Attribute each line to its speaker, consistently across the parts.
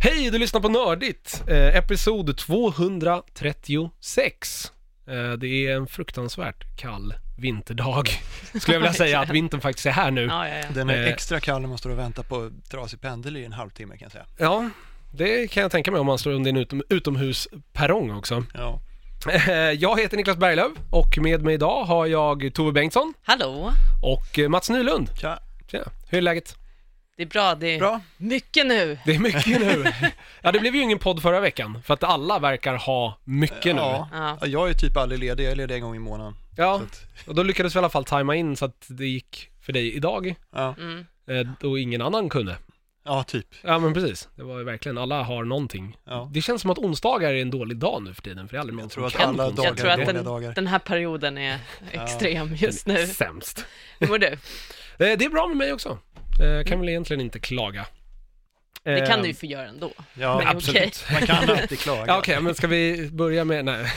Speaker 1: Hej, du lyssnar på Nördigt, eh, episod 236. Eh, det är en fruktansvärt kall vinterdag, skulle jag vilja säga att vintern faktiskt är här nu.
Speaker 2: Ja, ja, ja.
Speaker 3: Den är
Speaker 1: Eh.
Speaker 3: extra kall när man står och väntar på trasig pendel i en halvtimme kan jag säga.
Speaker 1: Ja, det kan jag tänka mig om man står under en utom, utomhusperrong också.
Speaker 3: Ja.
Speaker 1: Eh, jag heter Niklas Berglöf och med mig idag har jag Tove Bengtsson
Speaker 2: Hallå!
Speaker 1: och eh, Mats Nylund.
Speaker 3: Tja,
Speaker 1: Tja, hur är läget?
Speaker 2: Det är bra, det är
Speaker 3: bra.
Speaker 2: mycket nu.
Speaker 1: Det är mycket nu. Ja, det blev ju ingen podd förra veckan, för att alla verkar ha mycket nu.
Speaker 3: Ja.
Speaker 2: Ja.
Speaker 3: Ja, jag är typ aldrig ledig, jag är ledig en gång i månaden.
Speaker 1: Ja,
Speaker 3: Så att,
Speaker 1: och då lyckades vi i alla fall tajma in så att det gick för dig idag,
Speaker 3: ja.
Speaker 2: Mm.
Speaker 1: eh, då ingen annan kunde.
Speaker 3: ja, typ.
Speaker 1: Ja, men precis. Det var ju verkligen, alla har någonting.
Speaker 3: Ja.
Speaker 1: Det känns som att onsdagar är en dålig dag nu för tiden, för det är aldrig någon
Speaker 3: Jag
Speaker 1: som
Speaker 3: tror att
Speaker 1: kan på
Speaker 3: alla
Speaker 1: onsdagar.
Speaker 3: dagar
Speaker 2: Jag tror att
Speaker 3: är dåliga
Speaker 2: den,
Speaker 3: dagar.
Speaker 2: den här perioden är extrem just nu.
Speaker 1: Sämst.
Speaker 2: Hur mår du?
Speaker 1: Eh, det är bra med mig också. Eh, kan väl egentligen inte klaga.
Speaker 2: Mm. Det kan
Speaker 1: Eh,
Speaker 2: du ju få göra ändå.
Speaker 3: Ja,
Speaker 2: Men
Speaker 3: absolut.
Speaker 2: okej.
Speaker 3: Man kan alltid klaga.
Speaker 1: Ja, okej, men ska vi börja med... Nej.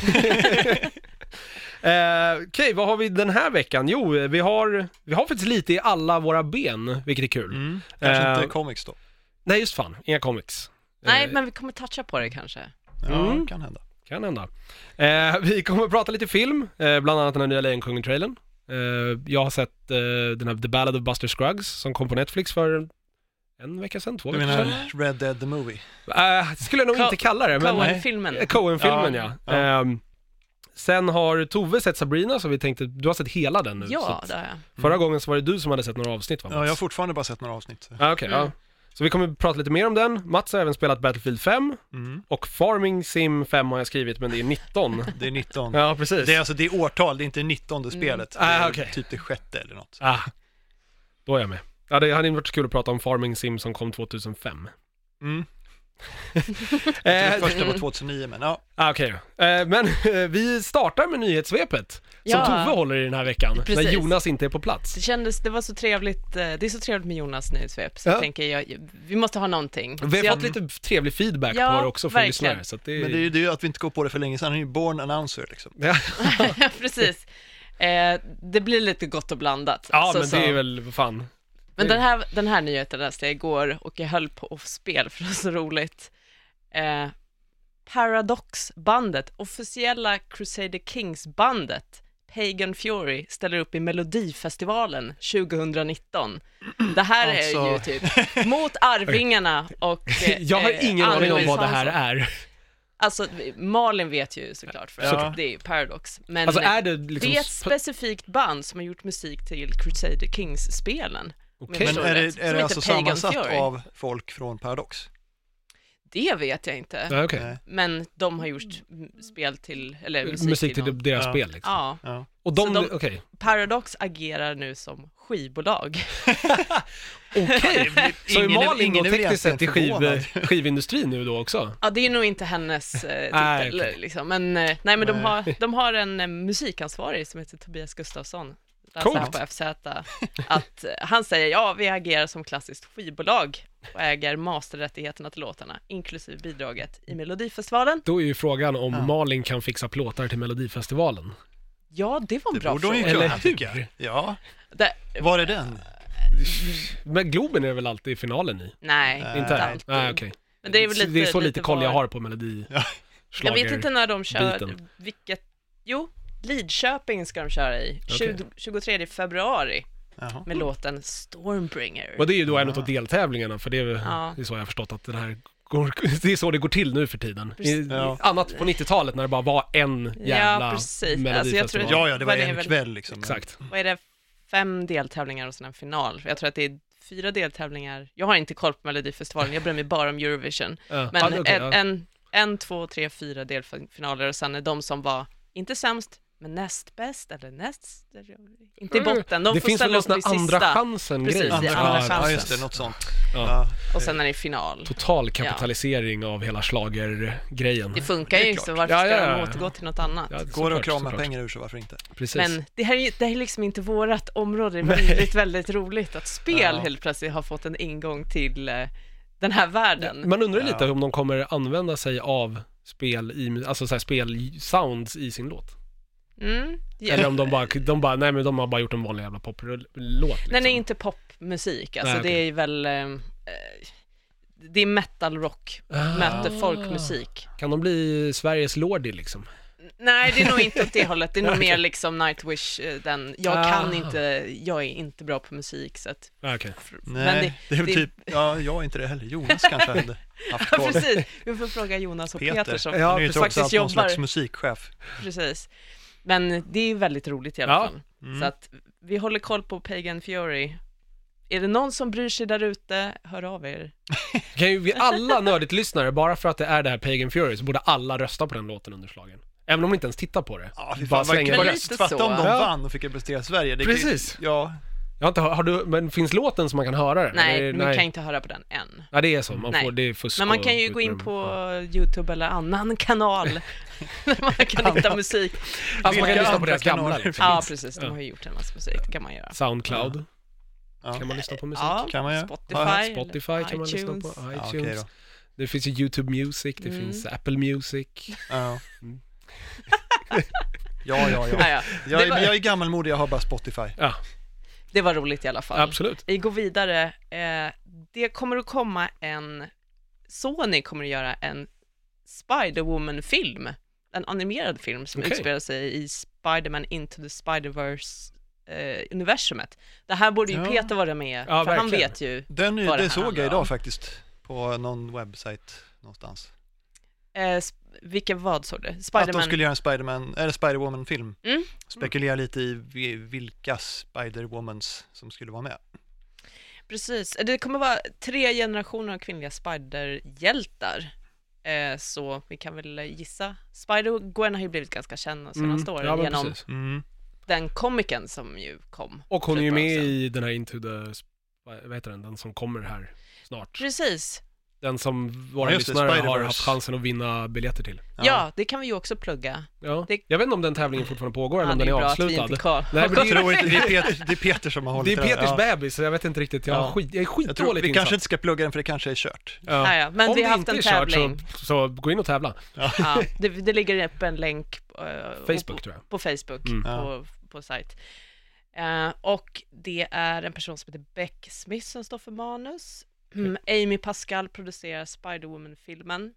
Speaker 1: Eh, okej, vad har vi den här veckan? Jo, eh, vi har, vi har faktiskt lite i alla våra ben, vilket är kul.
Speaker 3: Mm. Kanske
Speaker 1: Eh.
Speaker 3: inte comics då.
Speaker 1: Nej, just fan, inga comics.
Speaker 2: Nej,
Speaker 1: Eh,
Speaker 2: men vi kommer toucha på det kanske.
Speaker 3: Ja,
Speaker 1: Mm.
Speaker 3: kan hända.
Speaker 1: Kan hända. Eh, vi kommer att prata lite film, eh, bland annat den här nya Lejonkungen-trailern. Eh, jag har sett eh, den här The Ballad of Buster Scruggs som kom på Netflix för en vecka sedan, två
Speaker 3: Du
Speaker 1: veckor sedan.
Speaker 3: menar Red Dead the Movie?
Speaker 1: Eh, det skulle jag nog
Speaker 2: Co-
Speaker 1: inte kalla det, men...
Speaker 2: Coen-filmen.
Speaker 1: Eh, Coen-filmen ja.
Speaker 3: Ja.
Speaker 1: Ehm, sen har Tove sett Sabrina, så vi tänkte, du har sett hela den nu. så
Speaker 2: Ja,
Speaker 1: att-
Speaker 2: det har jag.
Speaker 1: Förra gången så var det du som hade sett några avsnitt va Mats?
Speaker 3: Ja, jag har fortfarande bara sett några avsnitt. så-
Speaker 1: ah, okej,
Speaker 2: Mm.
Speaker 1: ja. Så vi kommer att prata lite mer om den. Mats har även spelat Battlefield 5
Speaker 3: Mm.
Speaker 1: och Farming Sim 5 har jag skrivit, men det är 19.
Speaker 3: Det är 19.
Speaker 1: ja, precis.
Speaker 3: Det är alltså det är årtal, det är inte 19 spelet.
Speaker 1: Ah,
Speaker 3: det är
Speaker 1: okej.
Speaker 3: typ det sjätte eller något.
Speaker 1: Ah, då är jag med. Ja, det hade varit kul att prata om Farming Sim som kom 2005.
Speaker 3: Mm.
Speaker 1: Eh,
Speaker 3: Det första var 2009, men ja.
Speaker 1: ah, okej då. eh, Men eh, vi startar med nyhetssvepet, som
Speaker 2: Ja.
Speaker 1: Tove håller i den här veckan, när
Speaker 2: Precis.
Speaker 1: Jonas inte är på plats.
Speaker 2: Det kändes, det var så trevligt, eh, det är så trevligt med Jonas nyhetssvep, så
Speaker 1: Ja.
Speaker 2: jag tänker jag, vi måste ha någonting.
Speaker 1: Vi har
Speaker 2: Så jag,
Speaker 1: fått lite trevlig feedback
Speaker 2: Ja,
Speaker 1: på det också från
Speaker 2: verkligen.
Speaker 1: lyssnare, så att det,
Speaker 3: Men det är ju det är ju att vi inte går på det för länge sedan, han är ju born announcer liksom.
Speaker 1: Ja,
Speaker 2: ja, precis. Eh, det blir lite gott och blandat.
Speaker 1: ja
Speaker 2: Så-
Speaker 1: men
Speaker 2: alltså, så.
Speaker 1: det är väl, vad fan.
Speaker 2: Men
Speaker 1: Mm.
Speaker 2: den här, den här nyheten läste jag igår och jag höll på att spel för det var så roligt. Eh, Paradox-bandet, officiella Crusader Kings-bandet, Pagan Fury ställer upp i Melodifestivalen 2019. Det här är ju
Speaker 3: Alltså-
Speaker 2: typ mot Arvingarna och... eh,
Speaker 1: Jag har ingen
Speaker 2: eh,
Speaker 1: aning om vad det här
Speaker 2: Arvidsson.
Speaker 1: är.
Speaker 2: Alltså, Malin vet ju såklart för
Speaker 3: Ja.
Speaker 2: att det är Paradox. Men
Speaker 1: Alltså är det liksom...
Speaker 2: det är ett specifikt band som har gjort musik till Crusader Kings-spelen.
Speaker 1: Okej.
Speaker 2: Jag
Speaker 3: Men
Speaker 2: förstår
Speaker 3: är
Speaker 2: rätt.
Speaker 3: det,
Speaker 2: Som
Speaker 3: är
Speaker 2: heter
Speaker 3: det alltså
Speaker 2: Pagan
Speaker 3: sammansatt
Speaker 2: Fury.
Speaker 3: av folk från Paradox?
Speaker 2: Det vet jag inte.
Speaker 1: Ja, okej.
Speaker 3: Nej.
Speaker 2: Men de har gjort m- spel till, eller musik,
Speaker 1: Eh, Musik till
Speaker 2: någon.
Speaker 1: deras
Speaker 3: Ja.
Speaker 1: spel liksom.
Speaker 2: Ja,
Speaker 3: Ja.
Speaker 1: Och de,
Speaker 2: Så de-
Speaker 1: okej. Okej,
Speaker 2: Paradox agerar nu som skivbolag.
Speaker 1: så är
Speaker 3: Ingen är-
Speaker 1: Malin då
Speaker 3: ingen är väl
Speaker 1: tekniskt sett i
Speaker 3: egentligen
Speaker 1: skiv,
Speaker 3: förvånad.
Speaker 1: skivindustrin nu då också?
Speaker 2: Ja, det är nog inte hennes eh, titel,
Speaker 1: Nej, okej.
Speaker 2: liksom. men, eh, nej, men de,
Speaker 3: Nej.
Speaker 2: har, de har en eh, musikansvarig som heter Tobias Gustafsson. Läser
Speaker 1: Coolt.
Speaker 2: här på FZ, att eh, han säger ja, vi agerar som klassiskt skivbolag och äger masterrättigheterna till låtarna, inklusive bidraget i Melodifestivalen.
Speaker 1: Då är ju frågan om
Speaker 3: Ja.
Speaker 1: Malin kan fixa plåtar till Melodifestivalen.
Speaker 2: Ja, det var en
Speaker 3: Det
Speaker 2: bra
Speaker 3: borde hon ju
Speaker 2: fråga.
Speaker 1: Eller
Speaker 3: kunna, tycker
Speaker 1: hur?
Speaker 3: jag. Ja,
Speaker 2: Det,
Speaker 3: var är den?
Speaker 1: Men Globen är väl alltid i finalen i?
Speaker 2: nej,
Speaker 3: Nej.
Speaker 1: Inte?
Speaker 2: alltid.
Speaker 1: Nej, okej.
Speaker 2: Men det är väl lite,
Speaker 1: så lite, koll jag
Speaker 2: var-
Speaker 1: har på melodi.
Speaker 3: Ja.
Speaker 2: Jag vet inte när de kör,
Speaker 1: biten.
Speaker 2: vilket, jo, Lidköping ska de köra i, 20, 23 februari
Speaker 3: Jaha.
Speaker 2: med låten Stormbringer.
Speaker 1: Och det är ju då en av deltävlingarna, för det är,
Speaker 2: Ja.
Speaker 1: det är så jag har förstått att den här går, det är så det går till nu för tiden. I,
Speaker 2: Precis.
Speaker 3: Ja.
Speaker 1: Annat på 90-talet när det bara var en jävla
Speaker 2: Ja, precis.
Speaker 1: melodifestival.
Speaker 2: Alltså, jag tror-
Speaker 3: Ja, ja, det var
Speaker 2: Var det
Speaker 3: en
Speaker 2: väl-
Speaker 3: kväll liksom.
Speaker 1: Exakt.
Speaker 2: Vad är det, fem deltävlingar och sen en final? Jag tror att det är fyra deltävlingar, jag har inte koll på Melodifestivalen, jag bryr mig bara om Eurovision.
Speaker 1: Ja.
Speaker 2: Men eh,
Speaker 1: Ja, okej,
Speaker 2: en,
Speaker 1: ja.
Speaker 2: en, en, två, tre, fyra delfinaler och sen är de som var, inte sämst, men näst bäst eller näst, inte i botten, de
Speaker 1: Mm. det
Speaker 2: får
Speaker 1: finns väl
Speaker 2: ställa
Speaker 1: någon
Speaker 2: upp
Speaker 1: sån
Speaker 2: i
Speaker 1: här andra
Speaker 2: sista.
Speaker 1: chansen-grej?
Speaker 2: Precis,
Speaker 3: Andra
Speaker 2: Ja,
Speaker 3: chansen.
Speaker 2: chansen.
Speaker 3: Ja, just det, något sånt.
Speaker 1: Ja.
Speaker 3: Ja.
Speaker 2: Och sen är det final.
Speaker 1: Total kapitalisering av hela schlagergrejen.
Speaker 2: Det funkar
Speaker 3: Det är
Speaker 2: ju,
Speaker 3: klart.
Speaker 2: så varför
Speaker 1: Ja,
Speaker 2: ska
Speaker 1: ja, ja.
Speaker 2: de återgå till något annat?
Speaker 1: Ja,
Speaker 3: Går det
Speaker 1: såklart,
Speaker 3: att krama
Speaker 1: såklart.
Speaker 3: pengar ur så varför inte?
Speaker 1: Precis.
Speaker 2: Men det här, är ju- det här är liksom inte vårt område, det
Speaker 1: Nej.
Speaker 2: är väldigt, väldigt roligt att spel
Speaker 3: Ja.
Speaker 2: helt plötsligt har fått en ingång till eh, den här världen.
Speaker 1: Man undrar lite
Speaker 3: Ja.
Speaker 1: om de kommer använda sig av spel i, alltså så här spelsounds i sin låt.
Speaker 2: Mm. Ja.
Speaker 1: Eller om de bara, de bara, nej men de har bara gjort en vanlig jävla poplåt liksom.
Speaker 2: Den är inte popmusik, alltså
Speaker 1: Nej, okej.
Speaker 2: det är ju väl eh, eh, det är metal rock, möter folkmusik.
Speaker 1: Ah. Kan de bli Sveriges Lordi liksom?
Speaker 2: Nej, det är nog inte åt det hållet. Det är nog mer liksom Nightwish, eh, den, jag
Speaker 1: Ah.
Speaker 2: kan inte, jag är inte bra på musik så att,
Speaker 1: Ja, Ah, Okej.
Speaker 3: Nej,
Speaker 2: men
Speaker 3: det,
Speaker 2: det-
Speaker 3: är väl
Speaker 2: det-
Speaker 3: typ, ja, jag är inte det heller. Jonas kanske hade haft
Speaker 2: ja
Speaker 3: koll.
Speaker 2: precis, vi får fråga Jonas och Peter,
Speaker 3: Peter.
Speaker 2: som
Speaker 1: Ja,
Speaker 3: Han är ju
Speaker 1: precis.
Speaker 3: trots allt
Speaker 2: faktiskt
Speaker 3: någon
Speaker 2: jobbar,
Speaker 3: slags musikchef.
Speaker 2: precis. Men det är ju väldigt roligt i alla
Speaker 1: Ja.
Speaker 2: fall.
Speaker 3: Mm.
Speaker 2: Så att vi håller koll på Pagan Fury. Är det någon som bryr sig där ute, hör av er.
Speaker 1: Kan ju vi alla nördigt lyssnare, bara för att det är det här Pagan Fury, så borde alla rösta på den låten under slagen. Även om de inte ens tittar på det.
Speaker 3: Ja, fy
Speaker 1: Bara
Speaker 3: fan, vad
Speaker 1: slänga
Speaker 2: Men
Speaker 3: vad
Speaker 1: in.
Speaker 2: lite
Speaker 3: gött. Fatta om de
Speaker 1: så. Ja.
Speaker 3: vann och fick representera Sverige. Det kan ju-
Speaker 1: Precis.
Speaker 3: Ja,
Speaker 1: Jag har inte, hör- har du, men finns låten så man kan höra den?
Speaker 2: Nej,
Speaker 1: Eller-
Speaker 2: vi kan inte höra på den än.
Speaker 1: Ja, det är så. Man
Speaker 2: Nej.
Speaker 1: får, det är fusk
Speaker 2: Men man
Speaker 1: och
Speaker 2: kan ju gå in
Speaker 1: skitrum.
Speaker 2: på YouTube eller annan kanal, där man kan hitta musik.
Speaker 1: Alltså man kan
Speaker 3: Vilka
Speaker 1: lyssna på
Speaker 3: andra
Speaker 1: deras gamla
Speaker 3: kanaler?
Speaker 1: liksom.
Speaker 2: Ja, precis. De
Speaker 1: Ja.
Speaker 2: har ju gjort en massa musik, det kan man göra.
Speaker 1: Soundcloud,
Speaker 3: Ja.
Speaker 1: kan man lyssna på musik?
Speaker 2: Ja,
Speaker 3: kan man göra.
Speaker 2: Spotify,
Speaker 3: Ja,
Speaker 2: eller
Speaker 1: Spotify kan man lyssna
Speaker 2: iTunes.
Speaker 1: på,
Speaker 3: ja
Speaker 1: iTunes.
Speaker 3: okej då.
Speaker 1: Det finns ju YouTube Music, det
Speaker 2: Mm.
Speaker 1: finns Apple Music.
Speaker 3: Ja.
Speaker 1: Mm.
Speaker 3: ja, ja, ja.
Speaker 2: Ja, ja.
Speaker 3: Jag är,
Speaker 2: Det var-
Speaker 3: jag är gammalmodig, jag har bara Spotify.
Speaker 1: Ja,
Speaker 2: Det var roligt i alla fall.
Speaker 1: absolut.
Speaker 2: Vi går vidare. Eh, det kommer att komma en... Sony kommer att göra en Spider-Woman-film. En animerad film som
Speaker 1: Okej.
Speaker 2: utspelar sig i Spider-Man Into the Spider-Verse eh, universumet. Det här borde ju
Speaker 3: Ja.
Speaker 2: Peter vara med,
Speaker 1: Ja,
Speaker 2: för han
Speaker 1: verkligen.
Speaker 2: vet ju.
Speaker 3: Den är,
Speaker 2: Vad det
Speaker 3: det såg
Speaker 2: handlar
Speaker 3: jag
Speaker 2: om.
Speaker 3: idag faktiskt, på någon webbsajt någonstans.
Speaker 2: Eh, sp- vilka vad sa du?
Speaker 3: Att de
Speaker 2: Spider-Man?
Speaker 3: skulle göra en Spiderman, eller Spider-Woman-film.
Speaker 2: Mm.
Speaker 3: Spekulera lite i vi- vilka Spider-Womans som skulle vara med.
Speaker 2: Precis, det kommer vara tre generationer av kvinnliga spiderhjältar. Eh, så vi kan väl gissa. Spider-Gwen har ju blivit ganska känd de senaste åren
Speaker 1: Mm. Ja, men
Speaker 2: genom
Speaker 1: precis.
Speaker 3: Mm.
Speaker 2: den komikern som ju kom.
Speaker 1: Och hon är ju
Speaker 2: för ett
Speaker 1: med
Speaker 2: tag sedan.
Speaker 1: i den här Into the, Sp- vad heter den, den som kommer här snart.
Speaker 2: Precis,
Speaker 1: Den som våra
Speaker 3: Ja, just det,
Speaker 1: lyssnare har
Speaker 3: Spider-Verse.
Speaker 1: haft chansen att vinna biljetter till.
Speaker 2: ja. det kan vi ju också plugga.
Speaker 1: Ja.
Speaker 2: Det-
Speaker 1: Jag vet inte om den tävlingen fortfarande pågår eller
Speaker 2: Ja,
Speaker 1: om
Speaker 2: det är
Speaker 1: den är
Speaker 2: ju bra att vi
Speaker 1: avslutad.
Speaker 2: inte kan.
Speaker 1: Nej, men
Speaker 3: Jag
Speaker 1: det, är,
Speaker 3: tror inte, det är, Peter, det är Peter som har
Speaker 1: det
Speaker 3: hållit
Speaker 1: är Peters
Speaker 3: där.
Speaker 1: bebis, så jag vet inte riktigt, jag, har
Speaker 3: Ja.
Speaker 1: skit, jag är
Speaker 3: Jag tror,
Speaker 1: skitdåligt
Speaker 3: vi kanske
Speaker 1: insatt.
Speaker 3: inte ska plugga den för det kanske är kört.
Speaker 1: Ja.
Speaker 2: Ja, ja. Men
Speaker 1: om
Speaker 2: vi
Speaker 1: det
Speaker 2: har haft
Speaker 1: inte
Speaker 2: en
Speaker 1: är kört
Speaker 2: tävling. Oh.
Speaker 1: så, så gå in och tävla.
Speaker 2: Ja, det, det ligger upp en länk eh, på,
Speaker 1: Facebook tror jag.
Speaker 2: på Facebook,
Speaker 1: Mm.
Speaker 2: på, på sajt. Eh, och det är en person som heter Beck Smith som står för manus. Mm, Amy Pascal producerar Spiderwoman-filmen.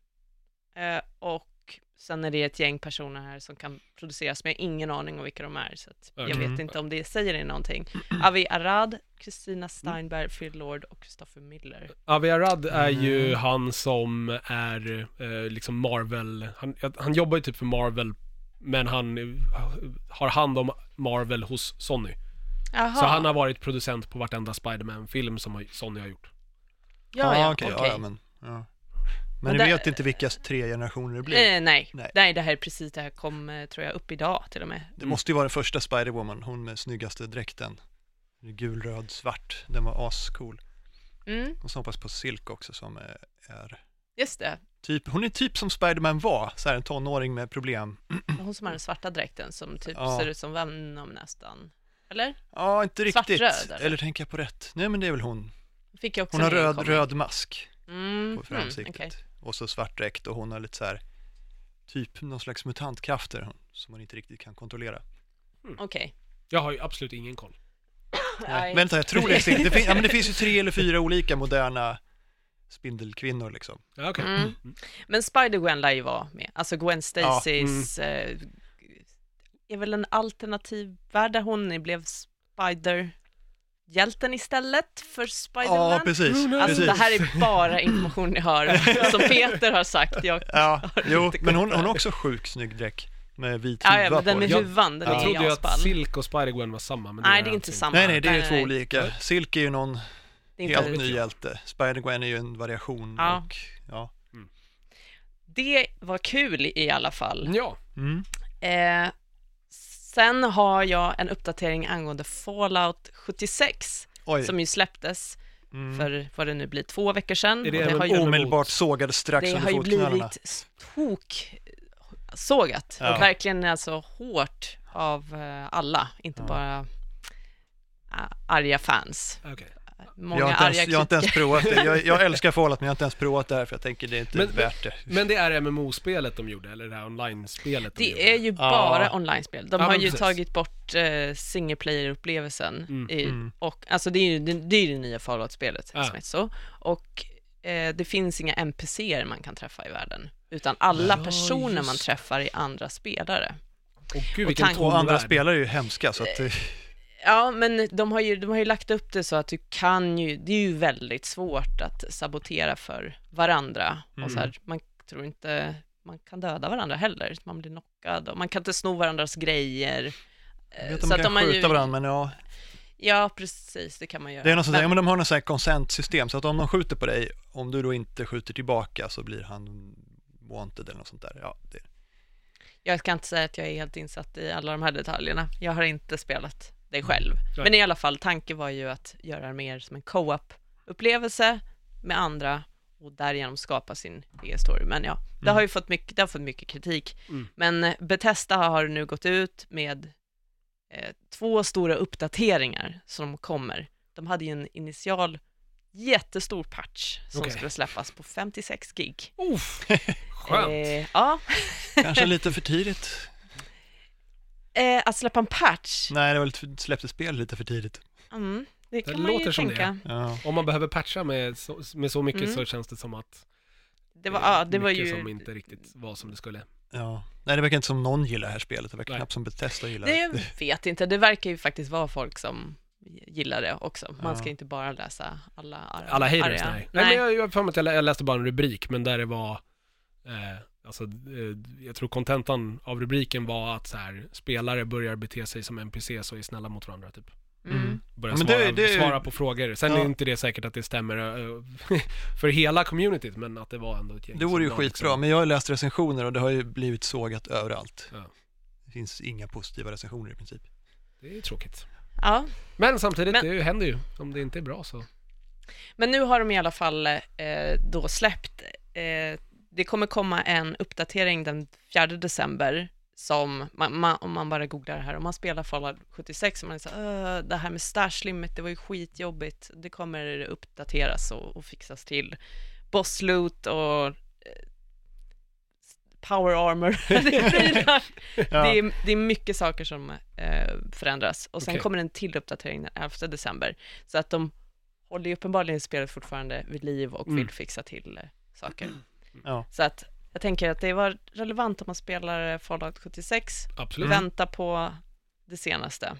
Speaker 2: Eh, och sen är det ett gäng personer här som kan produceras, men jag har ingen aning om vilka de är, så att jag
Speaker 1: Okej.
Speaker 2: vet inte om det säger er någonting. Avi Arad, Kristina Steinberg, Phil Lord och Christopher Miller.
Speaker 1: Avi Arad är ju
Speaker 3: Mm.
Speaker 1: han som är eh, liksom Marvel, han, han jobbar ju typ för Marvel, men han eh, har hand om Marvel hos Sony.
Speaker 2: Jaha,
Speaker 1: Så han har varit producent på vartenda Spiderman-film som har- Sony har gjort.
Speaker 2: ja, ja,
Speaker 3: Ah, okej,
Speaker 2: okej.
Speaker 3: ja, ja, men, ja. men,
Speaker 2: Men
Speaker 3: ni
Speaker 2: där-
Speaker 3: vet inte vilka tre generationer det blir.
Speaker 2: Eh, nej.
Speaker 3: Nej.
Speaker 2: nej, det här är precis, det här kom eh, tror jag upp idag till och med.
Speaker 3: Det måste ju vara den första Spider-Woman, hon med snyggaste dräkten. Gul, röd, svart. Den var ascool.
Speaker 2: Mm,
Speaker 3: Och så hoppas på Silk också som eh, är
Speaker 2: just det,
Speaker 3: typ, hon är typ som Spiderman var, så här en tonåring med problem.
Speaker 2: hon som har den svarta dräkten som typ
Speaker 3: Ja.
Speaker 2: ser ut som Venom nästan. Eller?
Speaker 3: Ja, inte riktigt.
Speaker 2: Svartröd, eller?
Speaker 3: eller tänker jag på rätt? Nej, men det är väl hon.
Speaker 2: Fick jag också
Speaker 3: Hon har
Speaker 2: med i
Speaker 3: röd,
Speaker 2: comic.
Speaker 3: röd mask
Speaker 2: mm,
Speaker 3: på
Speaker 2: mm,
Speaker 3: framsiktet.
Speaker 2: okej.
Speaker 3: Och så svart dräkt och hon har lite så här typ någon slags mutantkrafter hon- som hon inte riktigt kan kontrollera.
Speaker 2: Okej.
Speaker 1: Jag har ju absolut ingen koll.
Speaker 2: Nej.
Speaker 3: Vänta, jag tror det är Silk. Det, fin- ja, men det finns ju tre eller fyra olika moderna spindelkvinnor liksom.
Speaker 1: Ja, okej.
Speaker 2: Mm. Men Spider-Gwen lär ju vara med. Alltså
Speaker 3: mm.
Speaker 2: Gwen Stacys... eh, är väl en alternativ värld där hon blev Spider-hjälten istället för Spider-Man.
Speaker 3: Ja, precis.
Speaker 1: Mm,
Speaker 2: Alltså
Speaker 3: precis.
Speaker 2: det här är bara information ni hör, som Peter har sagt. Jag,
Speaker 3: Ja, jo,
Speaker 2: inte
Speaker 3: men hon,
Speaker 2: koll på
Speaker 3: hon
Speaker 2: det.
Speaker 3: har också sjukt snygg dräkt med vit
Speaker 2: ja,
Speaker 3: huva
Speaker 2: ja, men den
Speaker 3: på
Speaker 2: med
Speaker 1: Jag-
Speaker 2: huvan, den
Speaker 1: Jag
Speaker 2: är
Speaker 1: trodde ju att
Speaker 2: asball.
Speaker 1: Silk och Spider-Gwen var samma, men
Speaker 2: Nej,
Speaker 1: är
Speaker 2: det är inte
Speaker 1: alltså
Speaker 2: samma.
Speaker 3: Nej, nej, det är
Speaker 2: Nej,
Speaker 3: två
Speaker 2: nej.
Speaker 3: olika. Silk är ju någon
Speaker 2: Det är inte
Speaker 3: helt
Speaker 1: alls.
Speaker 3: ny hjälte. Spider-Gwen är ju en variation
Speaker 2: Ja.
Speaker 3: och ja.
Speaker 2: Det var kul i alla fall.
Speaker 1: Ja,
Speaker 3: Mm.
Speaker 2: Eh, sen har jag en uppdatering angående Fallout 76
Speaker 3: Oj,
Speaker 2: som ju släpptes
Speaker 3: mm.
Speaker 2: för vad det nu blir, två veckor sedan.
Speaker 1: Är det
Speaker 2: Och
Speaker 1: en
Speaker 2: har ju,
Speaker 1: emot-
Speaker 3: omedelbart sågade strax
Speaker 2: det
Speaker 3: under
Speaker 2: har ju
Speaker 3: fotknölarna.
Speaker 2: blivit tok sågat
Speaker 3: Ja.
Speaker 2: och verkligen alltså hårt av eh, alla, inte
Speaker 3: Ja.
Speaker 2: bara eh, arga fans.
Speaker 1: okej.
Speaker 2: Många
Speaker 3: Jag har, inte
Speaker 2: arga
Speaker 3: ens, jag har inte ens provat det. Jag, jag älskar Fallout men jag har inte ens provat det här för jag tänker det är inte
Speaker 1: Men-
Speaker 3: värt det.
Speaker 1: Men det är MMO-spelet de gjorde, eller det här online-spelet de gjorde?
Speaker 2: Det är ju bara
Speaker 3: Ja.
Speaker 2: online-spel. De
Speaker 1: Ja,
Speaker 2: har
Speaker 1: men
Speaker 2: ju
Speaker 1: precis.
Speaker 2: tagit bort eh, single player-upplevelsen.
Speaker 1: Mm,
Speaker 2: i-
Speaker 3: mm.
Speaker 2: Och, alltså det är ju det, det, är ju det nya Fallout-spelet,
Speaker 1: Ja.
Speaker 2: som heter så. Och eh, det finns inga NPCer man kan träffa i världen, utan alla
Speaker 1: Ja,
Speaker 2: personer man
Speaker 1: just.
Speaker 2: träffar är andra spelare.
Speaker 1: Åh gud
Speaker 2: Och
Speaker 1: vilken
Speaker 2: tank-
Speaker 1: tom
Speaker 3: Och andra
Speaker 1: värld.
Speaker 3: spelare är ju hemska så att... eh,
Speaker 2: Ja, men de har, ju, de har ju lagt upp det så att du kan ju, det är ju väldigt svårt att sabotera för varandra. Och
Speaker 3: Mm.
Speaker 2: så här, man tror inte, man kan döda varandra heller, man blir knockad och man kan inte sno varandras grejer.
Speaker 3: Jag
Speaker 2: Eh,
Speaker 3: vet att man kan
Speaker 2: har
Speaker 3: skjuta varandra men ja,
Speaker 2: Ja, precis, det kan man göra.
Speaker 3: det är något sånt där, ja,
Speaker 2: Men-
Speaker 3: men de har något sånt här konsentsystem så att om de skjuter på dig, om du då inte skjuter tillbaka så blir han wanted eller något sånt där. Ja, det,
Speaker 2: Jag ska inte säga att jag är helt insatt i alla de här detaljerna. Jag har inte spelat det
Speaker 1: Mm.
Speaker 2: själv. Men i alla fall, tanken var ju att göra det mer som en co-op-upplevelse med andra och därigenom skapa sin egen story. Men ja, det har ju fått mycket, det har fått mycket kritik.
Speaker 1: Mm.
Speaker 2: Men eh, Bethesda har nu gått ut med eh, två stora uppdateringar som kommer. De hade ju en initial jättestor patch som
Speaker 1: Okej.
Speaker 2: skulle släppas på 56 gig.
Speaker 1: Uff, skönt.
Speaker 2: Eh, ja,
Speaker 3: kanske lite för tidigt.
Speaker 2: eh, att släppa en patch
Speaker 3: Nej, det var lite, släppte spel lite för tidigt.
Speaker 2: Mm, det
Speaker 1: Det
Speaker 2: kan man
Speaker 1: låter
Speaker 2: ju
Speaker 1: som
Speaker 2: tänka.
Speaker 3: Ja.
Speaker 1: Om man behöver patcha med så, med så mycket
Speaker 2: Eh. Mm.
Speaker 1: så känns det som att
Speaker 2: Det, var, ja, det
Speaker 1: mycket
Speaker 2: var
Speaker 1: som
Speaker 2: ju...
Speaker 1: inte riktigt var som det skulle.
Speaker 3: Ja. Nej, det verkar inte som någon gillar det här spelet. Det verkar
Speaker 1: Nej.
Speaker 3: knappt som Bethesda gillar det.
Speaker 2: Det vet inte, det verkar ju faktiskt vara folk som gillar det också. Man
Speaker 3: Ja.
Speaker 2: ska inte bara läsa alla arga.
Speaker 1: Alla haters,
Speaker 2: arga-
Speaker 1: nej. nej. men jag, jag, har för mig att jag lä- jag läste bara en rubrik, men där det var, eh, alltså, eh, jag tror kontentan av rubriken var att så här, spelare börjar bete sig som NPCs och är snälla mot varandra, typ.
Speaker 2: Mm.
Speaker 1: Börjar
Speaker 3: Ja, men det-
Speaker 1: svara,
Speaker 3: det är ju-
Speaker 1: svara på frågor. Sen
Speaker 3: Ja.
Speaker 1: är inte det säkert att det stämmer eh, för hela communityt, men att det var ändå ett gäng
Speaker 3: Det vore ju
Speaker 1: som liksom- la
Speaker 3: skitbra, men jag har läst recensioner och det har ju blivit sågat överallt.
Speaker 1: Ja.
Speaker 3: Det finns inga positiva recensioner i princip.
Speaker 1: Det är tråkigt.
Speaker 2: Ja,
Speaker 1: Men samtidigt,
Speaker 2: Men-
Speaker 1: det händer ju. Om det inte är bra så.
Speaker 2: men nu har de i alla fall eh, då släppt... Eh, det kommer komma en uppdatering den 4 december som, man, man, om man bara googlar det här, om man spelar Fallout 76 och man är så här, "Öh, det här med stash limit, det var ju skitjobbigt, det kommer uppdateras och, och fixas till. Boss loot och eh, power armor, det, prylar. det, är, det är mycket saker som eh, förändras. Och sen
Speaker 1: Okej.
Speaker 2: kommer en till uppdatering den 11 december, så att de håller ju uppenbarligen spelet fortfarande vid liv och
Speaker 1: Mm.
Speaker 2: vill fixa till eh, saker.
Speaker 3: Ja.
Speaker 2: Så att jag tänker att det var relevant om man spelar eh, Fallout 76,
Speaker 1: Absolut.
Speaker 2: vänta på det senaste.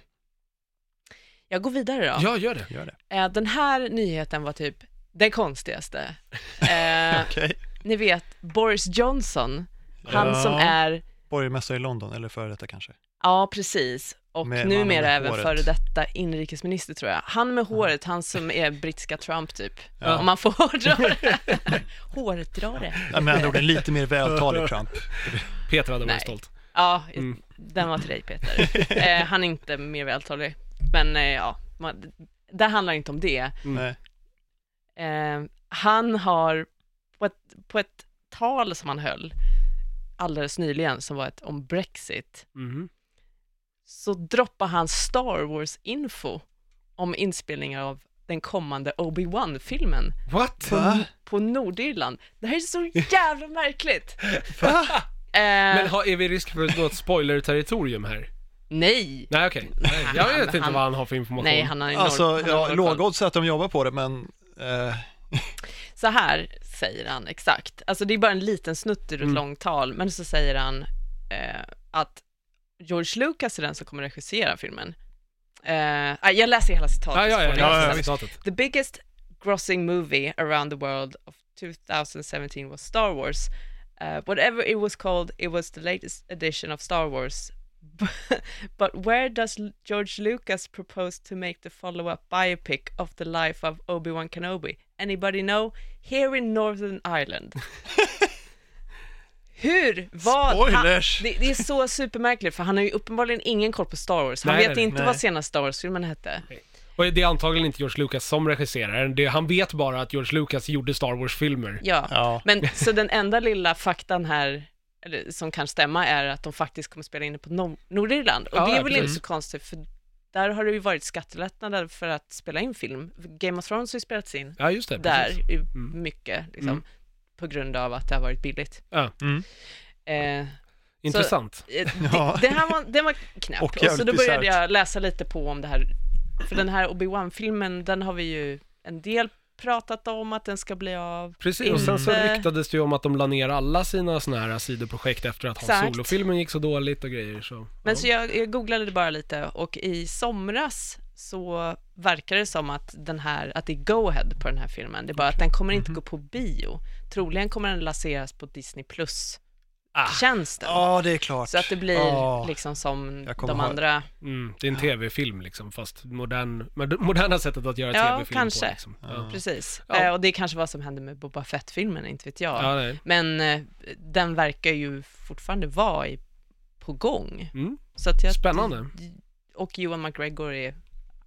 Speaker 2: Jag går vidare då.
Speaker 1: Ja, gör det.
Speaker 3: Gör det.
Speaker 2: Eh, Den här nyheten var typ den konstigaste. Eh,
Speaker 3: Okej.
Speaker 2: ni vet, Boris Johnson, han
Speaker 3: Ja.
Speaker 2: som är,
Speaker 3: Borgmästare i London, eller före detta kanske.
Speaker 2: ja precis, och
Speaker 3: Med mannen
Speaker 2: numera
Speaker 3: med
Speaker 2: även
Speaker 3: håret.
Speaker 2: före detta inrikesminister tror jag. Han med håret, han som är brittiska Trump typ,
Speaker 3: Ja.
Speaker 2: om man får hårdra det. Hårdrare.
Speaker 3: Ja, med andra ord, en lite mer vältalig Trump.
Speaker 1: Peter hade
Speaker 2: Nej.
Speaker 1: varit stolt.
Speaker 2: Ja,
Speaker 1: Mm.
Speaker 2: den var till dig Peter. eh, han är inte mer vältalig, men eh, ja, man, det handlar inte om det.
Speaker 3: Nej.
Speaker 2: Eh, han har, på ett, på ett tal som han höll alldeles nyligen, som var ett om Brexit,
Speaker 1: Mhm.
Speaker 2: så droppar han Star Wars-info om inspelningar av den kommande Obi-Wan-filmen
Speaker 1: What?
Speaker 3: Va?
Speaker 2: på Nordirland. Det här är så jävla märkligt!
Speaker 3: Va?
Speaker 2: Eh,
Speaker 1: Men har, är vi i risk för något spoiler-territorium här?
Speaker 2: nej!
Speaker 1: Nej okej, Nej, jag
Speaker 2: Han-
Speaker 1: vet inte
Speaker 2: han-
Speaker 1: vad han har för information.
Speaker 2: Nej, han har enorm, han
Speaker 3: Alltså,
Speaker 2: har
Speaker 3: ja,
Speaker 2: enorm koll.
Speaker 3: lågodds att de jobbar på det, men... Eh,
Speaker 2: Så här säger han exakt, alltså det är bara en liten snutt ur ett
Speaker 1: Mm.
Speaker 2: långt tal, men så säger han eh, att George Lucas är den som kommer regissera filmen. Eh, ah, jag läser hela citatet.
Speaker 1: ja, ja,
Speaker 2: så
Speaker 1: ja,
Speaker 2: får ni
Speaker 1: ja,
Speaker 2: läsa
Speaker 1: ja,
Speaker 2: sen.
Speaker 1: citatet.
Speaker 2: The biggest grossing movie around the world of 2017 was Star Wars. Uh, whatever it was called, it was the latest edition of Star Wars. but where does L- George Lucas propose to make the follow up biopic of the life of Obi Wan Kenobi? Anybody know? Here in Northern Ireland. Hur? Vad?
Speaker 3: Spoilers!
Speaker 2: Han, det, det är så supermärkligt för han har ju uppenbarligen ingen koll på Star Wars. Han
Speaker 1: Nej,
Speaker 2: vet
Speaker 1: nej,
Speaker 2: inte
Speaker 3: nej.
Speaker 2: vad senaste Star Wars-filmen hette.
Speaker 1: Och det är antagligen inte George Lucas som regisserar, det, han vet bara att George Lucas gjorde Star Wars-filmer.
Speaker 2: Ja.
Speaker 3: ja.
Speaker 2: Men så den enda lilla faktan här, eller, som kan stämma, är att de faktiskt kommer spela in det på Nor- Nordirland. Och
Speaker 1: Ja,
Speaker 2: det är
Speaker 1: ja,
Speaker 2: väl
Speaker 1: precis.
Speaker 2: inte så konstigt, för där har det ju varit skattelättnader för att spela in film. Game of Thrones har ju spelats in
Speaker 1: Ja, just det. precis.
Speaker 2: där, i
Speaker 1: Mm.
Speaker 2: mycket, liksom,
Speaker 1: Mm.
Speaker 2: på grund av att det har varit billigt.
Speaker 1: Ja.
Speaker 3: Mm.
Speaker 2: Eh,
Speaker 1: Intressant.
Speaker 2: Eh,
Speaker 3: Ja.
Speaker 2: det, det här var, den var knäpp.
Speaker 3: Och
Speaker 2: Och så
Speaker 3: jävligt
Speaker 2: då började
Speaker 3: bisarrt.
Speaker 2: jag läsa lite på om det här. För den här Obi-Wan-filmen, den har vi ju en del pratat om att den ska bli av.
Speaker 1: Precis, och sen så
Speaker 2: Inte-
Speaker 1: ryktades det ju om att de la ner alla sina såna här sidoprojekt efter att Han
Speaker 2: Exakt.
Speaker 1: Solo-filmen gick så dåligt och grejer så.
Speaker 2: Men
Speaker 1: ja.
Speaker 2: så jag, jag googlade det bara lite och i somras så verkar det som att, den här, att det är go-ahead på den här filmen. Det är bara att den kommer inte
Speaker 1: Mhm.
Speaker 2: gå på bio. Troligen kommer den lanseras på Disney plus-tjänsten.
Speaker 1: Ah.
Speaker 3: Ja, det är klart.
Speaker 2: Så att det blir
Speaker 3: Ja.
Speaker 2: liksom som
Speaker 3: Jag kommer
Speaker 2: de
Speaker 3: ha-
Speaker 2: andra.
Speaker 1: Mm, det är en tv-film liksom, fast modern, mod- moderna sättet att göra
Speaker 2: Ja,
Speaker 1: tv-film
Speaker 2: kanske.
Speaker 1: på. Liksom. Ja,
Speaker 2: Precis.
Speaker 1: Ja.
Speaker 2: Eh, och det är kanske vad som hände med Boba Fett-filmen, inte vet jag.
Speaker 1: ja nej.
Speaker 2: Men eh, den verkar ju fortfarande vara i, på gång.
Speaker 1: Mm.
Speaker 2: Så att jag,
Speaker 1: Spännande.
Speaker 2: Och Johan McGregor är,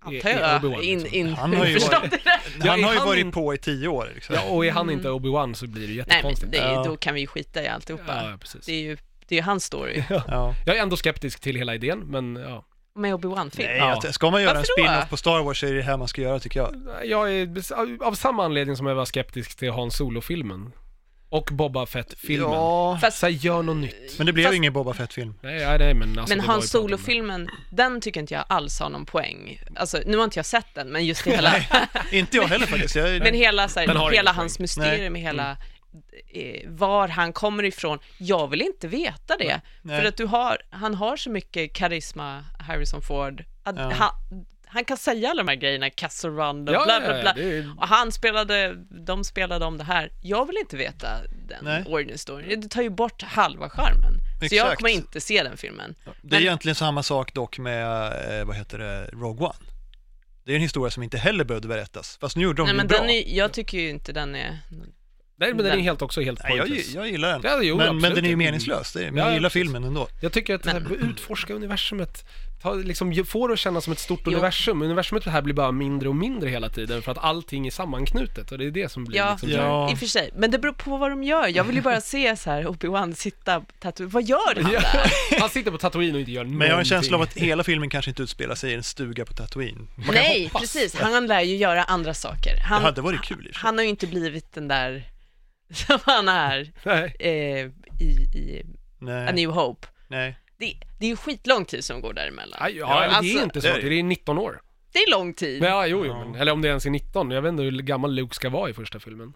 Speaker 2: antar
Speaker 1: I- i
Speaker 2: jag,
Speaker 1: Obi-Wan,
Speaker 2: in,
Speaker 1: liksom.
Speaker 2: in,
Speaker 3: Han har ju
Speaker 2: förstått
Speaker 3: varit-
Speaker 2: det där.
Speaker 1: Ja,
Speaker 3: Han
Speaker 1: är
Speaker 3: har ju
Speaker 1: han
Speaker 3: varit
Speaker 1: in-
Speaker 3: på i tio år. Liksom.
Speaker 1: Ja, och är han inte Obi-Wan så blir det
Speaker 2: Mm. Nej, men
Speaker 1: jättekonstigt.
Speaker 2: det, är-
Speaker 3: Ja.
Speaker 2: då kan vi ju skita i alltihopa.
Speaker 1: ja, ja, precis.
Speaker 2: Det är ju det är ju hans story.
Speaker 3: Ja.
Speaker 1: Jag är ändå skeptisk till hela idén, men ja.
Speaker 2: Med Obi-Wan-film.
Speaker 3: Nej,
Speaker 1: Ja.
Speaker 3: att- ska man göra
Speaker 2: Varför då?
Speaker 3: en spin-off på Star Wars så är det det här man ska göra tycker jag.
Speaker 1: Jag är av samma anledning som jag var skeptisk till Han Solo-filmen. Och Boba Fett-filmen.
Speaker 3: Ja,
Speaker 2: Fast,
Speaker 1: Så här, gör något nytt.
Speaker 3: men det blev
Speaker 2: fast-
Speaker 3: ju ingen Boba Fett-film.
Speaker 1: Nej, ja, nej men alltså,
Speaker 2: men
Speaker 1: det var ju
Speaker 2: hans
Speaker 1: pratat om det.
Speaker 2: Solo-filmen, den tycker inte jag alls har någon poäng. Alltså, nu har inte jag sett den, men just det hela,
Speaker 3: inte jag heller faktiskt. Jag,
Speaker 2: men hela, så
Speaker 1: Den
Speaker 2: här,
Speaker 1: har ingen
Speaker 2: hela
Speaker 1: poäng. Mm.
Speaker 2: hans mysterium, hela eh, var han kommer ifrån. Jag vill inte veta det.
Speaker 3: Nej.
Speaker 2: För att du har, han har så mycket karisma, Harrison Ford. Att
Speaker 3: Ja.
Speaker 2: han, han kan säga alla de här grejerna, Castle Run och
Speaker 1: Ja,
Speaker 2: bla
Speaker 1: ja, ja,
Speaker 2: bla bla.
Speaker 1: det är-
Speaker 2: Och han spelade, de spelade om det här. Jag vill inte veta den
Speaker 3: Nej.
Speaker 2: origin story. Det tar ju bort halva charmen. Så jag
Speaker 3: Exakt.
Speaker 2: kommer inte se den filmen.
Speaker 3: det är egentligen samma sak dock med, eh, vad heter det, Rogue One. Det är en historia som inte heller behövde berättas, fast nu gjorde de
Speaker 2: Nej,
Speaker 3: ju
Speaker 2: men
Speaker 3: bra.
Speaker 2: den är, jag tycker ju inte den är...
Speaker 1: Nej, men den är
Speaker 2: Den-
Speaker 1: helt också helt
Speaker 3: Nej, jag,
Speaker 1: pointless.
Speaker 3: jag gillar den.
Speaker 1: Ja, jo,
Speaker 3: men, men
Speaker 1: absolut.
Speaker 3: den är ju meningslös, det är, men
Speaker 1: Ja,
Speaker 3: jag gillar
Speaker 1: precis.
Speaker 3: filmen ändå.
Speaker 1: Jag tycker att så här, utforska universumet, ta, liksom, få det att kännas som ett stort
Speaker 2: Jo.
Speaker 1: universum. Universumet här blir bara mindre och mindre hela tiden för att allting är sammanknutet och det är det som blir
Speaker 2: Ja,
Speaker 1: liksom,
Speaker 3: Ja.
Speaker 2: i och för sig. Men det beror på vad de gör. Jag vill ju bara se så här Obi-Wan sitta tatuerad. Vad gör han
Speaker 1: Ja.
Speaker 2: där?
Speaker 1: Han sitter på Tatooine och inte gör någonting.
Speaker 3: Men jag har en känsla av att hela filmen kanske inte utspelar sig i en stuga på Tatooine. Man kan
Speaker 2: Nej,
Speaker 3: hoppas.
Speaker 2: precis. Han lär ju göra andra saker. Han,
Speaker 3: Det hade varit kul i och för sig.
Speaker 2: han har ju inte blivit den där som han är
Speaker 1: Nej.
Speaker 2: eh, i, i A
Speaker 3: Nej,
Speaker 2: New Hope.
Speaker 3: nej.
Speaker 2: Det, det är ju skitlång tid som går däremellan.
Speaker 1: Ja, ja, eller det
Speaker 2: Alltså-
Speaker 1: är inte så.
Speaker 3: Det är det.
Speaker 1: Det är 19 år.
Speaker 2: Det är lång tid.
Speaker 1: Men, ja, jo, jo,
Speaker 3: Ja.
Speaker 1: men, eller om det ens är 19. Jag vet inte hur gammal Luke ska vara i första filmen.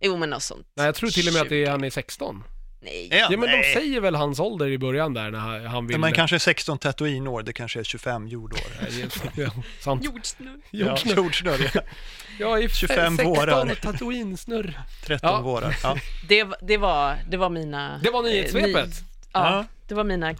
Speaker 2: Jo, men något sånt.
Speaker 1: Nej, jag tror till och med att det är, han är 16.
Speaker 2: Nej.
Speaker 3: Är han?
Speaker 1: Ja, men de
Speaker 3: Nej.
Speaker 1: säger väl hans ålder i början där när han, han vill...
Speaker 3: Men man kanske är 16 Tatooine-år, det kanske är 25 jordår.
Speaker 1: Ja, sant.
Speaker 2: Jordsnurr.
Speaker 3: Ja,
Speaker 1: Jordsnurr.
Speaker 3: jordsnurr, ja.
Speaker 1: Jag är
Speaker 3: 25
Speaker 1: 16
Speaker 3: vårar.
Speaker 1: Tatooine-snurr.
Speaker 3: 13
Speaker 1: Ja.
Speaker 3: vårar. Ja.
Speaker 2: Det, var- det, var, det var mina...
Speaker 1: Det var
Speaker 2: eh,
Speaker 1: nyhetssvepet.
Speaker 2: ny-
Speaker 3: Ja.
Speaker 2: ja, det var mina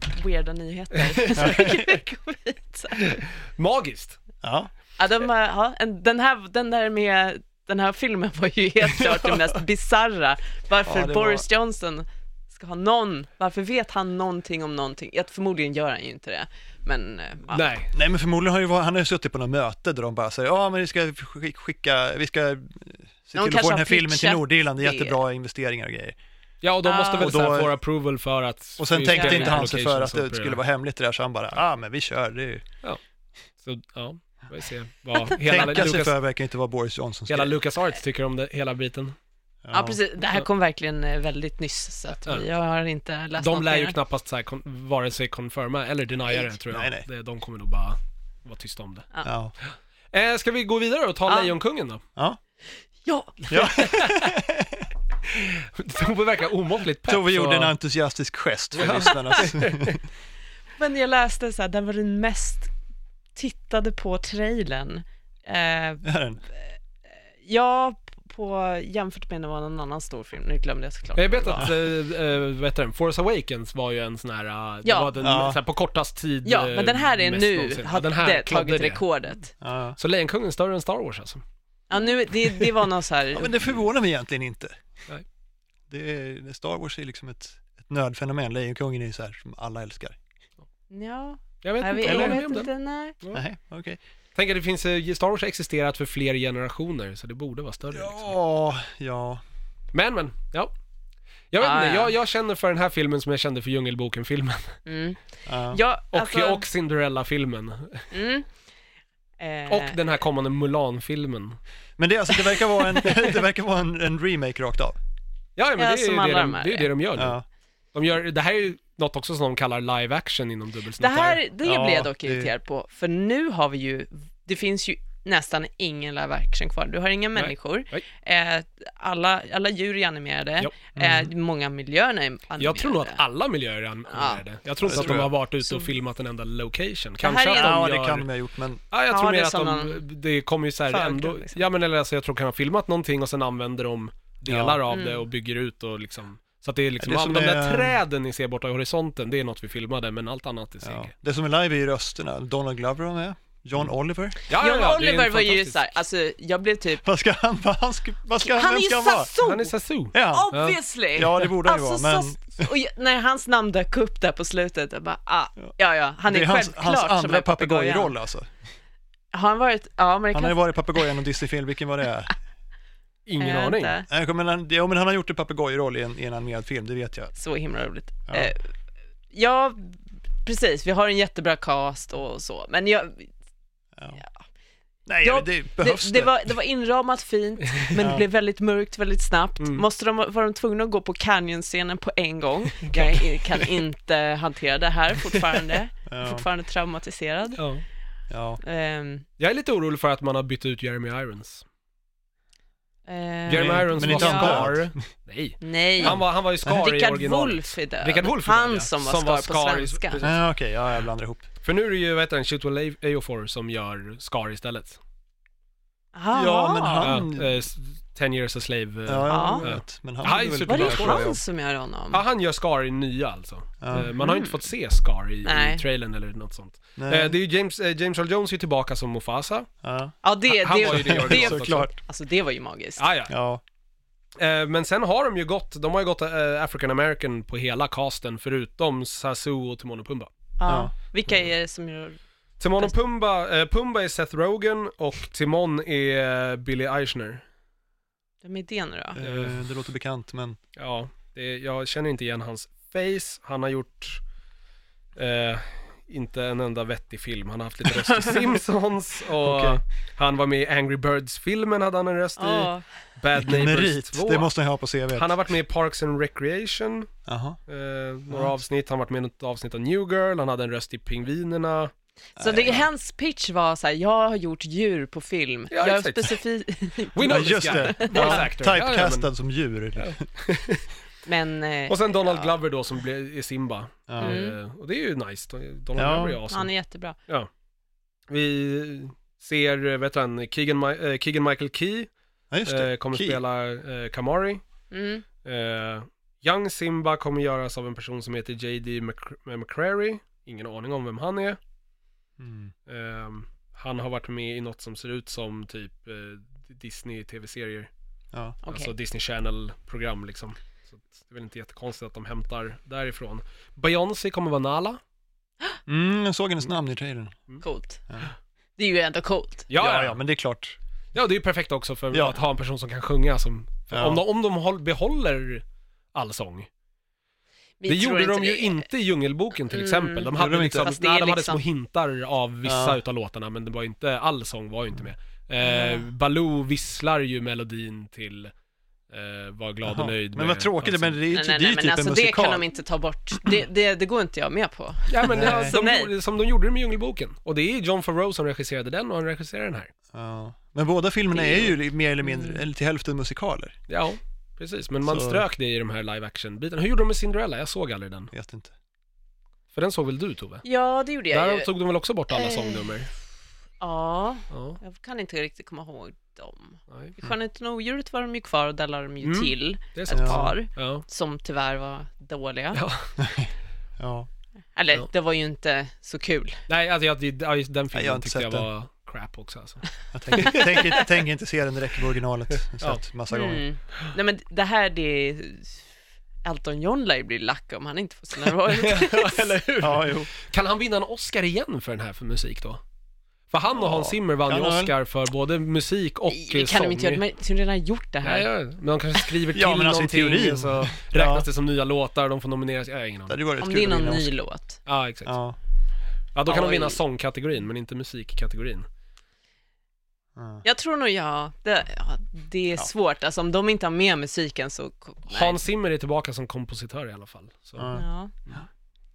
Speaker 2: weirda nyheter. som jag kom hit, så här.
Speaker 1: Magiskt.
Speaker 3: Ja.
Speaker 2: ja, de var, ja, en- den, här, den där med... Den här filmen var ju helt klart det mest bizarra. Varför
Speaker 3: Ja, det var-
Speaker 2: Boris Johnson ska ha någon... Varför vet han någonting om någonting? Ja, förmodligen gör han ju inte det, men... eh, Ja.
Speaker 1: Nej.
Speaker 3: Nej men förmodligen har ju, varit- han har ju suttit på något möte där de bara säger ja men vi ska skick- skicka, vi ska se
Speaker 2: Någon
Speaker 3: till att
Speaker 2: kanske
Speaker 3: få den här
Speaker 2: har
Speaker 3: filmen till
Speaker 2: pitchat
Speaker 3: Nordirland, det är
Speaker 2: det.
Speaker 3: jättebra investeringar och grejer.
Speaker 1: Ja, och de måste
Speaker 2: Ah.
Speaker 1: väl
Speaker 3: Och då-
Speaker 1: så här få approval för att...
Speaker 3: Och sen
Speaker 1: just
Speaker 3: tänkte
Speaker 1: den
Speaker 3: inte han sig för
Speaker 1: locations
Speaker 3: att det
Speaker 1: uppe
Speaker 3: skulle
Speaker 1: där.
Speaker 3: vara hemligt det där så han bara, ja ah, men vi kör, det är ju...
Speaker 1: Så, ja, vi får se vad hela
Speaker 3: Tänka sig
Speaker 1: Lucas,
Speaker 3: för verkar inte vara Boris Johnsons
Speaker 1: hela
Speaker 3: grej.
Speaker 1: Lucas Arts tycker om det, hela biten.
Speaker 2: Ja, precis. Det här kom verkligen eh, väldigt nyss, så att vi, jag har inte läst
Speaker 1: De
Speaker 2: något
Speaker 1: lär ju
Speaker 2: mer.
Speaker 1: knappast så här, kon- vare sig confirma eller denia det tror jag.
Speaker 3: Nej, nej.
Speaker 1: Det- De kommer nog bara vara tysta om det.
Speaker 3: Ja.
Speaker 1: Eh, ska vi gå vidare och ta
Speaker 2: Ja.
Speaker 1: Lejonkungen då?
Speaker 3: ja.
Speaker 2: Ja,
Speaker 3: ja.
Speaker 1: Tove verkar omåttligt pepp.
Speaker 3: Tove gjorde en
Speaker 1: så...
Speaker 3: entusiastisk gest för lyssnarnas...
Speaker 2: men jag läste så här, den var den mest tittade på trailern. Eh,
Speaker 3: Är den?
Speaker 2: ja, på, jämfört med när det var någon annan stor film, nu glömde jag såklart.
Speaker 1: Jag vet
Speaker 2: vad det var.
Speaker 1: att, äh, vad heter den, Force Awakens var ju en sån här, eh, det
Speaker 2: Ja.
Speaker 1: var den,
Speaker 3: Ja.
Speaker 1: så här, på kortast tid
Speaker 2: Ja,
Speaker 1: eh,
Speaker 2: men den här är
Speaker 1: mest
Speaker 2: nu,
Speaker 1: någonsin.
Speaker 2: har
Speaker 1: Ja, den här
Speaker 2: det,
Speaker 1: klodde
Speaker 2: tagit
Speaker 1: det.
Speaker 2: rekordet.
Speaker 3: Ja.
Speaker 1: Så Lejonkungen är större än Star Wars alltså?
Speaker 2: Ja, nu, det, det var någon så här,
Speaker 3: ja, men det förvånar mig egentligen inte.
Speaker 1: Nej.
Speaker 3: Det är, Star Wars är liksom ett, ett nödfenomen, Lejonkungen är ju så här som alla älskar.
Speaker 2: ja,
Speaker 1: Jag vet
Speaker 2: jag
Speaker 1: inte,
Speaker 2: vet,
Speaker 1: jag
Speaker 2: jag
Speaker 1: håller med
Speaker 2: vet
Speaker 1: om det.
Speaker 2: inte, nej.
Speaker 1: Ja.
Speaker 3: Nej, okej.
Speaker 1: Tänk att det finns, eh, Star Wars har existerat för fler generationer, så det borde vara större. Liksom.
Speaker 3: Ja, ja.
Speaker 1: Men, men, ja. Jag vet
Speaker 2: Ah,
Speaker 1: inte,
Speaker 2: ja.
Speaker 1: jag, jag känner för den här filmen som jag kände för Djungelboken-filmen.
Speaker 2: Mm.
Speaker 3: ja.
Speaker 2: Ja,
Speaker 1: Och,
Speaker 2: alltså,
Speaker 1: och Cinderella-filmen.
Speaker 2: mm. Eh,
Speaker 1: Och den här kommande Mulan-filmen.
Speaker 3: Men det, är alltså, det verkar vara, en, det verkar vara en, en remake rakt av.
Speaker 1: Ja, men det
Speaker 2: Ja,
Speaker 1: är ju
Speaker 2: som
Speaker 1: det,
Speaker 2: alla
Speaker 1: de,
Speaker 2: de här
Speaker 1: det, är ju det de gör nu.
Speaker 3: Ja.
Speaker 1: De gör, det här är ju något också som de kallar live action inom
Speaker 2: Det
Speaker 1: dubbelsnuttar.
Speaker 2: här, det
Speaker 3: Ja,
Speaker 2: blev jag dock
Speaker 3: det-
Speaker 2: irriterad på, för nu har vi ju, det finns ju nästan ingen live action kvar. Du har inga
Speaker 1: Nej.
Speaker 2: människor. Eh, alla, alla djur är animerade.
Speaker 1: Ja. Mm.
Speaker 2: Eh, många miljöer är animerade.
Speaker 1: Jag tror nog att alla miljöer är animerade. Jag tror
Speaker 3: Det
Speaker 1: inte att
Speaker 3: tror
Speaker 1: de
Speaker 3: jag.
Speaker 1: har varit ute
Speaker 2: Så-
Speaker 1: och filmat en enda location.
Speaker 2: här
Speaker 1: Kanske att
Speaker 2: är
Speaker 1: de
Speaker 2: en-
Speaker 3: Ja,
Speaker 1: gör...
Speaker 3: det kan de ha gjort, men
Speaker 1: Ja, jag
Speaker 2: Ja,
Speaker 1: tror
Speaker 2: det
Speaker 1: mer
Speaker 2: är
Speaker 1: att
Speaker 2: som
Speaker 1: de, det kommer ju så här
Speaker 2: förgrund,
Speaker 1: ändå,
Speaker 2: liksom.
Speaker 1: ja men eller alltså jag tror att de har filmat någonting och sen använder de delar
Speaker 3: Ja.
Speaker 1: av
Speaker 2: Mm.
Speaker 1: det och bygger ut och liksom så att det är liksom,
Speaker 3: Det
Speaker 1: all,
Speaker 3: som
Speaker 1: de där
Speaker 3: är-
Speaker 1: träden ni ser borta i horisonten, det är något vi filmade, men allt annat är CG.
Speaker 3: ja.
Speaker 1: Ja,
Speaker 3: det som är live är ju rösterna. Donald Glover var med, John Oliver.
Speaker 1: ja,
Speaker 2: John
Speaker 1: ja, det är
Speaker 2: Oliver
Speaker 1: en
Speaker 2: var ju
Speaker 1: fantastisk-
Speaker 2: såhär, alltså jag blev typ,
Speaker 3: Vad ska han, vad han ska, vad ska han,
Speaker 2: han är
Speaker 3: vem
Speaker 2: ju
Speaker 3: ska han vara?
Speaker 2: Sasso!
Speaker 1: Han är Sasu.
Speaker 3: Ja.
Speaker 2: Obviously!
Speaker 3: ja, det borde han ju
Speaker 2: alltså,
Speaker 3: vara, men
Speaker 2: Sass- och jag, när hans namn dök upp där på slutet, jag bara, ah, ja, ja, han är,
Speaker 3: det är hans,
Speaker 2: självklart
Speaker 3: hans
Speaker 2: som
Speaker 3: andra
Speaker 2: är papegojan.
Speaker 3: papegojroll alltså.
Speaker 2: Har han varit, ja men det
Speaker 3: Han
Speaker 2: kan
Speaker 3: har ju varit papegojan och Disney-film, vilken var det?
Speaker 1: Ingen
Speaker 2: jag
Speaker 1: aning.
Speaker 2: inte.
Speaker 3: Nej, men han, ja, men han har gjort en papegojroll i en, i en animerad film, det vet jag.
Speaker 2: Så himla roligt.
Speaker 3: Ja.
Speaker 2: Eh, ja, precis, vi har en jättebra cast och så, men jag,
Speaker 3: Nej,
Speaker 2: Ja,
Speaker 3: det behövs
Speaker 2: det,
Speaker 3: det.
Speaker 2: det, var, det var inramat fint, men det blev väldigt mörkt väldigt snabbt.
Speaker 1: Mm.
Speaker 2: Måste de, var de tvungna att gå på Canyon-scenen på en gång? Jag i- kan inte hantera det här fortfarande.
Speaker 3: Ja,
Speaker 2: Fortfarande traumatiserad.
Speaker 1: Ja.
Speaker 3: ja.
Speaker 2: Ehm,
Speaker 1: Jag är lite orolig för att man har bytt ut Jeremy Irons.
Speaker 2: ehm,
Speaker 1: Jeremy
Speaker 3: Men-
Speaker 1: Irons
Speaker 3: men
Speaker 1: var
Speaker 2: inte han
Speaker 1: Scar. Nej,
Speaker 2: nej,
Speaker 1: han var, han var ju Scar i
Speaker 2: Rickard
Speaker 1: originalet.
Speaker 2: Wolff är död.
Speaker 1: Rickard Wolff är död,
Speaker 2: han
Speaker 1: ja.
Speaker 2: som var
Speaker 1: Som
Speaker 2: Scar
Speaker 1: var
Speaker 2: på
Speaker 1: Scar i-
Speaker 2: svenska.
Speaker 1: precis.
Speaker 3: ja okej, ja, jag blandar ihop.
Speaker 1: För nu är det ju, vad heter han, Chitwell Aofor som gör Scar istället.
Speaker 2: Aha.
Speaker 3: Ja, men han-
Speaker 1: Ja, eh, s- 10 years a slave. eh.
Speaker 3: Ja,
Speaker 2: Ja.
Speaker 3: jag vet. Men han
Speaker 1: Han är
Speaker 3: är väl
Speaker 2: Var
Speaker 1: superbra
Speaker 2: det
Speaker 1: Scar,
Speaker 2: han som gör honom?
Speaker 1: Ja, han gör Scar i nya alltså.
Speaker 3: Ja.
Speaker 1: Eh, Man har ju inte fått se Scar i,
Speaker 2: Nej.
Speaker 1: i trailern eller något sånt. Eh,
Speaker 3: Nej.
Speaker 1: Det är ju James, eh, James Earl Jones är ju tillbaka som Mufasa.
Speaker 3: Ja,
Speaker 2: Ja, det,
Speaker 1: han
Speaker 2: det,
Speaker 1: var ju det i
Speaker 2: det,
Speaker 1: originalet också.
Speaker 3: såklart.
Speaker 2: alltså, det var ju magiskt.
Speaker 1: Ah, ja.
Speaker 3: Ja,
Speaker 1: Eh, Men sen har de ju gått, de har ju gått eh, African American på hela casten förutom Sasu och Timon och Pumba.
Speaker 2: Ja. Vilka
Speaker 1: Mm.
Speaker 2: är det som gör...
Speaker 1: Timon och Pumba, eh, Pumba är Seth Rogen och Timon är eh, Billy Eichner.
Speaker 2: Vem är det nu då?
Speaker 3: eh, det låter bekant, men
Speaker 1: Ja, det, jag känner inte igen hans face. Han har gjort eh, inte en enda vettig film. Han har haft lite röst i Simpsons och
Speaker 3: Okej.
Speaker 1: han var med i Angry Birds-filmen hade han en röst i.
Speaker 2: Ja.
Speaker 1: Bad
Speaker 3: vilken
Speaker 1: Neighbors
Speaker 3: merit.
Speaker 1: 2.
Speaker 3: Det måste han ha på CV.
Speaker 1: Han har varit med i Parks and Recreation,
Speaker 3: Jaha.
Speaker 1: eh, några avsnitt. Han har varit med i något avsnitt av New Girl, han hade en röst i Pingvinerna.
Speaker 2: Så det, hans pitch var så här, jag har gjort djur på film.
Speaker 1: Ja,
Speaker 2: jag
Speaker 1: exakt.
Speaker 2: specifik...
Speaker 1: We
Speaker 3: Ja,
Speaker 1: know this
Speaker 3: just
Speaker 1: guy.
Speaker 3: det.
Speaker 1: Voice
Speaker 3: Ja,
Speaker 1: actor. Ja, ja, men-
Speaker 3: typecastad som djur. liksom.
Speaker 2: Men eh,
Speaker 1: Och sen Donald Glover då som blev, är Simba.
Speaker 3: Ja.
Speaker 2: Mm.
Speaker 1: Eh, och det är ju nice. Donald
Speaker 3: Ja.
Speaker 1: Glover är awesome.
Speaker 2: han är jättebra.
Speaker 1: Vi ser, eh, vet du han, Keegan, Mi- eh, Keegan Michael Key
Speaker 3: Ja, just det.
Speaker 1: eh, kommer
Speaker 3: Key.
Speaker 1: spela eh, Kamari.
Speaker 2: Mm.
Speaker 1: Eh, Young Simba kommer göras av en person som heter JD Mc- McCrary. Ingen aning om vem han är.
Speaker 3: Mm.
Speaker 1: Ehm, han har varit med i något som ser ut som typ eh, Disney tv-serier.
Speaker 3: Ja.
Speaker 2: Okej.
Speaker 1: Alltså Disney Channel-program liksom. Så att det är väl inte jättekonstigt att de hämtar därifrån. Beyoncé kommer vara Nala.
Speaker 3: Mm, jag såg hennes namn i trailern.
Speaker 2: Coolt.
Speaker 3: Ja.
Speaker 2: Det är ju ändå coolt.
Speaker 3: Ja, ja, men det är klart.
Speaker 1: Ja, det är ju perfekt också för
Speaker 3: Ja.
Speaker 1: att ha en person som kan sjunga som... för
Speaker 3: Ja.
Speaker 1: Om de, om de håll, behåller allsång.
Speaker 2: Vi
Speaker 1: det
Speaker 2: tror
Speaker 1: gjorde de
Speaker 2: inte
Speaker 1: ju
Speaker 2: det.
Speaker 1: inte i Djungelboken till
Speaker 2: Mm.
Speaker 1: exempel. De hade,
Speaker 3: Gjorde de inte?
Speaker 1: liksom,
Speaker 2: Fast det
Speaker 1: nej,
Speaker 2: är
Speaker 1: de hade
Speaker 2: liksom-
Speaker 1: små hintar av vissa
Speaker 3: Ja.
Speaker 1: utav låtarna men det var inte, all sång var ju inte med. Eh,
Speaker 2: Ja.
Speaker 1: Baloo visslar ju melodin till eh, Var glad och
Speaker 3: Jaha.
Speaker 1: nöjd
Speaker 3: Men vad tråkigt, men det är
Speaker 2: Nej,
Speaker 3: ju
Speaker 2: nej,
Speaker 3: det är
Speaker 2: nej,
Speaker 3: ju
Speaker 2: men
Speaker 3: typ en
Speaker 2: alltså det kan de
Speaker 3: musikal.
Speaker 2: inte ta bort.
Speaker 1: Mm.
Speaker 2: Det, det, det går inte jag med på.
Speaker 1: Ja men
Speaker 3: Nej.
Speaker 1: ja,
Speaker 2: Så
Speaker 1: de,
Speaker 2: nej.
Speaker 1: gjorde- som de gjorde det med Djungelboken. Och det är John Favreau som regisserade den och han regisserar den här.
Speaker 3: Ja. Men båda filmerna är ju mer eller
Speaker 2: Mm.
Speaker 3: mindre, eller till hälften musikaler.
Speaker 1: Ja, precis. Men man
Speaker 3: Så-
Speaker 1: strök det i de här live action-bitarna. Hur gjorde de med Cinderella? Jag såg aldrig den.
Speaker 3: Vet inte.
Speaker 1: För den såg väl du Tove?
Speaker 2: Ja, det gjorde jag
Speaker 1: Där
Speaker 2: ju.
Speaker 1: tog de väl också bort alla
Speaker 2: Eh.
Speaker 1: sångnummer?
Speaker 2: Ja,
Speaker 1: Ja,
Speaker 2: jag kan inte riktigt komma ihåg dem.
Speaker 1: nej.
Speaker 2: I Skönheten och odjuret var de ju kvar och där lade de ju
Speaker 1: Mm.
Speaker 2: till
Speaker 1: Det är
Speaker 2: ett
Speaker 1: sant.
Speaker 2: par
Speaker 1: Ja.
Speaker 2: som tyvärr var dåliga.
Speaker 1: ja.
Speaker 3: Ja.
Speaker 2: Eller,
Speaker 1: Ja.
Speaker 2: det var ju inte så kul.
Speaker 1: Nej, alltså jag, ja, just den
Speaker 3: Nej, jag har
Speaker 1: filmen
Speaker 3: inte
Speaker 1: tyckte jag
Speaker 3: sett den.
Speaker 1: var crap också alltså.
Speaker 3: Jag tänker tänker- tänker inte se den direkt på originalet. Jag har sett massa gånger.
Speaker 2: Mm. Nej men det här det är... Elton John lär ju bli lack om han inte får sina royalties.
Speaker 1: Eller hur?
Speaker 3: Ja, jo.
Speaker 1: Kan han vinna en Oscar igen för den här för musik då? För han och
Speaker 3: Ja,
Speaker 1: Hans Zimmer vann
Speaker 3: kan
Speaker 1: ju
Speaker 3: han väl?
Speaker 1: Oscar för både musik och
Speaker 2: Nej,
Speaker 1: eh,
Speaker 2: det kan de inte
Speaker 1: sång.
Speaker 2: göra, de har ju redan gjort det här.
Speaker 1: Nej, ja, men de kanske skriver till
Speaker 3: Ja, men alltså i
Speaker 1: någonting
Speaker 3: teorin.
Speaker 1: och så räknas
Speaker 3: Ja.
Speaker 1: det som nya låtar, de får nomineras, jag har ingen
Speaker 3: Det
Speaker 1: aning.
Speaker 3: hade ju varit
Speaker 2: om
Speaker 3: kul
Speaker 2: det är
Speaker 3: att
Speaker 2: någon
Speaker 3: vinna
Speaker 2: ny
Speaker 3: Oscar.
Speaker 2: låt.
Speaker 1: Ja, exakt. Ja,
Speaker 3: Ja.
Speaker 1: då kan de
Speaker 2: Oj.
Speaker 1: vinna sångkategorin, men inte musikkategorin.
Speaker 3: Ja.
Speaker 2: Jag tror nog ja, det, ja, det är
Speaker 3: Ja.
Speaker 2: svårt. Alltså om de inte har med musiken så... nej.
Speaker 1: Hans Zimmer är tillbaka som kompositör i alla fall. Så.
Speaker 3: Ja.
Speaker 2: Ja.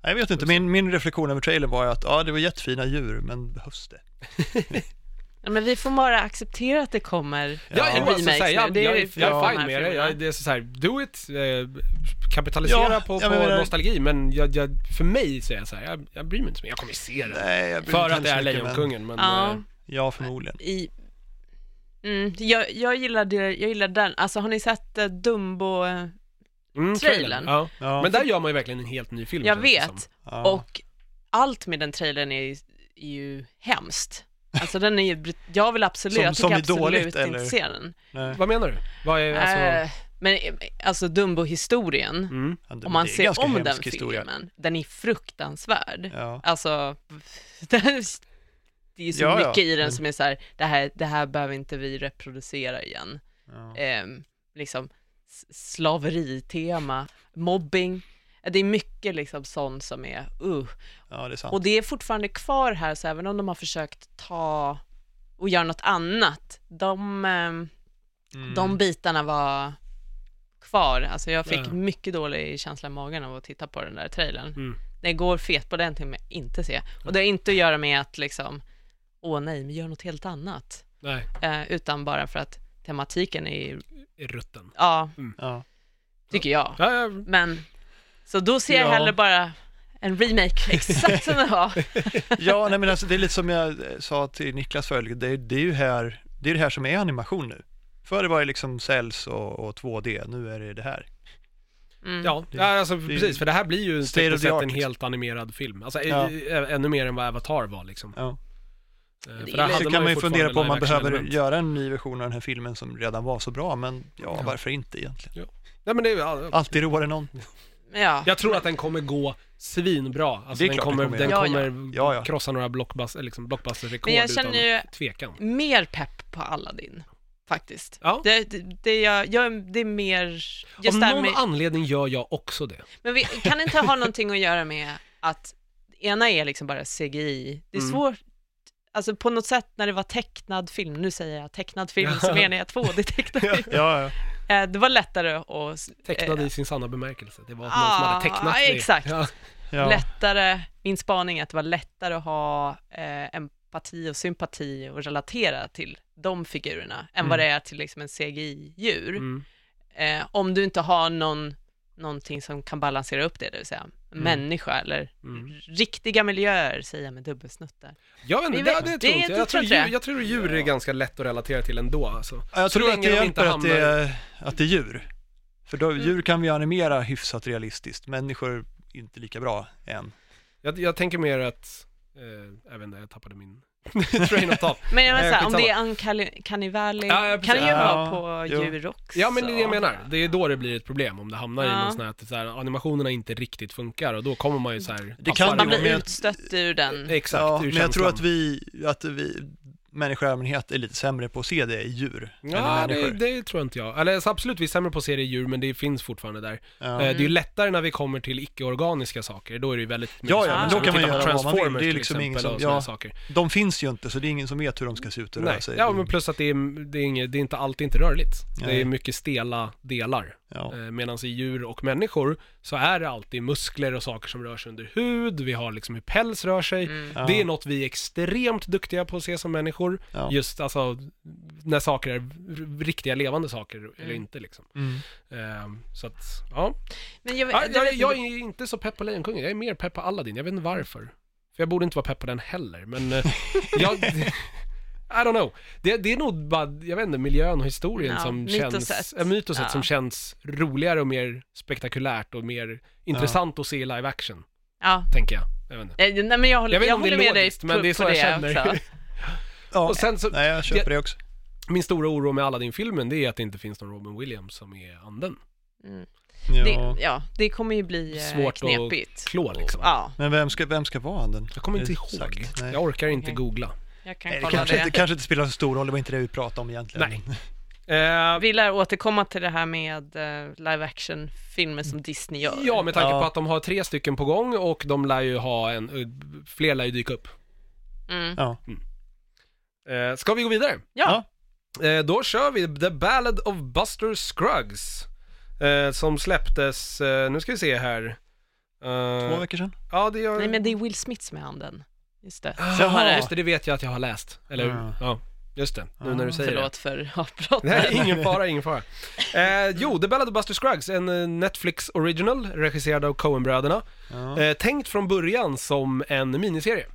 Speaker 3: Nej, Jag vet inte, min, min reflektion över trailern var ju att ja, det var jättefina djur, men behövs det?
Speaker 2: Ja, men vi får bara acceptera att det kommer.
Speaker 1: Ja,
Speaker 2: Ja,
Speaker 1: jag, alltså,
Speaker 2: remakes
Speaker 1: såhär,
Speaker 2: nu,
Speaker 1: jag,
Speaker 2: det är
Speaker 1: jag,
Speaker 2: ju
Speaker 1: jag
Speaker 2: från
Speaker 1: är
Speaker 2: de
Speaker 1: fine
Speaker 2: här
Speaker 1: med det.
Speaker 2: filmerna.
Speaker 1: Jag, det är så här, do it, eh, kapitalisera
Speaker 3: Ja,
Speaker 1: på, på
Speaker 3: jag menar-
Speaker 1: nostalgi, men jag, jag, för mig så är jag så här, jag, jag bryr mig inte så mycket. Jag kommer ju se den.
Speaker 3: Nej, jag bryr mig
Speaker 1: för
Speaker 3: inte
Speaker 1: att det är
Speaker 3: heller så mycket, men-
Speaker 1: Lejonkungen, men... eh,
Speaker 2: Ja,
Speaker 3: Ja, förmodligen.
Speaker 2: i... Mm, jag, jag, gillade, jag gillade den. Alltså har ni sett eh, Dumbo? eh,
Speaker 1: mm,
Speaker 2: trailern.
Speaker 1: Ja.
Speaker 3: Ja,
Speaker 1: Men där gör man ju verkligen en helt ny film.
Speaker 2: Jag
Speaker 1: känns det som.
Speaker 2: vet.
Speaker 3: ja.
Speaker 2: Och allt med den trailern är, ju- är ju hemskt. Alltså den är ju, brut- jag vill absolut,
Speaker 3: Som-
Speaker 2: jag
Speaker 3: som
Speaker 2: tycker
Speaker 3: är dåligt,
Speaker 2: absolut
Speaker 3: eller?
Speaker 2: inte se den.
Speaker 3: Nej,
Speaker 1: Vad menar du? Vad är alltså...
Speaker 2: Eh, Men eh, alltså Dumbo-historien,
Speaker 1: Mm.
Speaker 3: men
Speaker 2: om man
Speaker 3: det är en ganska
Speaker 2: ser om den
Speaker 3: hemsk
Speaker 2: filmen,
Speaker 3: historia.
Speaker 2: den är fruktansvärd.
Speaker 3: Ja.
Speaker 2: Alltså, den, det är ju så
Speaker 3: Ja, Mm. ja,
Speaker 2: mycket i den
Speaker 3: men-
Speaker 2: som är så här, det här, det här behöver inte vi reproducera igen.
Speaker 3: Ja.
Speaker 2: Ehm, liksom s- slaveritema, mobbing, det är mycket liksom sånt som är, uh.
Speaker 3: ja, det är sant.
Speaker 2: Och det är fortfarande kvar här, så även om de har försökt ta och göra något annat, de, ehm,
Speaker 3: Mm.
Speaker 2: de bitarna var kvar. Alltså jag fick
Speaker 1: Ja.
Speaker 2: mycket dålig känsla i magen av att titta på den där trailern.
Speaker 1: Mm.
Speaker 2: Det går fet på den till jag inte se. Och det har inte att göra med att liksom, åh nej, men gör något helt annat.
Speaker 1: Nej,
Speaker 2: Eh, utan bara för att tematiken är,
Speaker 1: i rutten.
Speaker 2: ja,
Speaker 3: Ja.
Speaker 2: tycker jag.
Speaker 1: Ja, ja,
Speaker 3: Mm.
Speaker 2: Men, så då ser jag
Speaker 3: Ja.
Speaker 2: hellre bara en remake, exakt som den var.
Speaker 3: ja, nej men alltså det är lite som jag eh, sa till Niklas förut, det, är- det är ju här, det är det här som är animation nu. Förr var det liksom cells och, och 2D, nu är det det här.
Speaker 2: Mm.
Speaker 1: ja,
Speaker 3: Det-
Speaker 1: ja alltså, precis. För det här blir ju
Speaker 3: State of
Speaker 1: tekniskt
Speaker 3: the
Speaker 1: sett
Speaker 3: art,
Speaker 1: en
Speaker 3: liksom.
Speaker 1: helt animerad film. Alltså, ä-
Speaker 3: Ja.
Speaker 1: ä- ännu mer än vad Avatar var liksom.
Speaker 3: Ja.
Speaker 1: Eh,
Speaker 2: är
Speaker 1: För
Speaker 2: lite-
Speaker 1: där hade
Speaker 3: Så kan man ju
Speaker 1: fortfarande
Speaker 3: fundera på om man behöver
Speaker 1: live-action-element.
Speaker 3: göra en ny version av den här filmen som redan var så bra, men ja, varför inte egentligen?
Speaker 1: Nej, men det, är- ja, ja.
Speaker 3: Alltid roligare än någon.
Speaker 2: Ja.
Speaker 1: jag tror att den kommer gå svinbra. Alltså,
Speaker 3: Det är
Speaker 1: den
Speaker 3: klart
Speaker 1: kommer,
Speaker 3: den kommer
Speaker 1: den
Speaker 2: göra.
Speaker 1: kommer
Speaker 3: Ja, ja.
Speaker 1: krossa några blockbuster, liksom, blockbusterrekord
Speaker 2: Men jag känner
Speaker 1: utan
Speaker 2: ju
Speaker 1: tvekan.
Speaker 2: mer pepp på Aladdin, faktiskt.
Speaker 1: Ja.
Speaker 2: Det, det, det, jag, jag, det är mer... Just
Speaker 1: Av
Speaker 2: det här
Speaker 1: någon
Speaker 2: med,
Speaker 1: anledning gör jag också det.
Speaker 2: men vi kan inte ha någonting att göra med att ena är liksom bara CGI. Det är
Speaker 1: Mm.
Speaker 2: svårt, alltså på något sätt när det var tecknad film, nu säger jag tecknad film, så menar jag 2D-tecknad film.
Speaker 3: Ja, ja.
Speaker 2: Eh, Det var lättare att...
Speaker 1: Tecknad
Speaker 2: eh,
Speaker 1: i sin sanna bemärkelse. Det var någon som
Speaker 2: Ah,
Speaker 1: hade tecknat det.
Speaker 2: exakt.
Speaker 1: Ja.
Speaker 3: ja.
Speaker 2: lättare, min spaning är att det var lättare att ha eh, empati och sympati och relatera till de figurerna än vad det är till liksom en CGI-djur.
Speaker 1: Mm.
Speaker 2: Eh, om du inte har någon, någonting som kan balansera upp det, det vill säga människa eller
Speaker 1: Mm.
Speaker 2: riktiga miljöer, säger jag med dubbelsnuttar.
Speaker 1: Jag vet
Speaker 2: Vi
Speaker 1: inte,
Speaker 2: vet-
Speaker 1: det, det
Speaker 2: det
Speaker 1: tror
Speaker 2: är
Speaker 1: inte
Speaker 2: inte-
Speaker 1: jag. Jag tror,
Speaker 2: tror jag.
Speaker 1: djur, jag tror djur är ganska lätt att relatera till ändå alltså.
Speaker 3: Ja, Jag
Speaker 1: Så
Speaker 3: tror
Speaker 1: länge
Speaker 3: att det
Speaker 1: de
Speaker 3: hjälper
Speaker 1: inte
Speaker 3: att det, är, att det är djur. För då, djur kan vi animera hyfsat realistiskt, människor inte lika bra än.
Speaker 1: Jag, jag tänker mer att, eh, även där jag tappade min train of thought.
Speaker 2: Men jag menar
Speaker 1: Nej,
Speaker 2: såhär, om det är
Speaker 1: skitsamma.
Speaker 2: Uncanny Valley,
Speaker 1: Ja, ja, precis.
Speaker 2: kan det ju
Speaker 3: Ja,
Speaker 2: vara på
Speaker 3: jo.
Speaker 2: djur också.
Speaker 1: Ja men det är det jag menar, det är då det blir ett problem om det hamnar i
Speaker 2: Ja.
Speaker 1: någon sån här att så här, animationerna inte riktigt funkar och då kommer man ju så här alltså,
Speaker 3: Det
Speaker 1: tappar
Speaker 3: kan
Speaker 2: Man
Speaker 1: det.
Speaker 3: ju-
Speaker 2: blir
Speaker 3: men-
Speaker 2: utstött ur den.
Speaker 1: Exakt,
Speaker 3: ja,
Speaker 1: ur
Speaker 3: men jag
Speaker 1: känslan.
Speaker 3: tror att vi, att vi människor i allmänhet är lite sämre på att se det i djur
Speaker 1: Ja,
Speaker 3: än i
Speaker 1: det,
Speaker 3: människor.
Speaker 1: det tror inte jag. Eller alltså, absolut, vi är sämre på att se det i djur, men det finns fortfarande där. Eh,
Speaker 3: Ja. Mm.
Speaker 1: Det är ju lättare när vi kommer till icke-organiska saker, då är det ju väldigt mycket
Speaker 3: Ja,
Speaker 1: så
Speaker 3: ja,
Speaker 1: här,
Speaker 2: men
Speaker 1: som
Speaker 2: då kan
Speaker 1: vi
Speaker 3: man
Speaker 1: tittar på
Speaker 3: göra vad man vill.
Speaker 1: Transformers
Speaker 3: Det är
Speaker 1: till
Speaker 3: liksom
Speaker 1: exempel
Speaker 3: ingen som-
Speaker 1: och sådana
Speaker 3: ja.
Speaker 1: saker.
Speaker 3: De finns ju inte, så det är ingen som vet hur de ska se ut och
Speaker 1: Nej.
Speaker 3: röra sig.
Speaker 1: Ja, men plus att det är, det är, inget, det är inte alltid inte rörligt. Det
Speaker 3: Nej.
Speaker 1: är mycket stela delar.
Speaker 3: Ja.
Speaker 1: Medan i djur och människor så är det alltid muskler och saker som rör sig under hud, vi har liksom hur päls rör sig.
Speaker 2: Mm.
Speaker 3: Ja.
Speaker 1: Det är något vi är extremt duktiga på att se som människor,
Speaker 3: Ja. Mm.
Speaker 1: just alltså när saker är r- riktiga levande saker eller inte liksom.
Speaker 3: Mm.
Speaker 1: Ehm, så att, ja.
Speaker 2: Men jag,
Speaker 1: Ja,
Speaker 2: jag vet
Speaker 1: Jag,
Speaker 2: inte-
Speaker 1: jag är inte så pepp på Lejonkungen, jag är mer pepp på Aladdin, jag vet inte varför. För jag borde inte vara pepp på den heller, men eh, jag... I don't know. Det, det är nog bara, jag vet inte, miljön och historien
Speaker 2: Ja,
Speaker 1: som
Speaker 2: mytoset.
Speaker 1: känns... Äh, mytoset
Speaker 2: Ja.
Speaker 1: som känns roligare och mer spektakulärt och mer intressant att se i live action,
Speaker 2: ja.
Speaker 1: tänker jag. Jag vet inte.
Speaker 2: Nej, nej, men jag håller,
Speaker 1: Jag
Speaker 2: jag
Speaker 1: vet inte om det är
Speaker 2: håller med dig
Speaker 1: logiskt,
Speaker 2: på,
Speaker 1: men det är så
Speaker 2: på Alltså,
Speaker 1: jag känner.
Speaker 2: också.
Speaker 3: Ja.
Speaker 1: Och sen så,
Speaker 3: Nej, jag köper
Speaker 1: jag-
Speaker 3: det också.
Speaker 1: min stora oro med Aladdin-filmen, det är att det inte finns någon Robin Williams som är anden.
Speaker 2: Mm.
Speaker 3: Ja.
Speaker 2: Det, ja, det kommer ju bli eh,
Speaker 1: Svårt att
Speaker 2: knepigt.
Speaker 1: klå, liksom.
Speaker 2: Ja,
Speaker 3: Men vem ska, vem ska vara den?
Speaker 1: Jag kommer inte ihåg.
Speaker 3: Exakt, nej.
Speaker 1: Jag orkar inte
Speaker 2: Okej.
Speaker 1: googla.
Speaker 2: jag kan
Speaker 1: Eh,
Speaker 3: Nej, det,
Speaker 2: kolla
Speaker 3: kanske,
Speaker 2: det.
Speaker 3: det kanske inte spelar så stor roll, det var inte det vi pratade om egentligen.
Speaker 1: Nej. Eh,
Speaker 2: Vi lär återkomma till det här med eh, live action-filmer som Disney gör.
Speaker 1: Ja, med tanke
Speaker 3: Ja.
Speaker 1: på att de har tre stycken på gång och de lär ju ha en, eh, fler lär ju dyka upp.
Speaker 2: Mm.
Speaker 3: Ja.
Speaker 1: Eh, ska vi gå vidare?
Speaker 2: Ja.
Speaker 1: Eh, då kör vi The Ballad of Buster Scruggs. Eh, som släpptes, eh, nu ska vi se här. Eh,
Speaker 3: Två veckor sedan.
Speaker 1: Ja, det gör...
Speaker 2: Nej, men det är Will Smith som är handen. Just det.
Speaker 1: Ah,
Speaker 3: Jaha.
Speaker 1: Just det, det vet jag att jag har läst. Eller
Speaker 3: Ah.
Speaker 1: ja. Just det, nu när du
Speaker 3: Ah.
Speaker 1: säger det.
Speaker 2: Förlåt för avbrottet.
Speaker 1: Nej, ingen fara, ingen fara. Eh, jo, The Ballad of Buster Scruggs, en eh, Netflix original regisserad av Coen-bröderna.
Speaker 3: Ja.
Speaker 1: Eh, tänkt från början som en miniserie.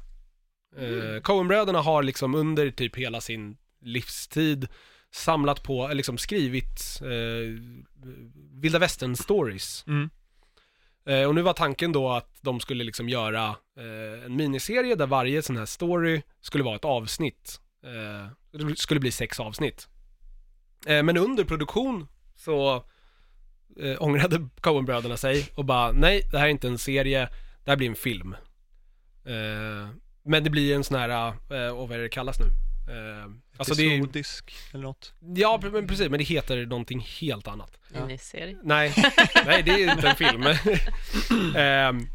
Speaker 1: Eh, Coen-bröderna har liksom under typ hela sin livstid samlat på, eh, liksom skrivit eh, vilda västern-stories.
Speaker 3: Mm.
Speaker 1: Eh, och nu var tanken då att de skulle liksom göra eh, en miniserie där varje sån här story skulle vara ett avsnitt. Eh, det skulle bli sex avsnitt. Eh, men under produktion så eh, ångrade Coen-bröderna sig och bara nej, det här är inte en serie, det här blir en film. Eh, men det blir en sån här, eh, och vad är det det kallas nu? Eh, alltså det är,
Speaker 3: Episodisk eller något.
Speaker 1: ja pre- men precis, men det heter någonting helt annat.
Speaker 2: Miniserie.
Speaker 1: Nej, nej det är inte en film. Ehm,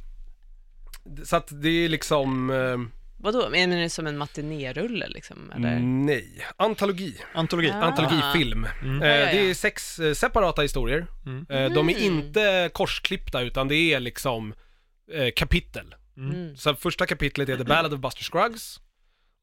Speaker 1: så att det är liksom, ehm,
Speaker 2: Vadå, menar du som en matinérulle liksom? Eller?
Speaker 3: Mm.
Speaker 1: nej, antologi.
Speaker 3: Antologi.
Speaker 1: Ah.
Speaker 2: Ja.
Speaker 1: Antologifilm.
Speaker 3: Mm.
Speaker 1: Eh,
Speaker 2: Ah. Ja, ja, ja.
Speaker 1: Det är sex eh, separata historier.
Speaker 3: Mm.
Speaker 1: Eh, de är
Speaker 2: Mm.
Speaker 1: inte korsklippta utan det är liksom eh, kapitel.
Speaker 2: Mm.
Speaker 1: Så första kapitlet är The Ballad of Buster Scruggs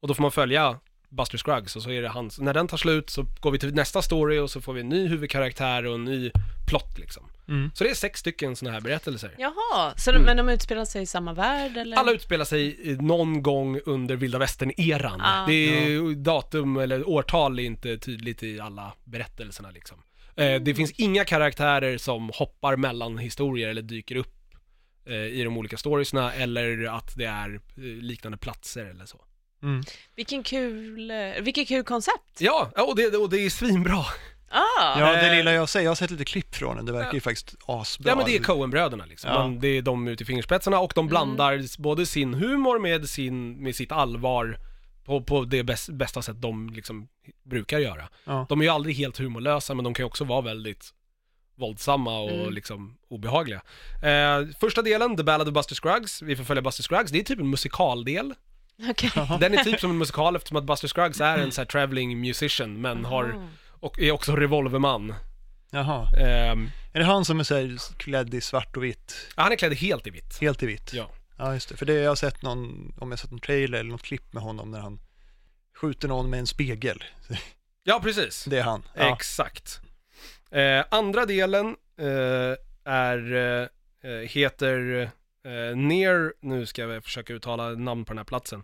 Speaker 1: och då får man följa Buster Scruggs och så är det hans, när den tar slut så går vi till nästa story och så får vi en ny huvudkaraktär och en ny plott liksom.
Speaker 3: Mm.
Speaker 1: Så det är sex stycken sådana här berättelser.
Speaker 2: Jaha, så de, men de utspelar sig i samma värld eller?
Speaker 1: Alla utspelar sig i- någon gång under vilda västern-eran.
Speaker 2: Ah.
Speaker 1: Det är ju datum eller årtal är inte tydligt i alla berättelserna liksom. Eh, Det finns inga karaktärer som hoppar mellan historier eller dyker upp eh, i de olika storiesna eller att det är eh, liknande platser eller så.
Speaker 3: Mm.
Speaker 2: Vilken kul, eh, vilket kul koncept!
Speaker 1: Ja, ja, och det, och det är svinbra.
Speaker 2: Ah,
Speaker 3: Ja, det
Speaker 1: Eh.
Speaker 3: lilla jag säger, jag har sett lite klipp från den, det verkar ju faktiskt asbra.
Speaker 1: Ja men det är Coen-bröderna liksom.
Speaker 3: Ja.
Speaker 1: Man, det är de ute i fingerspetsarna och de blandar s- både sin humor med, sin, med sitt allvar på, på det bäst, bästa sätt de liksom brukar göra.
Speaker 3: Ja.
Speaker 1: De är ju aldrig helt humorlösa men de kan ju också vara väldigt våldsamma och
Speaker 2: Mm.
Speaker 1: liksom obehagliga. Eh, första delen, The Ballad of Buster Scruggs, vi får följa Buster Scruggs, det är typ en musikaldel.
Speaker 2: okej.
Speaker 1: Den är typ som en musikal eftersom att Buster Scruggs är en så här traveling musician men har,
Speaker 2: Ah.
Speaker 1: och är också revolverman.
Speaker 3: Jaha.
Speaker 1: Ehm,
Speaker 3: Är det han som är så här klädd i svart och vitt?
Speaker 1: han är klädd helt i vitt.
Speaker 3: Helt i vitt?
Speaker 1: Ja.
Speaker 3: Ja, just det. För det jag har sett någon, om jag har sett en trailer eller något klipp med honom när han skjuter någon med en spegel.
Speaker 1: Ja precis.
Speaker 3: Det är han. Ja.
Speaker 1: Exakt. Eh, andra delen eh, är, eh, eh, heter eh, Near, nu ska jag försöka uttala namn på den här platsen,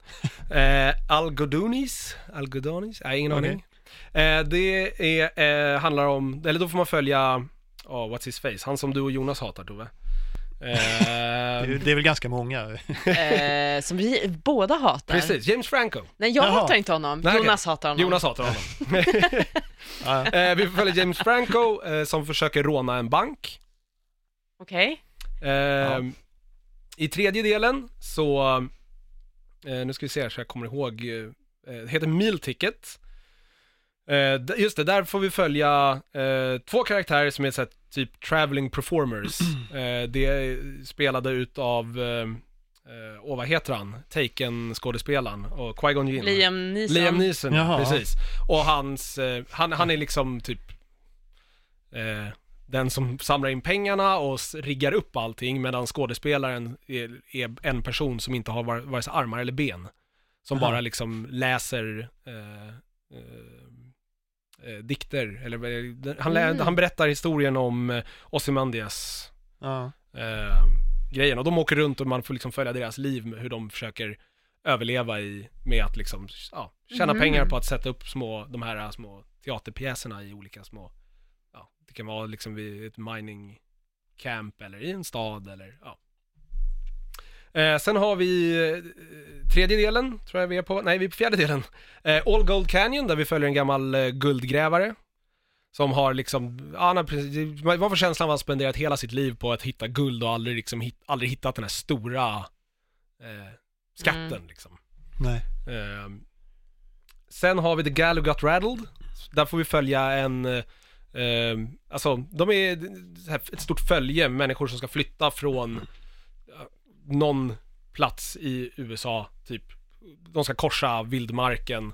Speaker 1: eh, Algodonis, Algodonis, nej ingen
Speaker 3: Okej.
Speaker 1: aning. Eh, det är, eh, handlar om, eller då får man följa, ja what's his face, han som du och Jonas hatar Tove.
Speaker 3: Det är-
Speaker 1: Eh,
Speaker 3: det är väl ganska många.
Speaker 2: eh, som vi båda hatar.
Speaker 1: precis, James Franco.
Speaker 2: Nej, jag
Speaker 3: Jaha.
Speaker 2: hatar inte honom.
Speaker 1: Nej, okej.
Speaker 2: Jonas hatar honom.
Speaker 1: Jonas hatar honom.
Speaker 3: Ja, ja.
Speaker 1: eh, vi får följa James Franco eh, som försöker råna en bank.
Speaker 2: Okej.
Speaker 1: Ehm, I tredje delen så, eh, nu ska vi se här så jag kommer ihåg, eh, det heter Meal Ticket. Eh, d- just det, där får vi följa eh, två karaktärer som är så här, typ traveling performers. eh, det är spelade utav, eh, eh, åh vad heter han, Taken-skådespelaren och Qui-Gon Jinn.
Speaker 2: Liam Neeson.
Speaker 1: Liam Neeson,
Speaker 3: Jaha.
Speaker 1: precis. Och hans, eh, han, han är liksom typ eh, den som samlar in pengarna och s- riggar upp allting medan skådespelaren är, är en person som inte har var- vare sig armar eller ben. Som
Speaker 3: Aha.
Speaker 1: bara liksom läser eh, eh, eh, dikter, eller vad är det? han, lä-
Speaker 2: Mm.
Speaker 1: han berättar historien om eh, Ozymandias
Speaker 3: Ja.
Speaker 1: eh, grejen. Och de åker runt och man får liksom följa deras liv, med hur de försöker överleva i, med att liksom, ja, tjäna
Speaker 2: Mhm.
Speaker 1: pengar på att sätta upp små, de här små teaterpjäserna i olika små, ja, det kan vara liksom vid ett mining camp eller i en stad eller, ja. Eh, sen har vi eh, tredje delen, tror jag vi är på, nej vi är på fjärde delen. Eh, All Gold Canyon där vi följer en gammal eh, guldgrävare. Som har liksom, ja, han har precis, man man får känslan av att han spenderat hela sitt liv på att hitta guld och aldrig, liksom, hit, aldrig hittat den här stora eh, skatten liksom.
Speaker 3: Nej.
Speaker 1: Ehm, sen har vi The Gal Who Got Rattled. Där får vi följa en, eh, ehm, alltså de är så här ett stort följe, människor som ska flytta från ja, någon plats i USA, typ. De ska korsa vildmarken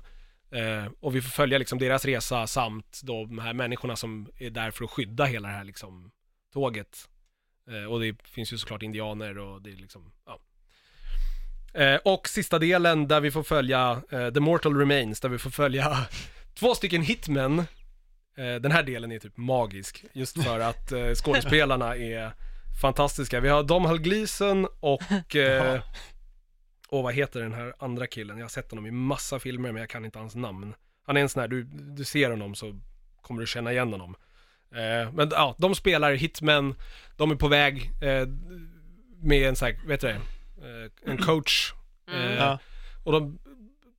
Speaker 1: eh, och vi får följa liksom deras resa samt då de här människorna som är där för att skydda hela det här liksom tåget. Eh, och det finns ju såklart indianer och det är liksom, ja. Eh, och sista delen där vi får följa eh, The Mortal Remains, där vi får följa två stycken hitmen. Eh, Den här delen är typ magisk, just för att eh, skådespelarna är fantastiska. Vi har Domhnall Gleeson och, eh,
Speaker 3: Ja.
Speaker 1: och vad heter den här andra killen? Jag har sett honom i massa filmer men jag kan inte hans namn. Han är en sån här, du, du ser honom så kommer du känna igen honom. Eh, men ja, de spelar hitmen, de är på väg eh, med en sån här, vet du det, eh, en coach.
Speaker 2: Mm.
Speaker 1: Eh,
Speaker 3: Ja.
Speaker 1: och de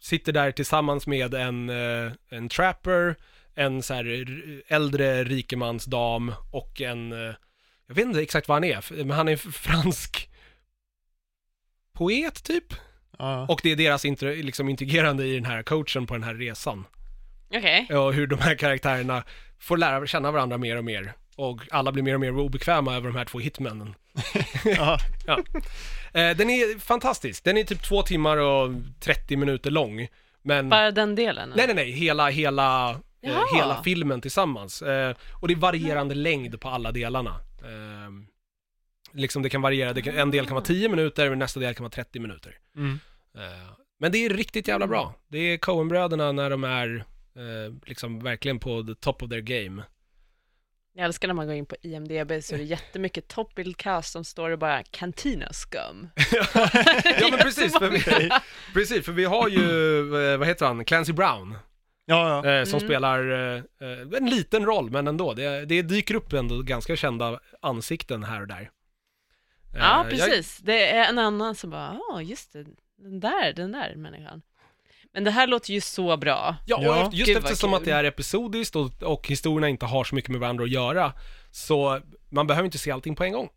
Speaker 1: sitter där tillsammans med en, eh, en trapper, en så här r- äldre rikemansdam och en, eh, jag vet inte exakt vad han är, f- men han är f- fransk poet typ.
Speaker 3: Ja.
Speaker 1: Och det är deras inter- liksom integrerande i den här coachen på den här resan.
Speaker 2: Okej.
Speaker 1: Och hur de här karaktärerna får lära känna varandra mer och mer. Och alla blir mer och mer obekväma över de här två hitmännen.
Speaker 3: Ja.
Speaker 1: Eh, den är fantastisk, den är typ två timmar och 30 minuter lång. Men...
Speaker 2: Bara den delen?
Speaker 1: Nej, nej, nej. Hela, hela, eh,
Speaker 2: Jaha.
Speaker 1: hela filmen tillsammans. Eh, och det är varierande längd på alla delarna. Eh, liksom det kan variera, det kan, en del kan vara 10 minuter, men nästa del kan vara 30 minuter.
Speaker 3: Mm.
Speaker 1: Eh, men det är riktigt jävla bra. Det är Coen-bröderna när de är eh, liksom verkligen på the top of their game.
Speaker 2: Jag älskar när man går in på IMDB så är det jättemycket toppbildcast som står och bara “Cantina scum”.
Speaker 1: ja, men precis. För vi, precis, för vi har ju, eh, vad heter han, Clancy Brown,
Speaker 3: Ja, ja.
Speaker 1: eh, som
Speaker 2: Mm.
Speaker 1: spelar eh, eh, en liten roll, men ändå. Det, det dyker upp ändå ganska kända ansikten här och där. Eh,
Speaker 2: Ja,
Speaker 1: jag-
Speaker 2: precis. Det är en annan som bara “Ja, just det, den där, den där människan”. Men det här låter ju så bra.
Speaker 1: Ja, och
Speaker 3: Ja.
Speaker 1: efter- just
Speaker 2: Gud, vad
Speaker 1: eftersom att det
Speaker 2: kul.
Speaker 1: är episodiskt och, och historierna inte har så mycket med varandra att göra, så man behöver inte se allting på en gång.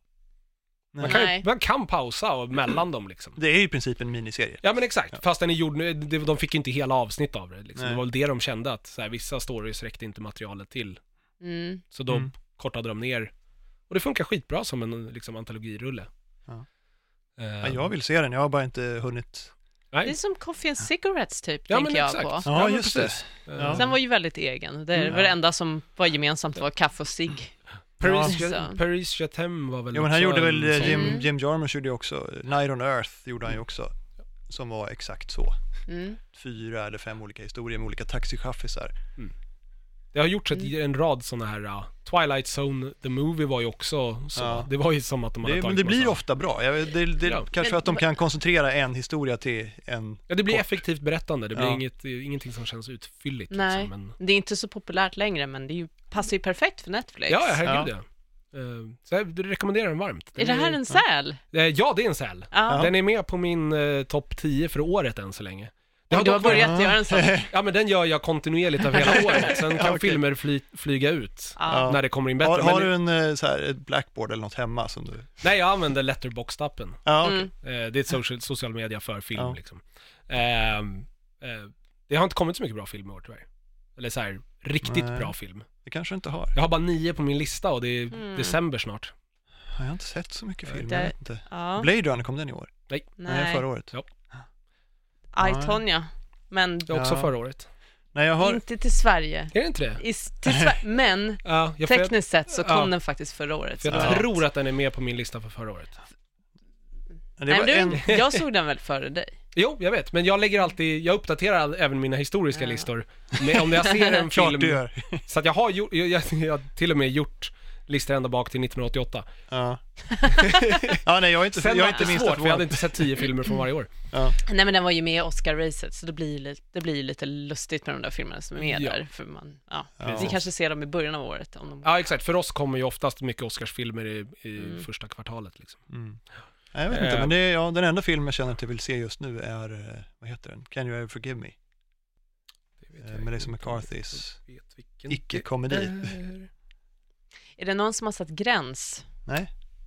Speaker 1: Man kan, ju-
Speaker 2: Nej.
Speaker 1: man kan pausa och mellan dem liksom.
Speaker 3: Det är ju i princip en miniserie.
Speaker 1: Ja men exakt, fast den är gjord nu, det- de fick inte hela avsnitt av det liksom.
Speaker 3: Nej.
Speaker 1: Det var väl det de kände att så här, vissa stories räckte inte materialet till.
Speaker 2: Mm.
Speaker 1: Så då
Speaker 3: Mm.
Speaker 1: kortade de ner. Och det funkar skitbra som en liksom, antologirulle.
Speaker 3: Ja.
Speaker 1: Eh,
Speaker 3: Ja, jag vill se den, jag har bara inte hunnit.
Speaker 2: Det är
Speaker 1: Nej.
Speaker 2: som Coffee and Cigarettes typ,
Speaker 1: Ja, men
Speaker 2: tänker jag
Speaker 1: exakt.
Speaker 2: på.
Speaker 1: Ja,
Speaker 3: Ja,
Speaker 1: men
Speaker 3: just det.
Speaker 1: precis.
Speaker 3: Ja.
Speaker 2: Den var ju väldigt egen. Det
Speaker 3: Mm.
Speaker 2: var det enda som var gemensamt var kaffe och cigg.
Speaker 1: Paris,
Speaker 2: Ja.
Speaker 1: Paris Chatham var väl
Speaker 3: Jo, men han
Speaker 1: också
Speaker 3: gjorde
Speaker 1: en
Speaker 3: väl, eh,
Speaker 1: sån-
Speaker 3: Jim,
Speaker 2: Mm.
Speaker 3: Jim Jarmusch gjorde ju också, eh, Night on Earth gjorde han ju också, som var exakt så.
Speaker 2: Mm.
Speaker 3: Fyra eller fem olika historier med olika taxichaffisar.
Speaker 1: Det har gjorts ett,
Speaker 3: Mm.
Speaker 1: en rad sådana här, uh, Twilight Zone, The Movie var ju också så.
Speaker 3: Ja.
Speaker 1: Det var ju som att de hade
Speaker 3: Det, men
Speaker 1: tagit
Speaker 3: det blir
Speaker 1: massa-
Speaker 3: ofta bra. Jag, vet- det, det,
Speaker 1: Ja.
Speaker 3: Kanske för
Speaker 2: Men-
Speaker 3: att de kan koncentrera en historia till en...
Speaker 1: Ja, det blir
Speaker 3: kort.
Speaker 1: effektivt berättande, det blir
Speaker 3: Ja.
Speaker 1: inget, ingenting som känns utfylligt
Speaker 2: Nej.
Speaker 1: liksom. Men,
Speaker 2: Det är inte så populärt längre, men det är ju, passar ju perfekt för Netflix.
Speaker 1: ja, ja, herregud ja. Eh, så jag rekommenderar den varmt. Den
Speaker 2: är det här en säl?
Speaker 1: Eh, ja, det är en säl.
Speaker 2: Ja.
Speaker 1: Den är med på min uh, topp 10 för året än så länge. Det
Speaker 2: Oj, du har
Speaker 1: dock varit-
Speaker 2: börjat göra en sån.
Speaker 1: Ja, men den gör jag kontinuerligt av hela året. Sen kan
Speaker 3: Ja, okej.
Speaker 1: filmer fly, flyga ut
Speaker 2: Ja.
Speaker 1: när det kommer in bättre.
Speaker 3: Har, har
Speaker 1: men,
Speaker 3: du en eh, så här, ett blackboard eller något hemma som du...
Speaker 1: Nej, jag använder Letterboxd-appen.
Speaker 3: Ja, okej.
Speaker 2: Mm.
Speaker 1: Eh, det är ett social, social media för film
Speaker 3: Ja.
Speaker 1: liksom. Ehm, eh, det har inte kommit så mycket bra film i år tyvärr. Eller så här, riktigt
Speaker 3: Nej.
Speaker 1: bra film.
Speaker 3: Det kanske du inte har.
Speaker 1: Jag har bara nio på min lista och det är
Speaker 2: Mm.
Speaker 1: december snart.
Speaker 3: Jag har inte sett så mycket
Speaker 1: Jag
Speaker 3: film.
Speaker 2: inte.
Speaker 3: Jag vet inte.
Speaker 2: Ja.
Speaker 3: Blade Runner, kom den i år? Nej,
Speaker 2: Nej,
Speaker 3: förra året.
Speaker 1: Ja.
Speaker 2: I, Tonya. Men
Speaker 1: Det är också
Speaker 3: Ja.
Speaker 1: förra året.
Speaker 3: Nej, jag har...
Speaker 2: inte till Sverige.
Speaker 1: Är det inte det?
Speaker 2: I, s- till Sver- men
Speaker 1: Ja, jag, för jag,
Speaker 2: tekniskt sett så kom
Speaker 1: ja.
Speaker 2: den faktiskt förra året.
Speaker 1: för jag
Speaker 2: så
Speaker 3: Ja.
Speaker 1: tror att den är med på min lista för förra året.
Speaker 3: Det
Speaker 2: Nej, men
Speaker 3: var
Speaker 2: du,
Speaker 3: en...
Speaker 2: Jag såg den väl före dig?
Speaker 1: Jo, jag vet, men jag lägger alltid, jag uppdaterar även mina historiska
Speaker 2: Ja.
Speaker 1: listor. Men om jag ser en
Speaker 3: Klart du
Speaker 1: film,
Speaker 3: gör.
Speaker 1: så att jag har gjort, jag, jag, jag har till och med gjort listor ända bak till 1988.
Speaker 3: Ja. ja, nej, jag är inte,
Speaker 1: Sen
Speaker 3: jag
Speaker 1: var
Speaker 3: är inte
Speaker 1: det svårt,
Speaker 3: minsta
Speaker 1: för jag hade
Speaker 3: förvånad.
Speaker 1: inte sett tio filmer från varje år.
Speaker 2: Nej men den var ju med i Oscar-racet så det blir, li- det blir ju lite lustigt med de där filmerna som är med
Speaker 1: Ja.
Speaker 2: där. För man, ja.
Speaker 3: Ja.
Speaker 2: Vi kanske ser dem i början av året om de
Speaker 1: Ja, exakt. För oss kommer ju oftast mycket Oscarsfilmer i, i
Speaker 2: Mm.
Speaker 1: första kvartalet liksom.
Speaker 3: Mm. Nej, jag vet inte,
Speaker 1: Eh.
Speaker 3: men det är, ja, den enda film jag känner att jag vill se just nu är, eh, vad heter den? Can you ever forgive me? Eh, jag men det är som inte om McCarthys
Speaker 1: Jag vet vilken
Speaker 3: Icke-komedi.
Speaker 1: Mm.
Speaker 2: Är det någon som har satt gräns?
Speaker 3: Nej?
Speaker 1: Är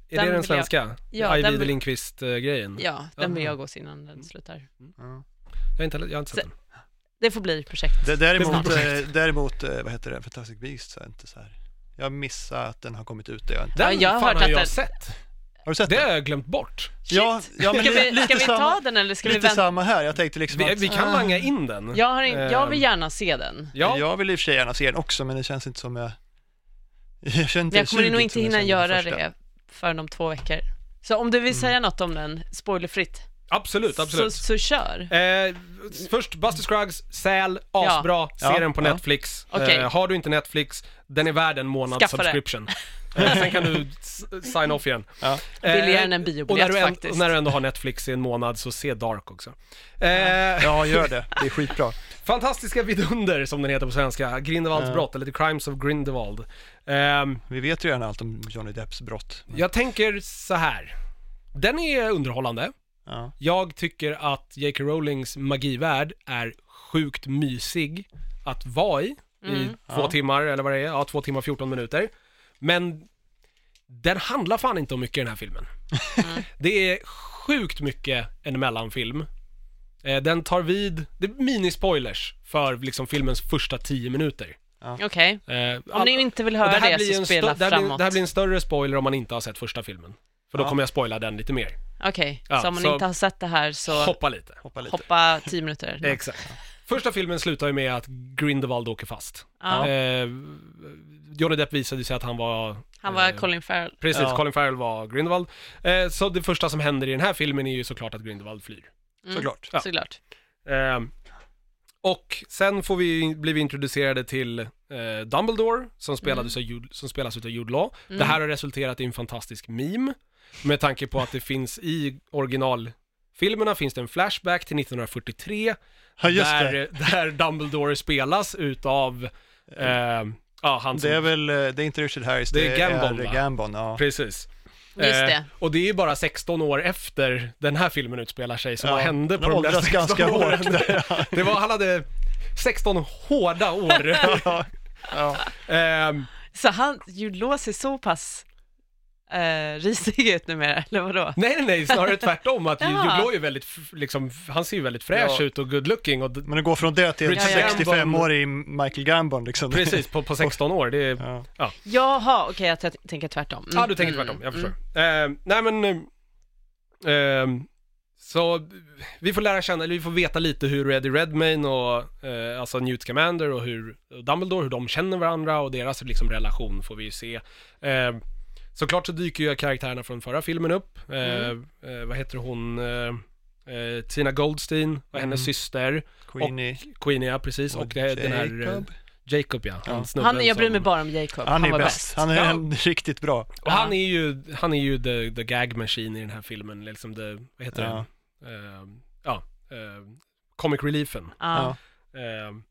Speaker 1: det
Speaker 2: Den
Speaker 1: den
Speaker 2: vill jag-
Speaker 1: svenska?
Speaker 2: Ja,
Speaker 1: Ajvide
Speaker 2: den vill-
Speaker 1: Lindqvist-grejen?
Speaker 2: Ja, den vill
Speaker 1: Aha.
Speaker 2: jag gå se innan den slutar.
Speaker 3: Ja.
Speaker 1: Jag, har inte, jag har inte sett den.
Speaker 2: Det får bli projekt.
Speaker 3: D- Däremot,
Speaker 1: Det är
Speaker 3: eh, däremot eh, vad heter det, Fantastic Beasts så är inte så här. Jag missar att den har kommit ut. Det har jag inte.
Speaker 1: Den
Speaker 2: Ja, jag har
Speaker 1: fan
Speaker 2: hört
Speaker 1: har
Speaker 2: att
Speaker 1: jag
Speaker 2: den-
Speaker 1: sett.
Speaker 3: Har du sett
Speaker 1: Det
Speaker 3: den?
Speaker 1: har jag glömt bort.
Speaker 2: Shit!
Speaker 3: Ja, ja, men
Speaker 2: ska
Speaker 3: li-
Speaker 2: vi,
Speaker 3: lite
Speaker 2: ska vi
Speaker 3: samma-
Speaker 2: ta den eller ska vi
Speaker 3: Lite
Speaker 2: vänta?
Speaker 3: samma här. Jag tänkte liksom
Speaker 1: Vi,
Speaker 3: att,
Speaker 1: vi kan
Speaker 3: ah,
Speaker 1: langa in den.
Speaker 2: Jag, har in, jag vill
Speaker 1: Ehm.
Speaker 2: gärna se den.
Speaker 1: Ja,
Speaker 3: Jag vill i och för sig gärna se den också, men det känns inte som jag... Jag känner inte
Speaker 2: Men jag kommer
Speaker 3: suget
Speaker 2: nog inte
Speaker 3: som jag
Speaker 2: hinna
Speaker 3: kände den
Speaker 2: göra
Speaker 3: första.
Speaker 2: det förrän om två veckor. Så om du vill säga något om den, spoilerfritt.
Speaker 1: Mm. Absolut, absolut.
Speaker 2: Så, så kör.
Speaker 1: Eh, först Buster Scruggs, Säl, asbra,
Speaker 3: Ja.
Speaker 1: ser den på
Speaker 3: Ja.
Speaker 1: Netflix.
Speaker 2: Okej.
Speaker 1: Eh, har du inte Netflix, den är värd en månads
Speaker 2: Skaffa det.
Speaker 1: subscription. Eh, sen kan du s- sign off igen. Eh,
Speaker 3: Ja.
Speaker 2: Billigare än en biobiljett
Speaker 1: och när du än-
Speaker 2: faktiskt.
Speaker 1: Och när du ändå har Netflix i en månad så se Dark också. Eh,
Speaker 3: Ja, gör det. Det är skitbra.
Speaker 1: Fantastiska vidunder som den heter på svenska, Grindelwalds
Speaker 3: Ja.
Speaker 1: brott, eller The Crimes of Grindelwald. Ehm,
Speaker 3: Vi vet ju redan allt om Johnny Depps brott.
Speaker 1: jag tänker så här. den är underhållande.
Speaker 3: Ja.
Speaker 1: Jag tycker att J.K. Rowlings magivärld är sjukt mysig att vara i.
Speaker 2: Mm.
Speaker 1: I två
Speaker 3: Ja.
Speaker 1: timmar, eller vad det är. Ja, två timmar och 14 minuter. Men den handlar fan inte om mycket i den här filmen.
Speaker 2: Mm.
Speaker 1: det är sjukt mycket en mellanfilm. Eh, Den tar vid, det är minispoilers för liksom filmens första tio minuter.
Speaker 2: Okej.
Speaker 1: Eh,
Speaker 2: Om ni inte vill höra
Speaker 1: och
Speaker 2: det,
Speaker 1: blir
Speaker 2: så
Speaker 1: en
Speaker 2: spela
Speaker 1: stö- det, här blir,
Speaker 2: framåt.
Speaker 1: det här blir en större spoiler om man inte har sett första filmen. För då
Speaker 3: Ja.
Speaker 1: kommer jag spoila den lite mer.
Speaker 2: Okej,
Speaker 1: Ja,
Speaker 2: så om man
Speaker 1: så-
Speaker 2: inte har sett det här så
Speaker 1: Hoppa lite.
Speaker 3: Hoppa lite.
Speaker 2: hoppa 10 minuter.
Speaker 1: Exakt. Första filmen slutar ju med att Grindelwald åker fast.
Speaker 2: Ja.
Speaker 1: Eh, Johnny Depp visade sig att han var...
Speaker 2: Han var
Speaker 1: eh,
Speaker 2: Colin Farrell.
Speaker 1: Precis,
Speaker 3: Ja.
Speaker 1: Colin Farrell var Grindelwald. Eh, så det första som händer i den här filmen är ju såklart att Grindelwald flyr.
Speaker 2: Mm,
Speaker 3: Såklart.
Speaker 1: Ja.
Speaker 2: Såklart.
Speaker 1: Eh, och sen får vi, blir vi introducerade till eh, Dumbledore som, spelades
Speaker 3: Mm.
Speaker 1: av Jude, som spelas av Jude Law. Det här har resulterat i en fantastisk meme med tanke på att det finns i originalfilmerna finns det en flashback till 1943
Speaker 3: Ja, just det.
Speaker 1: där, där Dumbledore spelas utav, eh, ja han som,
Speaker 3: Det är väl, eh, det är inte Richard Harris,
Speaker 1: Det
Speaker 3: det,
Speaker 1: är Gambon,
Speaker 3: är
Speaker 1: va?
Speaker 3: Gambon. Ja.
Speaker 1: precis. Eh,
Speaker 2: Just det.
Speaker 1: och det är ju bara 16 år efter den här filmen utspelar sig som
Speaker 3: Ja,
Speaker 1: vad hände på de
Speaker 3: de
Speaker 1: där
Speaker 3: åldras
Speaker 1: 16
Speaker 3: ganska
Speaker 1: åren.
Speaker 3: hårt där,
Speaker 1: Det var, han hade 16 hårda år.
Speaker 3: Ja. Ja.
Speaker 1: Ehm,
Speaker 2: Så han, Jude Law ser så pass eh, risig ut numera, eller vadå?
Speaker 1: nej, nej, nej, snarare tvärtom att
Speaker 2: Ja.
Speaker 1: Jude Law är ju väldigt, f- liksom, han ser ju väldigt fräsch
Speaker 3: Ja.
Speaker 1: ut och good looking och d-
Speaker 3: Men det går från det till en
Speaker 1: Richard
Speaker 2: Gambon.
Speaker 3: 65-årig Michael Gambon liksom.
Speaker 1: precis på, på 16 år. Det är,
Speaker 3: Ja.
Speaker 2: Jaha, okej, jag t- tänker tvärtom. Mm,
Speaker 1: Ja, ah, du tänker
Speaker 2: mm,
Speaker 1: tvärtom, jag
Speaker 2: mm.
Speaker 1: förstår. Eh, nej men, eh, eh, så vi får lära känna, eller vi får veta lite hur Eddie Redmayne och, eh, alltså Newt Scamander och hur och Dumbledore, hur de känner varandra och deras liksom relation får vi ju se. Eh, såklart så dyker ju karaktärerna från förra filmen upp. Eh,
Speaker 2: Mm.
Speaker 1: eh, vad heter hon? Eh, eh, Tina Goldstein var hennes
Speaker 3: Mm.
Speaker 1: syster,
Speaker 3: Queenie
Speaker 1: Queenie ja, precis, och, det, är den här eh,
Speaker 3: Jacob.
Speaker 1: Jacob ja,
Speaker 3: Ja.
Speaker 1: han snubben
Speaker 2: Han, jag bryr mig
Speaker 1: som-
Speaker 2: bara om Jacob,
Speaker 3: Han är
Speaker 2: var
Speaker 3: bäst. Han är
Speaker 1: Ja.
Speaker 3: en riktigt bra.
Speaker 1: Och
Speaker 2: Ja.
Speaker 1: han är ju, han är ju the, the gag machine i den här filmen, liksom the, vad heter
Speaker 3: Ja.
Speaker 1: den? Ehm, ja, ehm, comic reliefen.
Speaker 2: Ja.
Speaker 1: Ehm,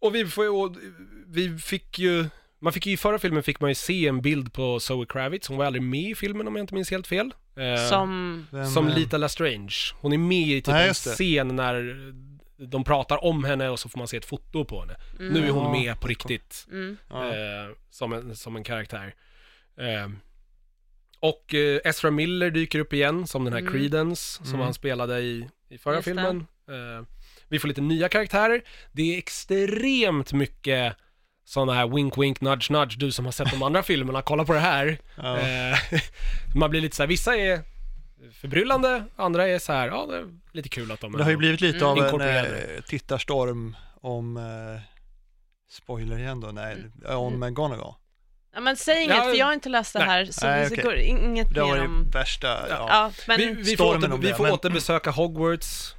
Speaker 1: och vi, får, ju- och vi fick ju, man fick ju i förra filmen fick man ju se en bild på Zoe Kravitz, hon var aldrig med i filmen om jag inte minns helt fel. Ehm,
Speaker 2: Som,
Speaker 3: Vem,
Speaker 1: som
Speaker 3: eh,
Speaker 1: Lita LaStrange. Hon är med i typ
Speaker 3: Nej,
Speaker 1: en
Speaker 3: just det.
Speaker 1: scen när de pratar om henne och så får man se ett foto på henne.
Speaker 2: Mm.
Speaker 1: Nu är hon
Speaker 3: Ja.
Speaker 1: med på riktigt
Speaker 2: mm,
Speaker 3: Ja.
Speaker 1: eh, som, en, som en karaktär. Eh, och eh, Ezra Miller dyker upp igen som den här
Speaker 2: Mm.
Speaker 1: Creedence som
Speaker 3: Mm.
Speaker 1: han spelade i, i förra
Speaker 2: Just det.
Speaker 1: filmen. Eh, vi får lite nya karaktärer. Det är extremt mycket sådana här wink wink nudge nudge, du som har sett de andra filmerna, kolla på det här.
Speaker 3: Ja.
Speaker 1: Eh, man blir lite så här, vissa är förbryllande, andra är så här, ja det är lite kul att de
Speaker 3: Det har ju blivit lite
Speaker 2: Mm.
Speaker 3: av en
Speaker 1: Inkorporerade.
Speaker 3: eh, tittarstorm om, eh, spoiler igen då, nej, om eh, Gonagal.
Speaker 2: ja, men säg inget,
Speaker 1: Ja,
Speaker 2: för jag har inte läst det
Speaker 1: nej.
Speaker 2: här, så
Speaker 3: Nej,
Speaker 2: vi
Speaker 3: okej.
Speaker 2: går in- inget
Speaker 3: Det var
Speaker 2: mer om...
Speaker 3: ju värsta, ja.
Speaker 2: Ja, men
Speaker 1: vi, vi får,
Speaker 3: stormen
Speaker 1: åter,
Speaker 3: om
Speaker 1: vi
Speaker 3: det,
Speaker 1: får
Speaker 3: men-
Speaker 1: återbesöka Hogwarts.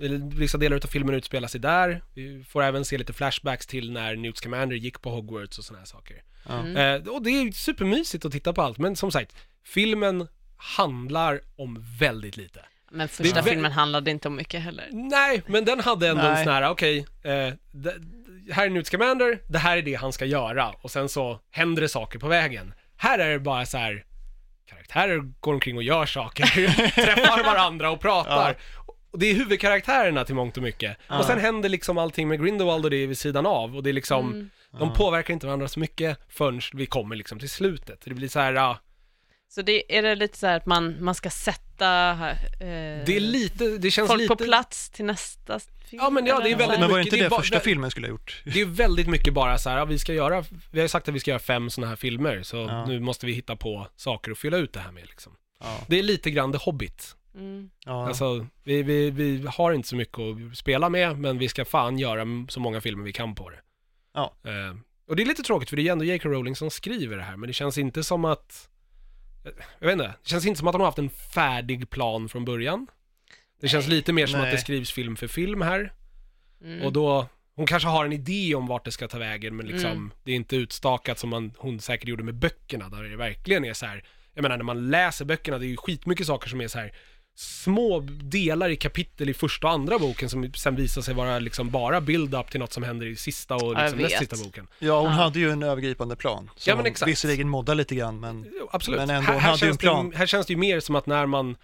Speaker 1: Eller Vissa delar av filmen utspelar sig där. Vi får även se lite flashbacks till när Newt Scamander gick på Hogwarts och sådana här saker.
Speaker 3: Ja.
Speaker 2: Mm.
Speaker 1: Eh, och det är ju supermysigt att titta på allt, men som sagt, filmen handlar om väldigt lite.
Speaker 2: Men första
Speaker 1: är vä-
Speaker 2: filmen handlade inte om mycket heller.
Speaker 1: Nej, men den hade ändå en
Speaker 3: Nej.
Speaker 1: sån här, okej, eh, d- d- här är Newt Scamander, det här är det han ska göra och sen så händer det saker på vägen. Här är det bara så här, karaktärer går omkring och gör saker, träffar varandra och pratar. Och det är huvudkaraktärerna till mångt och mycket. Och sen händer liksom allting med Grindelwald och det är vid sidan av och det är liksom,
Speaker 2: Mm.
Speaker 1: de påverkar inte varandra så mycket förrän vi kommer liksom till slutet. Det blir så här, ja,
Speaker 2: Så det, är det lite så här att man, man ska sätta eh,
Speaker 1: det är lite, det känns
Speaker 2: folk
Speaker 1: lite...
Speaker 2: på plats till nästa film?
Speaker 1: Ja, men ja, det är
Speaker 2: eller något
Speaker 1: väldigt-
Speaker 2: sånt.
Speaker 3: Men var det
Speaker 1: mycket-
Speaker 3: inte
Speaker 1: det är
Speaker 3: det
Speaker 1: bara-
Speaker 3: första
Speaker 1: det-
Speaker 3: filmen skulle ha gjort?
Speaker 1: Det är väldigt mycket bara så här, ja, vi ska göra, vi har ju sagt att vi ska göra fem sådana här filmer, så
Speaker 3: Ja.
Speaker 1: nu måste vi hitta på saker att fylla ut det här med liksom.
Speaker 3: Ja.
Speaker 1: Det är lite grann The Hobbit.
Speaker 2: Mm.
Speaker 3: Ja.
Speaker 1: Alltså, vi, vi, vi har inte så mycket att spela med, men vi ska fan göra m- så många filmer vi kan på det.
Speaker 3: Ja.
Speaker 1: Eh, och det är lite tråkigt, för det är ju ändå J.K. Rowling som skriver det här, men det känns inte eh, som att, jag vet inte, det känns inte som att de har haft en färdig plan från början. Det känns lite mer som att det
Speaker 3: Nej.
Speaker 1: skrivs film för film här.
Speaker 2: Mm.
Speaker 1: Och då, hon kanske har en idé om vart det ska ta vägen men liksom
Speaker 2: Mm.
Speaker 1: det är inte utstakat som man, hon säkert gjorde med böckerna där det verkligen är så här. Jag menar när man läser böckerna, det är ju skitmycket saker som är så här små delar i kapitel i första och andra boken som sen visar sig vara liksom bara build-up till något som händer i sista och
Speaker 2: jag
Speaker 1: liksom näst
Speaker 2: vet.
Speaker 1: sista boken.
Speaker 3: Ja, hon
Speaker 2: Ja.
Speaker 3: hade ju en övergripande plan. Som
Speaker 1: Ja, men
Speaker 3: hon
Speaker 1: exakt. Mm.
Speaker 3: Visserligen modda lite grann, men
Speaker 1: Jo, Absolut.
Speaker 3: Men ändå,
Speaker 1: här,
Speaker 3: hon
Speaker 1: här,
Speaker 3: hade ju en
Speaker 1: känns det,
Speaker 3: plan.
Speaker 1: här känns det ju mer som att när man,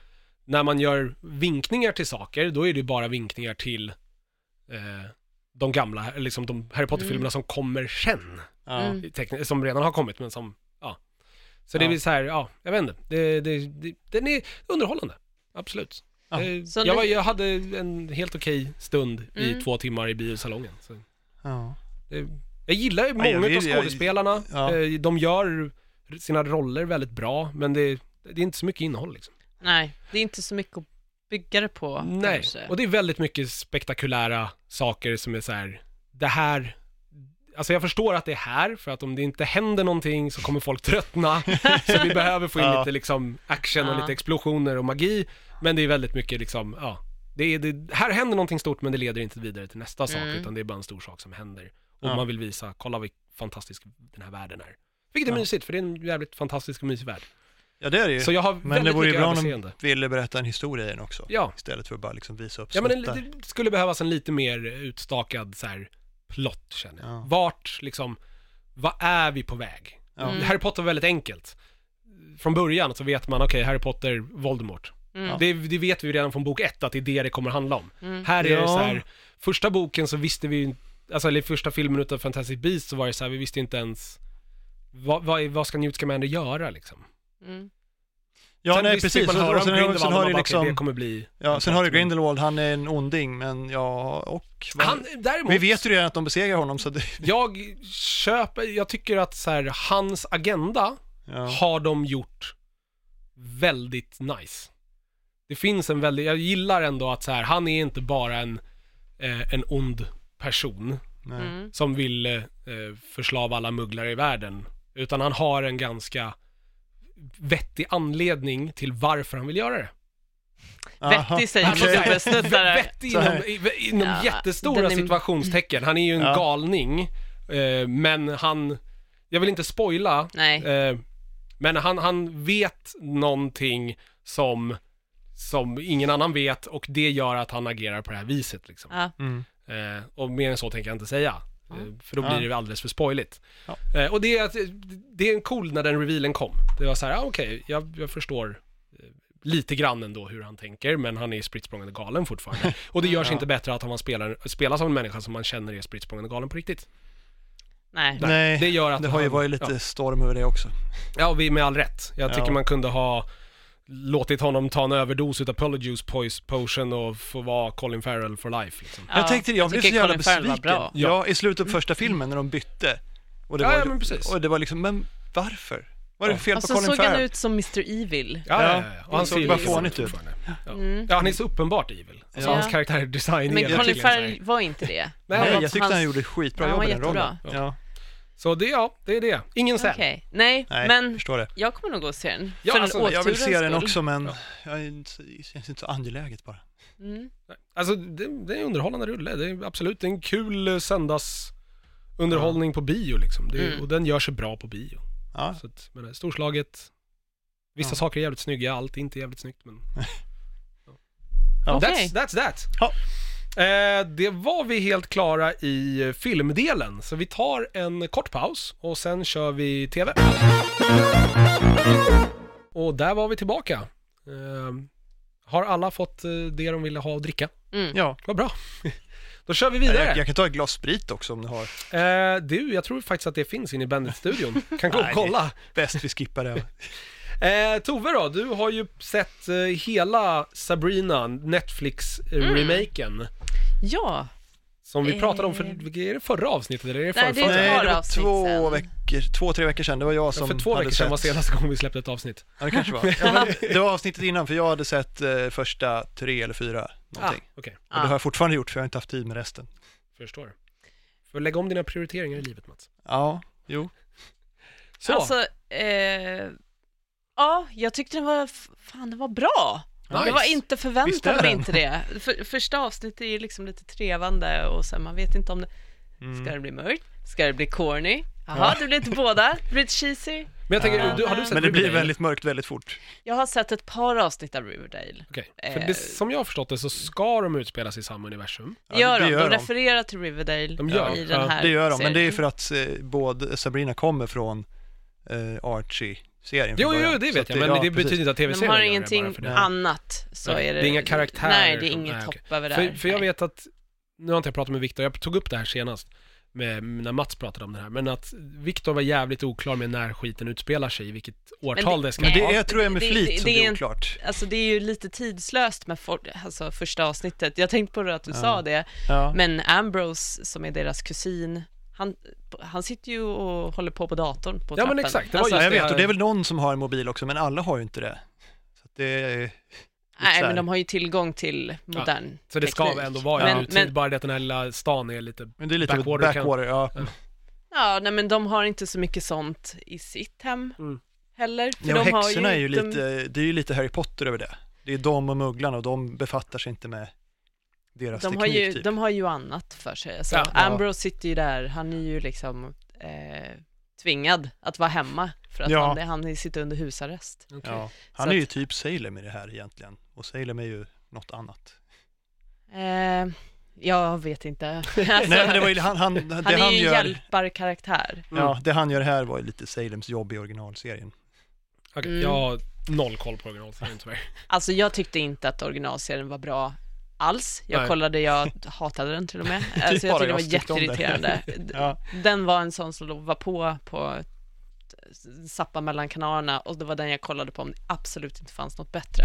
Speaker 1: när man gör vinkningar till saker, då är det ju bara vinkningar till eh, de gamla, liksom de Harry Potter-filmerna som kommer sen.
Speaker 3: ja.
Speaker 2: Mm.
Speaker 1: Tekniskt- Som redan har kommit, men som, ja. Så det är
Speaker 3: Ja.
Speaker 1: väl så här, ja, jag vet inte. Det, det, det, den är underhållande. Absolut.
Speaker 3: Ja.
Speaker 1: Eh,
Speaker 2: Så
Speaker 1: jag,
Speaker 2: ni-
Speaker 1: var, jag hade en helt okej stund i
Speaker 2: Mm.
Speaker 1: två timmar i biosalongen. Så
Speaker 3: Ja.
Speaker 1: det, jag gillar ju
Speaker 3: Ja, jag
Speaker 1: många av
Speaker 3: vill- jag-
Speaker 1: skådespelarna.
Speaker 3: ja.
Speaker 1: Eh, De gör sina roller väldigt bra, men det, det är inte så mycket innehåll liksom.
Speaker 2: Nej, det är inte så mycket att bygga det på
Speaker 1: Nej,
Speaker 2: kanske.
Speaker 1: och det är väldigt mycket spektakulära saker som är så här, det här Alltså jag förstår att det är här, för att om det inte händer någonting så kommer folk tröttna. så vi behöver få in
Speaker 3: Ja.
Speaker 1: lite liksom action och
Speaker 2: Ja.
Speaker 1: lite explosioner och magi. Men det är väldigt mycket liksom, ja. Det är, det, här händer någonting stort men det leder inte vidare till nästa sak
Speaker 2: Mm.
Speaker 1: utan det är bara en stor sak som händer. Och
Speaker 3: Ja.
Speaker 1: man vill visa, kolla vad fantastisk den här världen är. Vilket är
Speaker 3: Ja.
Speaker 1: mysigt, för det är en jävligt fantastisk och mysig värld.
Speaker 3: ja, det är det ju.
Speaker 1: Så jag har
Speaker 3: Men det
Speaker 1: väldigt
Speaker 3: vore ju
Speaker 1: mycket
Speaker 3: bra om
Speaker 1: överseende.
Speaker 3: de ville berätta en historia i den också.
Speaker 1: Ja.
Speaker 3: Istället för att bara liksom visa upp
Speaker 1: Ja men
Speaker 3: snuttar.
Speaker 1: det det skulle behövas en lite mer utstakad så här plott känner jag.
Speaker 3: Ja.
Speaker 1: Vart liksom, vad är vi på väg?
Speaker 3: Ja.
Speaker 2: Mm.
Speaker 1: Harry Potter var väldigt enkelt. Från början så vet man, okej Harry Potter, Voldemort.
Speaker 2: Mm.
Speaker 1: Det, det vet vi redan från bok ett att det är det det kommer handla om.
Speaker 2: Mm.
Speaker 1: Här är det
Speaker 3: Ja.
Speaker 1: så här, första boken så visste vi ju inte- alltså eller i första filmen utav Fantastic Beasts så var det så här, vi visste inte ens vad, vad, är- vad ska Newt Scamander göra liksom?
Speaker 2: Mm.
Speaker 3: Ja, nej
Speaker 1: visst
Speaker 3: precis.
Speaker 1: fick
Speaker 3: Och,
Speaker 1: man höra om
Speaker 3: och sen, har-
Speaker 1: Grindelwald
Speaker 3: sen
Speaker 1: och
Speaker 3: har
Speaker 1: man
Speaker 3: du
Speaker 1: bara, okej, det
Speaker 3: liksom,
Speaker 1: kommer bli...
Speaker 3: ja, sen har du Grindelwald, han är en onding, men ja, och... vad-
Speaker 1: Han, däremot...
Speaker 3: Vi vet ju redan att de besegrar honom, så det...
Speaker 1: Jag köper, jag tycker att så här, hans agenda
Speaker 3: Ja.
Speaker 1: har de gjort väldigt nice. Det finns en väldigt, jag gillar ändå att så här, han är inte bara en, eh, en ond person
Speaker 3: Nej.
Speaker 2: Mm.
Speaker 1: som vill eh, förslava alla mugglare i världen. Utan han har en ganska vettig anledning till varför han vill göra det.
Speaker 3: Aha.
Speaker 2: Vettig säger man
Speaker 3: Okej.
Speaker 2: supersnuttare.
Speaker 1: Vettig
Speaker 3: Så
Speaker 1: inom,
Speaker 3: här.
Speaker 1: i- inom
Speaker 2: Ja,
Speaker 1: jättestora
Speaker 2: den är-
Speaker 1: situationstecken. Han är ju en
Speaker 3: Ja.
Speaker 1: galning, eh, men han, jag vill inte spoila,
Speaker 2: Nej.
Speaker 1: Eh, men han, han vet någonting som, som ingen annan vet och det gör att han agerar på det här viset. Liksom.
Speaker 2: Ja.
Speaker 3: Mm.
Speaker 1: Eh, och mer än så tänker jag inte säga.
Speaker 2: Ja.
Speaker 1: Eh, För då
Speaker 3: Ja.
Speaker 1: blir det ju alldeles för spoiligt.
Speaker 3: Ja.
Speaker 1: Eh, och det är, att- det är en cool när den revealen kom. Det var så här, ah, okej, jag, jag förstår eh, lite grann ändå hur han tänker, men han är spritt språngande galen fortfarande. och det görs
Speaker 3: Ja.
Speaker 1: inte bättre att han spelar, spelas av en människa som man känner är spritt språngande galen på riktigt.
Speaker 2: Nej.
Speaker 3: Nej,
Speaker 1: Det
Speaker 3: Eh, det,
Speaker 1: gör att
Speaker 3: har ju
Speaker 1: han-
Speaker 3: varit
Speaker 1: ja.
Speaker 3: lite storm över det också.
Speaker 1: Ja, och vi med all rätt. Jag tycker
Speaker 3: Ja.
Speaker 1: man kunde ha låtit honom ta en överdos utav Polyjuice Pois- Potion och få vara Colin Farrell for life liksom.
Speaker 2: Ja,
Speaker 3: jag tänkte, jag blev så
Speaker 2: tycker
Speaker 3: jävla
Speaker 2: Colin Farrell
Speaker 3: besviken.
Speaker 2: var
Speaker 3: Ja.
Speaker 2: bra. Mm.
Speaker 3: i slutet på första filmen när de bytte. Och det,
Speaker 1: Ja,
Speaker 3: var,
Speaker 1: ja, men precis.
Speaker 3: och det var liksom, men varför? Vad är det för fel
Speaker 2: Och
Speaker 3: på
Speaker 2: så
Speaker 3: Colin
Speaker 2: Alltså, såg han
Speaker 3: Farrell?
Speaker 2: ut som Mr Evil.
Speaker 1: Ja, ja, ja. Och han
Speaker 2: Det såg
Speaker 1: ser
Speaker 2: bara
Speaker 1: evil
Speaker 3: fånigt ut.
Speaker 1: fortfarande. Ja.
Speaker 2: Mm.
Speaker 1: ja, han är så uppenbart evil. Alltså
Speaker 2: Ja.
Speaker 1: hans karaktärdesign är
Speaker 2: Men Colin
Speaker 1: verkligen så här-
Speaker 2: Farrell var inte det.
Speaker 1: Nej,
Speaker 2: Han
Speaker 3: Nej,
Speaker 2: var-
Speaker 3: jag tyckte han
Speaker 2: hans-
Speaker 3: gjorde skitbra
Speaker 2: Ja, han
Speaker 3: jobb i
Speaker 2: var
Speaker 3: den rollen.
Speaker 2: jättebra.
Speaker 3: Ja.
Speaker 1: Så det, ja, det är det. Ingen säl.
Speaker 2: Okej. Nej,
Speaker 3: Nej,
Speaker 2: men
Speaker 3: förstår det.
Speaker 2: jag kommer nog gå och se den.
Speaker 1: Ja,
Speaker 2: För
Speaker 1: alltså,
Speaker 2: den
Speaker 1: jag
Speaker 3: Jag vill se
Speaker 2: åkturens
Speaker 3: den
Speaker 2: skull.
Speaker 3: också, men
Speaker 1: Ja.
Speaker 3: jag är inte, det känns inte så angeläget bara.
Speaker 2: Mm.
Speaker 1: Alltså, det, det är en underhållande rulle. Det är absolut det är en kul eh, söndagsunderhållning på bio liksom. Det, är-
Speaker 2: Mm.
Speaker 1: Och den gör sig bra på bio.
Speaker 3: Ja,
Speaker 1: Så att, men, eh, storslaget. Vissa
Speaker 3: Ja.
Speaker 1: saker är jävligt snygga, allt är inte jävligt snyggt men...
Speaker 3: Ja.
Speaker 2: Okej.
Speaker 1: That's, that's that.
Speaker 3: Ja.
Speaker 1: Eh, det var vi helt klara i eh, filmdelen, så vi tar en kort paus och sen kör vi TV. Och där var vi tillbaka. Eh, har alla fått eh, det de ville ha att dricka?
Speaker 2: Mm.
Speaker 3: ja.
Speaker 1: Vad bra. Då kör vi
Speaker 3: Jag,
Speaker 1: vidare.
Speaker 3: jag kan ta ett glas sprit också om du har.
Speaker 1: Eh, du, jag tror faktiskt att det finns inne i Bandit-studion. Kan gå och
Speaker 3: Nej,
Speaker 1: kolla.
Speaker 3: Bäst vi skippar det.
Speaker 1: Eh, Tove då, du har ju sett eh, hela Sabrina, Netflix-remaken.
Speaker 2: Ja,
Speaker 1: Som vi pratade om för,
Speaker 2: Mm. Eh.
Speaker 1: är det förra avsnittet eller är det
Speaker 2: Nej,
Speaker 1: förrförra?
Speaker 2: är ett
Speaker 3: Nej,
Speaker 2: par
Speaker 3: det var
Speaker 2: avsnitt
Speaker 3: två
Speaker 2: sen.
Speaker 3: veckor, två, tre veckor sedan. Det var jag
Speaker 1: Ja,
Speaker 3: som
Speaker 1: för två
Speaker 3: hade
Speaker 1: veckor sedan
Speaker 3: sett...
Speaker 1: var senaste gången vi släppte ett avsnitt.
Speaker 3: Ja, det kanske var. Ja, men det var avsnittet innan, för jag hade sett eh, första tre eller fyra någonting.
Speaker 1: Ah, Okej,
Speaker 3: Och det har jag fortfarande gjort, för jag har inte haft tid med resten.
Speaker 1: förstår. Får lägga om dina prioriteringar i livet Mats.
Speaker 3: Ja, jo.
Speaker 1: Så,
Speaker 2: Alltså, eh, ja, jag tyckte den var, f- fan den var bra.
Speaker 1: Nice.
Speaker 2: Jag var inte
Speaker 3: Visst är
Speaker 2: förväntad mig
Speaker 3: den.
Speaker 2: inte det. För, första avsnittet är ju liksom lite trevande och sen man vet inte om det,
Speaker 3: Mm.
Speaker 2: ska det bli mörkt, ska det bli corny, jaha det blir lite båda, det blir lite cheesy.
Speaker 1: Men jag tänker,
Speaker 2: Ja.
Speaker 1: du, har du sett
Speaker 3: Men det blir
Speaker 1: Riverdale?
Speaker 3: väldigt mörkt väldigt fort.
Speaker 2: Jag har sett ett par avsnitt av Riverdale.
Speaker 1: Okej, för
Speaker 2: eh,
Speaker 1: det, som jag har förstått det så ska de utspelas i samma universum.
Speaker 3: Ja,
Speaker 2: gör
Speaker 3: det
Speaker 2: de,
Speaker 3: gör
Speaker 2: de
Speaker 3: de.
Speaker 2: refererar till Riverdale
Speaker 1: De gör,
Speaker 2: i
Speaker 1: ja,
Speaker 2: den här
Speaker 3: Det gör de, men
Speaker 2: serien.
Speaker 3: det är för att eh, både Sabrina kommer från eh, Archie-serien. från
Speaker 1: Jo, jo,
Speaker 3: början.
Speaker 1: jo, det
Speaker 3: Så
Speaker 1: vet
Speaker 3: att
Speaker 1: jag, men
Speaker 3: ja,
Speaker 1: det betyder
Speaker 3: precis.
Speaker 1: inte att
Speaker 2: De
Speaker 1: tv-serien
Speaker 2: har
Speaker 1: gör det bara
Speaker 2: ingenting
Speaker 1: för det.
Speaker 2: annat, så
Speaker 1: Nej,
Speaker 2: är det.
Speaker 1: det är inga karaktärer
Speaker 2: Nej, det är
Speaker 1: som-
Speaker 2: inget
Speaker 1: nej, okej.
Speaker 2: hopp över det här.
Speaker 1: För, för jag
Speaker 2: Nej.
Speaker 1: vet att, nu har inte jag pratat med Viktor, jag tog upp det här senast, med, när Mats pratade om det här, men att Viktor var jävligt oklar med när skiten utspelar sig, i vilket årtal det,
Speaker 2: det-
Speaker 1: ska
Speaker 3: Men
Speaker 1: vara.
Speaker 3: det är, tror jag med
Speaker 2: Det-
Speaker 3: flit
Speaker 2: det-
Speaker 3: som
Speaker 2: det
Speaker 3: det
Speaker 2: är
Speaker 3: är
Speaker 2: en-
Speaker 3: oklart.
Speaker 2: Alltså det är ju lite tidslöst med for, alltså, första avsnittet. Jag tänkte på det att du
Speaker 3: Ja.
Speaker 2: sa det,
Speaker 3: Ja.
Speaker 2: men Ambrose som är deras kusin, han, han sitter ju och håller på på datorn på
Speaker 1: Ja,
Speaker 2: trappan.
Speaker 1: men exakt, det var
Speaker 2: alltså,
Speaker 1: just
Speaker 3: Ja, jag
Speaker 1: det
Speaker 3: vet, och
Speaker 1: här-
Speaker 3: det är väl någon som har en mobil också, men alla har ju inte det. Så att det är,
Speaker 2: Nej,
Speaker 3: så här.
Speaker 2: men de har ju tillgång till modern
Speaker 1: Så det ska
Speaker 2: teknik.
Speaker 1: ändå vara i
Speaker 2: Men-
Speaker 1: nutid,
Speaker 2: men-
Speaker 1: bara det att den här lilla stan är lite...
Speaker 3: men det är lite
Speaker 1: Backwater
Speaker 3: backwater,
Speaker 1: kan-
Speaker 3: ja.
Speaker 1: Ja.
Speaker 2: Ja, nej men de har inte så mycket sånt i sitt hem
Speaker 1: Mm.
Speaker 2: heller. För
Speaker 3: Nej,
Speaker 2: de
Speaker 3: och
Speaker 2: har
Speaker 3: häxorna är ju
Speaker 2: de-
Speaker 3: lite, det är ju lite Harry Potter över det. Det är de och mugglarna och de befattar sig inte med deras
Speaker 2: De
Speaker 3: teknik
Speaker 2: har, ju,
Speaker 3: typ.
Speaker 2: de har ju annat för sig. Alltså,
Speaker 1: Ja.
Speaker 2: Ambrose sitter ju där, han är ju liksom eh, tvingad att vara hemma för att
Speaker 3: Ja.
Speaker 2: han, han sitter under husarrest.
Speaker 1: Okej.
Speaker 3: ja. Han
Speaker 2: Så
Speaker 3: är ju
Speaker 2: att-
Speaker 3: typ Salem i det här egentligen, och Salem är ju något annat.
Speaker 2: Eh, jag vet inte. Alltså,
Speaker 3: Nej, men det var ju, han, han, det
Speaker 2: han är
Speaker 3: han
Speaker 2: ju Mm. en
Speaker 3: gör,
Speaker 2: hjälparkaraktär.
Speaker 3: ja, det han gör här var ju lite Salems jobb i originalserien.
Speaker 1: Okej,
Speaker 2: Mm.
Speaker 1: jag har noll koll på originalserien tyvärr.
Speaker 2: Alltså jag tyckte inte att originalserien var bra alls. Jag
Speaker 1: Nej.
Speaker 2: kollade, jag hatade den till och med. Alltså
Speaker 3: Typ bara
Speaker 2: jag tyckte det
Speaker 3: jag
Speaker 2: var
Speaker 3: som tyckte om den.
Speaker 2: jätteirriterande.
Speaker 3: Ja.
Speaker 2: Den var en sån som var på, på Zappa mellan kanalerna och det var den jag kollade på om det absolut inte fanns något bättre.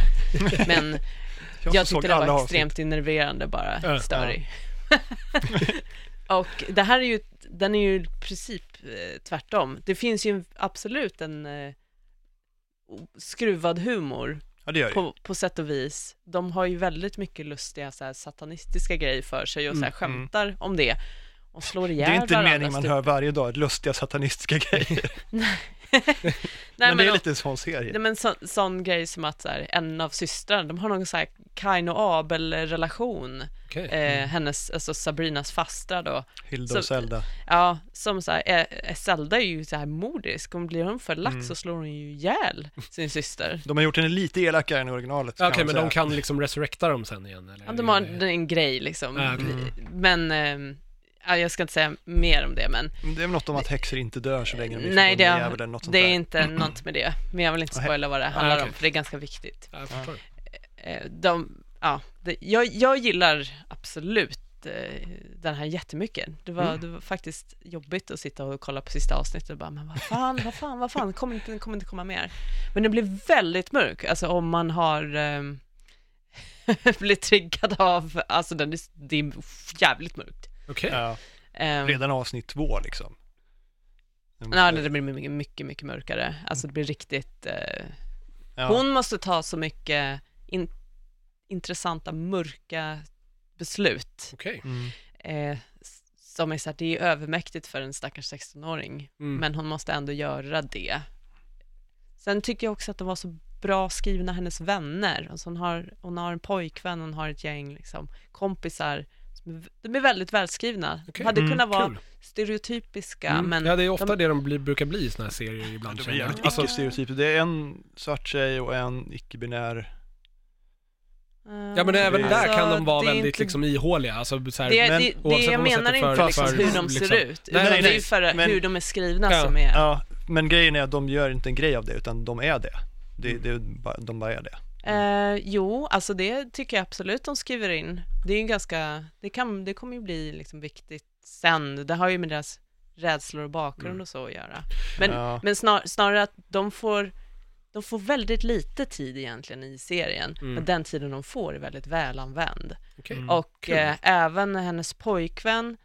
Speaker 2: Men jag,
Speaker 3: såg
Speaker 2: tyckte det
Speaker 3: alla
Speaker 2: var
Speaker 3: avsnitt.
Speaker 2: extremt innerverande bara,
Speaker 1: Ja,
Speaker 2: störig. och det här är ju, den är ju i princip eh, tvärtom. Det finns ju absolut en eh, o- skruvad humor
Speaker 3: Ja, det gör det ju.
Speaker 2: på, på sätt och vis. De har ju väldigt mycket lustiga så här, satanistiska grejer för sig och så här,
Speaker 1: Mm,
Speaker 3: mm.
Speaker 2: skämtar om det. Och slår
Speaker 3: Det
Speaker 2: ihjäl
Speaker 3: är inte en mening
Speaker 2: varandras
Speaker 3: man
Speaker 2: typ.
Speaker 3: hör varje dag, lustiga satanistiska grejer.
Speaker 2: Nej,
Speaker 3: men,
Speaker 2: men,
Speaker 3: det är
Speaker 2: och-
Speaker 3: lite en sån serie.
Speaker 2: nej, men så, sån grej som att så här, en av systrarna, de har någon så här Kain och Abel-relation.
Speaker 1: Okej.
Speaker 2: Eh, hennes, alltså Sabrinas fastra då.
Speaker 3: Hilda
Speaker 2: så-
Speaker 3: och Zelda.
Speaker 2: Ja, som så här, eh, eh, Zelda är ju så här mordisk, om blir hon för lax så slår hon ju ihjäl sin syster.
Speaker 3: De har gjort den lite elakare än originalet.
Speaker 1: Okej,
Speaker 3: kan man
Speaker 1: men
Speaker 3: säga.
Speaker 1: de kan liksom resurrecta dem sen igen eller?
Speaker 2: Ja, de har en, en grej liksom.
Speaker 1: Ja, okej.
Speaker 2: Men, ehm, ja, jag ska inte säga mer om det, men
Speaker 3: Men Det är väl något om att häxor inte dör så länge de är
Speaker 2: Nej, det,
Speaker 3: förbundna med djävulen, något sånt
Speaker 2: det är
Speaker 3: där.
Speaker 2: inte något med det. Men jag vill inte
Speaker 3: Nej.
Speaker 2: spoila vad det handlar
Speaker 1: okej.
Speaker 2: om, för det är ganska viktigt.
Speaker 1: Ja, jag förstår.
Speaker 2: Eh, De, ja, det, jag, jag gillar absolut eh, den här jättemycket. Det var,
Speaker 3: Mm.
Speaker 2: det var faktiskt jobbigt att sitta och kolla på sista avsnittet och bara, men vad fan, vad fan, vad fan, kommer inte, kommer inte komma mer. Men det blir väldigt mörk, alltså om man har ehm, blivit triggad av, alltså den är, det är jävligt mörkt.
Speaker 1: Okej.
Speaker 3: Ja,
Speaker 2: Ehm,
Speaker 3: redan avsnitt två liksom. De
Speaker 2: Nej,
Speaker 3: måste-
Speaker 2: det blir mycket, mycket, mycket mörkare. Alltså det blir riktigt... Eh,
Speaker 3: ja.
Speaker 2: Hon måste ta så mycket in, intressanta, mörka beslut.
Speaker 1: Okej.
Speaker 3: Mm.
Speaker 2: Eh, s- som är så här, det är övermäktigt för en stackars 16-åring.
Speaker 1: Mm.
Speaker 2: Men hon måste ändå göra det. Sen tycker jag också att de var så bra skrivna, hennes vänner. Alltså hon, har, hon har en pojkvän, hon har ett gäng liksom, kompisar. som är v- De är väldigt välskrivna.
Speaker 1: Okej.
Speaker 2: De hade
Speaker 3: Mm,
Speaker 2: kunnat vara
Speaker 1: kul.
Speaker 2: stereotypiska,
Speaker 1: Mm.
Speaker 2: men
Speaker 1: ja, det är ofta
Speaker 2: de-
Speaker 1: det de blir, brukar bli i såna här serier ibland.
Speaker 3: De är
Speaker 1: känner jag.
Speaker 3: jävligt
Speaker 1: alltså,
Speaker 3: mycket stereotyper. Det är en svart tjej och en icke-binär.
Speaker 1: ja, men även
Speaker 3: det-
Speaker 1: där kan de vara
Speaker 2: eh, det är
Speaker 1: väldigt
Speaker 2: inte-
Speaker 1: liksom ihåliga. Alltså, så här,
Speaker 2: Det,
Speaker 3: men
Speaker 2: det, det
Speaker 1: oavsett
Speaker 2: jag
Speaker 1: om de
Speaker 2: menar
Speaker 1: sätter
Speaker 2: inte
Speaker 1: för-
Speaker 2: liksom
Speaker 1: för-
Speaker 2: hur de ser
Speaker 1: liksom.
Speaker 2: ut, utan
Speaker 3: nej,
Speaker 2: det är
Speaker 3: nej,
Speaker 2: ju för
Speaker 3: men-
Speaker 2: hur de är skrivna
Speaker 1: Ja,
Speaker 2: som är...
Speaker 3: Ja, men grejen är att de gör inte en grej av det, utan de är det. det,
Speaker 2: Mm.
Speaker 3: det är bara- de bara är det.
Speaker 2: Eh, jo, alltså det tycker jag absolut de skriver in. Det är ju ganska, det, kan, det kommer ju bli liksom viktigt sen. Det har ju med deras rädslor och bakgrund och så att göra. Men,
Speaker 3: Ja.
Speaker 2: men snar, snarare att de får, de får väldigt lite tid egentligen i serien. Men den tiden de får är väldigt välanvänd.
Speaker 1: okej.
Speaker 3: Mm.
Speaker 2: Och eh, även hennes pojkvän,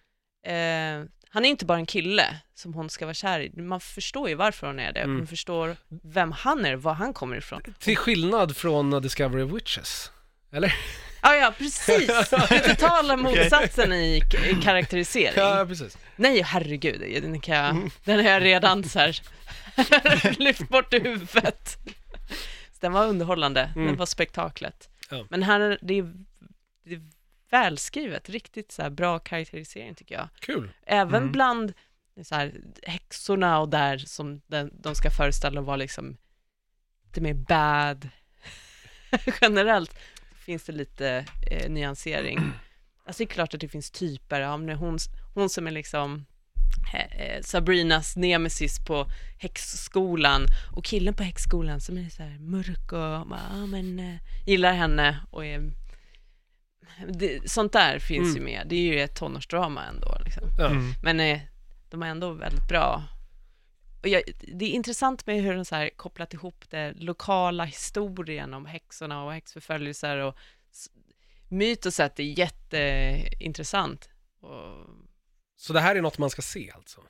Speaker 2: eh, han är inte bara en kille som hon ska vara kär i. Man förstår ju varför hon är det. Man förstår vem han är, var han kommer ifrån.
Speaker 1: Till skillnad från Discovery of Witches. Eller?
Speaker 2: Ja, ja, precis. Den totala motsatsen i k- i
Speaker 1: Ja,
Speaker 2: karaktärisering.
Speaker 1: precis.
Speaker 2: Nej, herregud, den, kan jag, den har jag redan så här lyft bort i huvudet. Så den var underhållande,
Speaker 1: Mm.
Speaker 2: den var spektaklet.
Speaker 1: Ja.
Speaker 2: Men här, är- det är, det är välskrivet, riktigt så här bra karaktärisering tycker jag.
Speaker 1: Kul.
Speaker 2: Även
Speaker 3: Mm.
Speaker 2: bland så här, häxorna och där som den, de ska föreställa och vara liksom lite mer bad generellt finns det lite eh, nyansering. Alltså det är klart att det finns typer, ja, men hon, hon som är liksom eh, eh, Sabrinas nemesis på häxskolan och killen på häxskolan som är så här mörk och bara, ja, men, eh, gillar henne och är... Det, sånt där
Speaker 1: Mm.
Speaker 2: finns ju med, det är ju ett tonårsdrama ändå. Liksom.
Speaker 1: Ja.
Speaker 3: Mm.
Speaker 2: Men eh, de är ändå väldigt bra. Och jag, det är intressant med hur de så här kopplat ihop den lokala historien om häxorna och häxförföljelser och s- myt och så att det är jätteintressant. Och,
Speaker 1: Så det här är något man ska se alltså?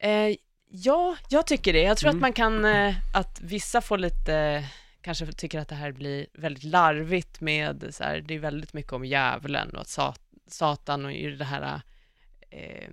Speaker 2: eh, ja, jag tycker det. Jag tror
Speaker 1: Mm.
Speaker 2: att man kan, eh, att vissa får lite, kanske tycker att det här blir väldigt larvigt med så här, det är väldigt mycket om djävulen och att sat, Satan och ju det här eh,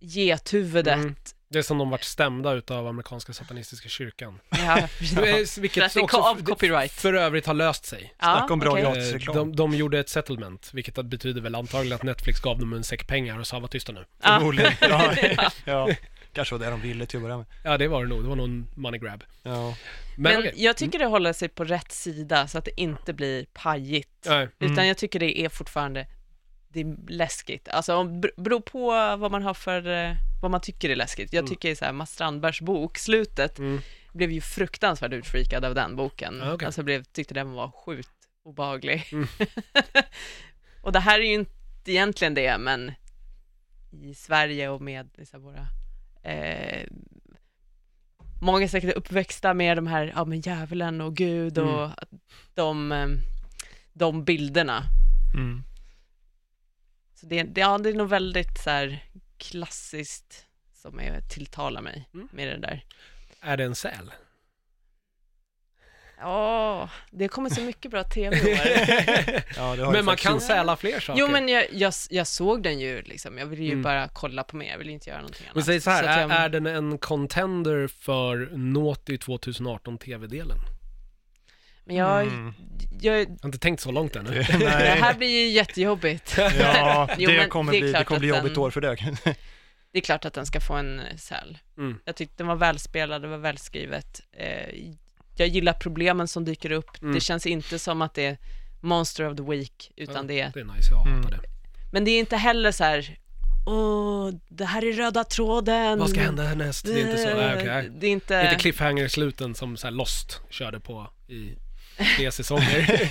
Speaker 2: gethuvudet
Speaker 1: Mm. Det är som de vart stämda utav amerikanska satanistiska kyrkan.
Speaker 2: Ja,
Speaker 1: Eh,
Speaker 2: För att
Speaker 1: Vilket
Speaker 2: det
Speaker 1: också
Speaker 2: kom- av
Speaker 1: f-
Speaker 2: copyright.
Speaker 1: för övrigt har löst sig.
Speaker 3: Snacka om bra
Speaker 2: okej.
Speaker 3: gratis.
Speaker 1: Eh,
Speaker 3: Gratisreklam.
Speaker 1: De, de gjorde ett settlement, vilket betyder väl antagligen att Netflix gav dem en säck pengar och sa var tysta nu.
Speaker 2: Ja.
Speaker 3: Förmodligen. Ja.
Speaker 2: Ja.
Speaker 3: ja. Kanske var det de ville till att börja med.
Speaker 1: Ja, det var det nog. Det var någon money grab.
Speaker 3: Ja.
Speaker 1: Men,
Speaker 2: Men
Speaker 1: okej.
Speaker 2: jag tycker det håller sig på rätt sida så att det inte blir pajigt.
Speaker 1: Nej.
Speaker 3: Mm.
Speaker 2: Utan jag tycker det är fortfarande, det är läskigt. Alltså om- bero- beror på vad man har för, eh, vad man tycker är läskigt. Jag
Speaker 1: Mm.
Speaker 2: tycker så här, Mats Strandbergs bok, slutet,
Speaker 1: Mm.
Speaker 2: blev ju fruktansvärt utfreakad av den boken.
Speaker 1: Ah, okej.
Speaker 2: Alltså blev, tyckte den var sjukt obehaglig.
Speaker 1: Mm.
Speaker 2: och det här är ju inte egentligen det, men i Sverige och med liksom våra eh, Många är säkert uppväxta med de här, ja men djävulen och gud och
Speaker 1: Mm.
Speaker 2: att de, eh, de bilderna.
Speaker 3: Mm.
Speaker 2: Så det, det, ja, det är nog väldigt så här klassiskt som är, tilltalar mig
Speaker 1: Mm.
Speaker 2: med det där.
Speaker 1: Är det en säl?
Speaker 2: Ja, det kommer så mycket bra tv i år.
Speaker 3: Ja, det har ju
Speaker 1: Men man
Speaker 3: faktiskt
Speaker 1: kan
Speaker 3: gjort.
Speaker 1: säla fler saker.
Speaker 2: Jo men jag, jag, jag såg den ju liksom, jag ville ju
Speaker 1: Mm.
Speaker 2: bara kolla på mer, jag ville inte göra någonting
Speaker 1: Men
Speaker 2: annat.
Speaker 1: säg så här,
Speaker 2: att
Speaker 1: är,
Speaker 2: jag-
Speaker 1: är den en contender för Naughty 2018 TV-delen?
Speaker 2: men jag,
Speaker 3: Mm.
Speaker 2: jag,
Speaker 1: Jag har inte tänkt så långt ännu.
Speaker 2: det
Speaker 3: Nej.
Speaker 2: här blir ju jättejobbigt.
Speaker 3: Ja,
Speaker 2: Jo,
Speaker 3: det
Speaker 2: men
Speaker 3: kommer
Speaker 2: det är
Speaker 3: bli, det
Speaker 2: klart
Speaker 3: kommer bli
Speaker 2: att den-
Speaker 3: jobbigt år för det.
Speaker 2: Det är klart att den ska få en eh, säl.
Speaker 1: Mm.
Speaker 2: Jag tyckte den var välspelad, det var välskrivet. Eh, jag gillar problemen som dyker upp.
Speaker 1: Mm.
Speaker 2: Det känns inte som att det är Monster of the Week, utan det är...
Speaker 1: Det är nice, jag hatar
Speaker 3: Mm.
Speaker 1: det.
Speaker 2: Men det är inte heller så här, åh, det här är röda tråden. Eh,
Speaker 1: Vad ska hända härnäst? Det är inte så. Nej, okej.
Speaker 2: Det är inte...
Speaker 1: Inte cliffhanger-sluten som så här Lost körde på i tre säsonger.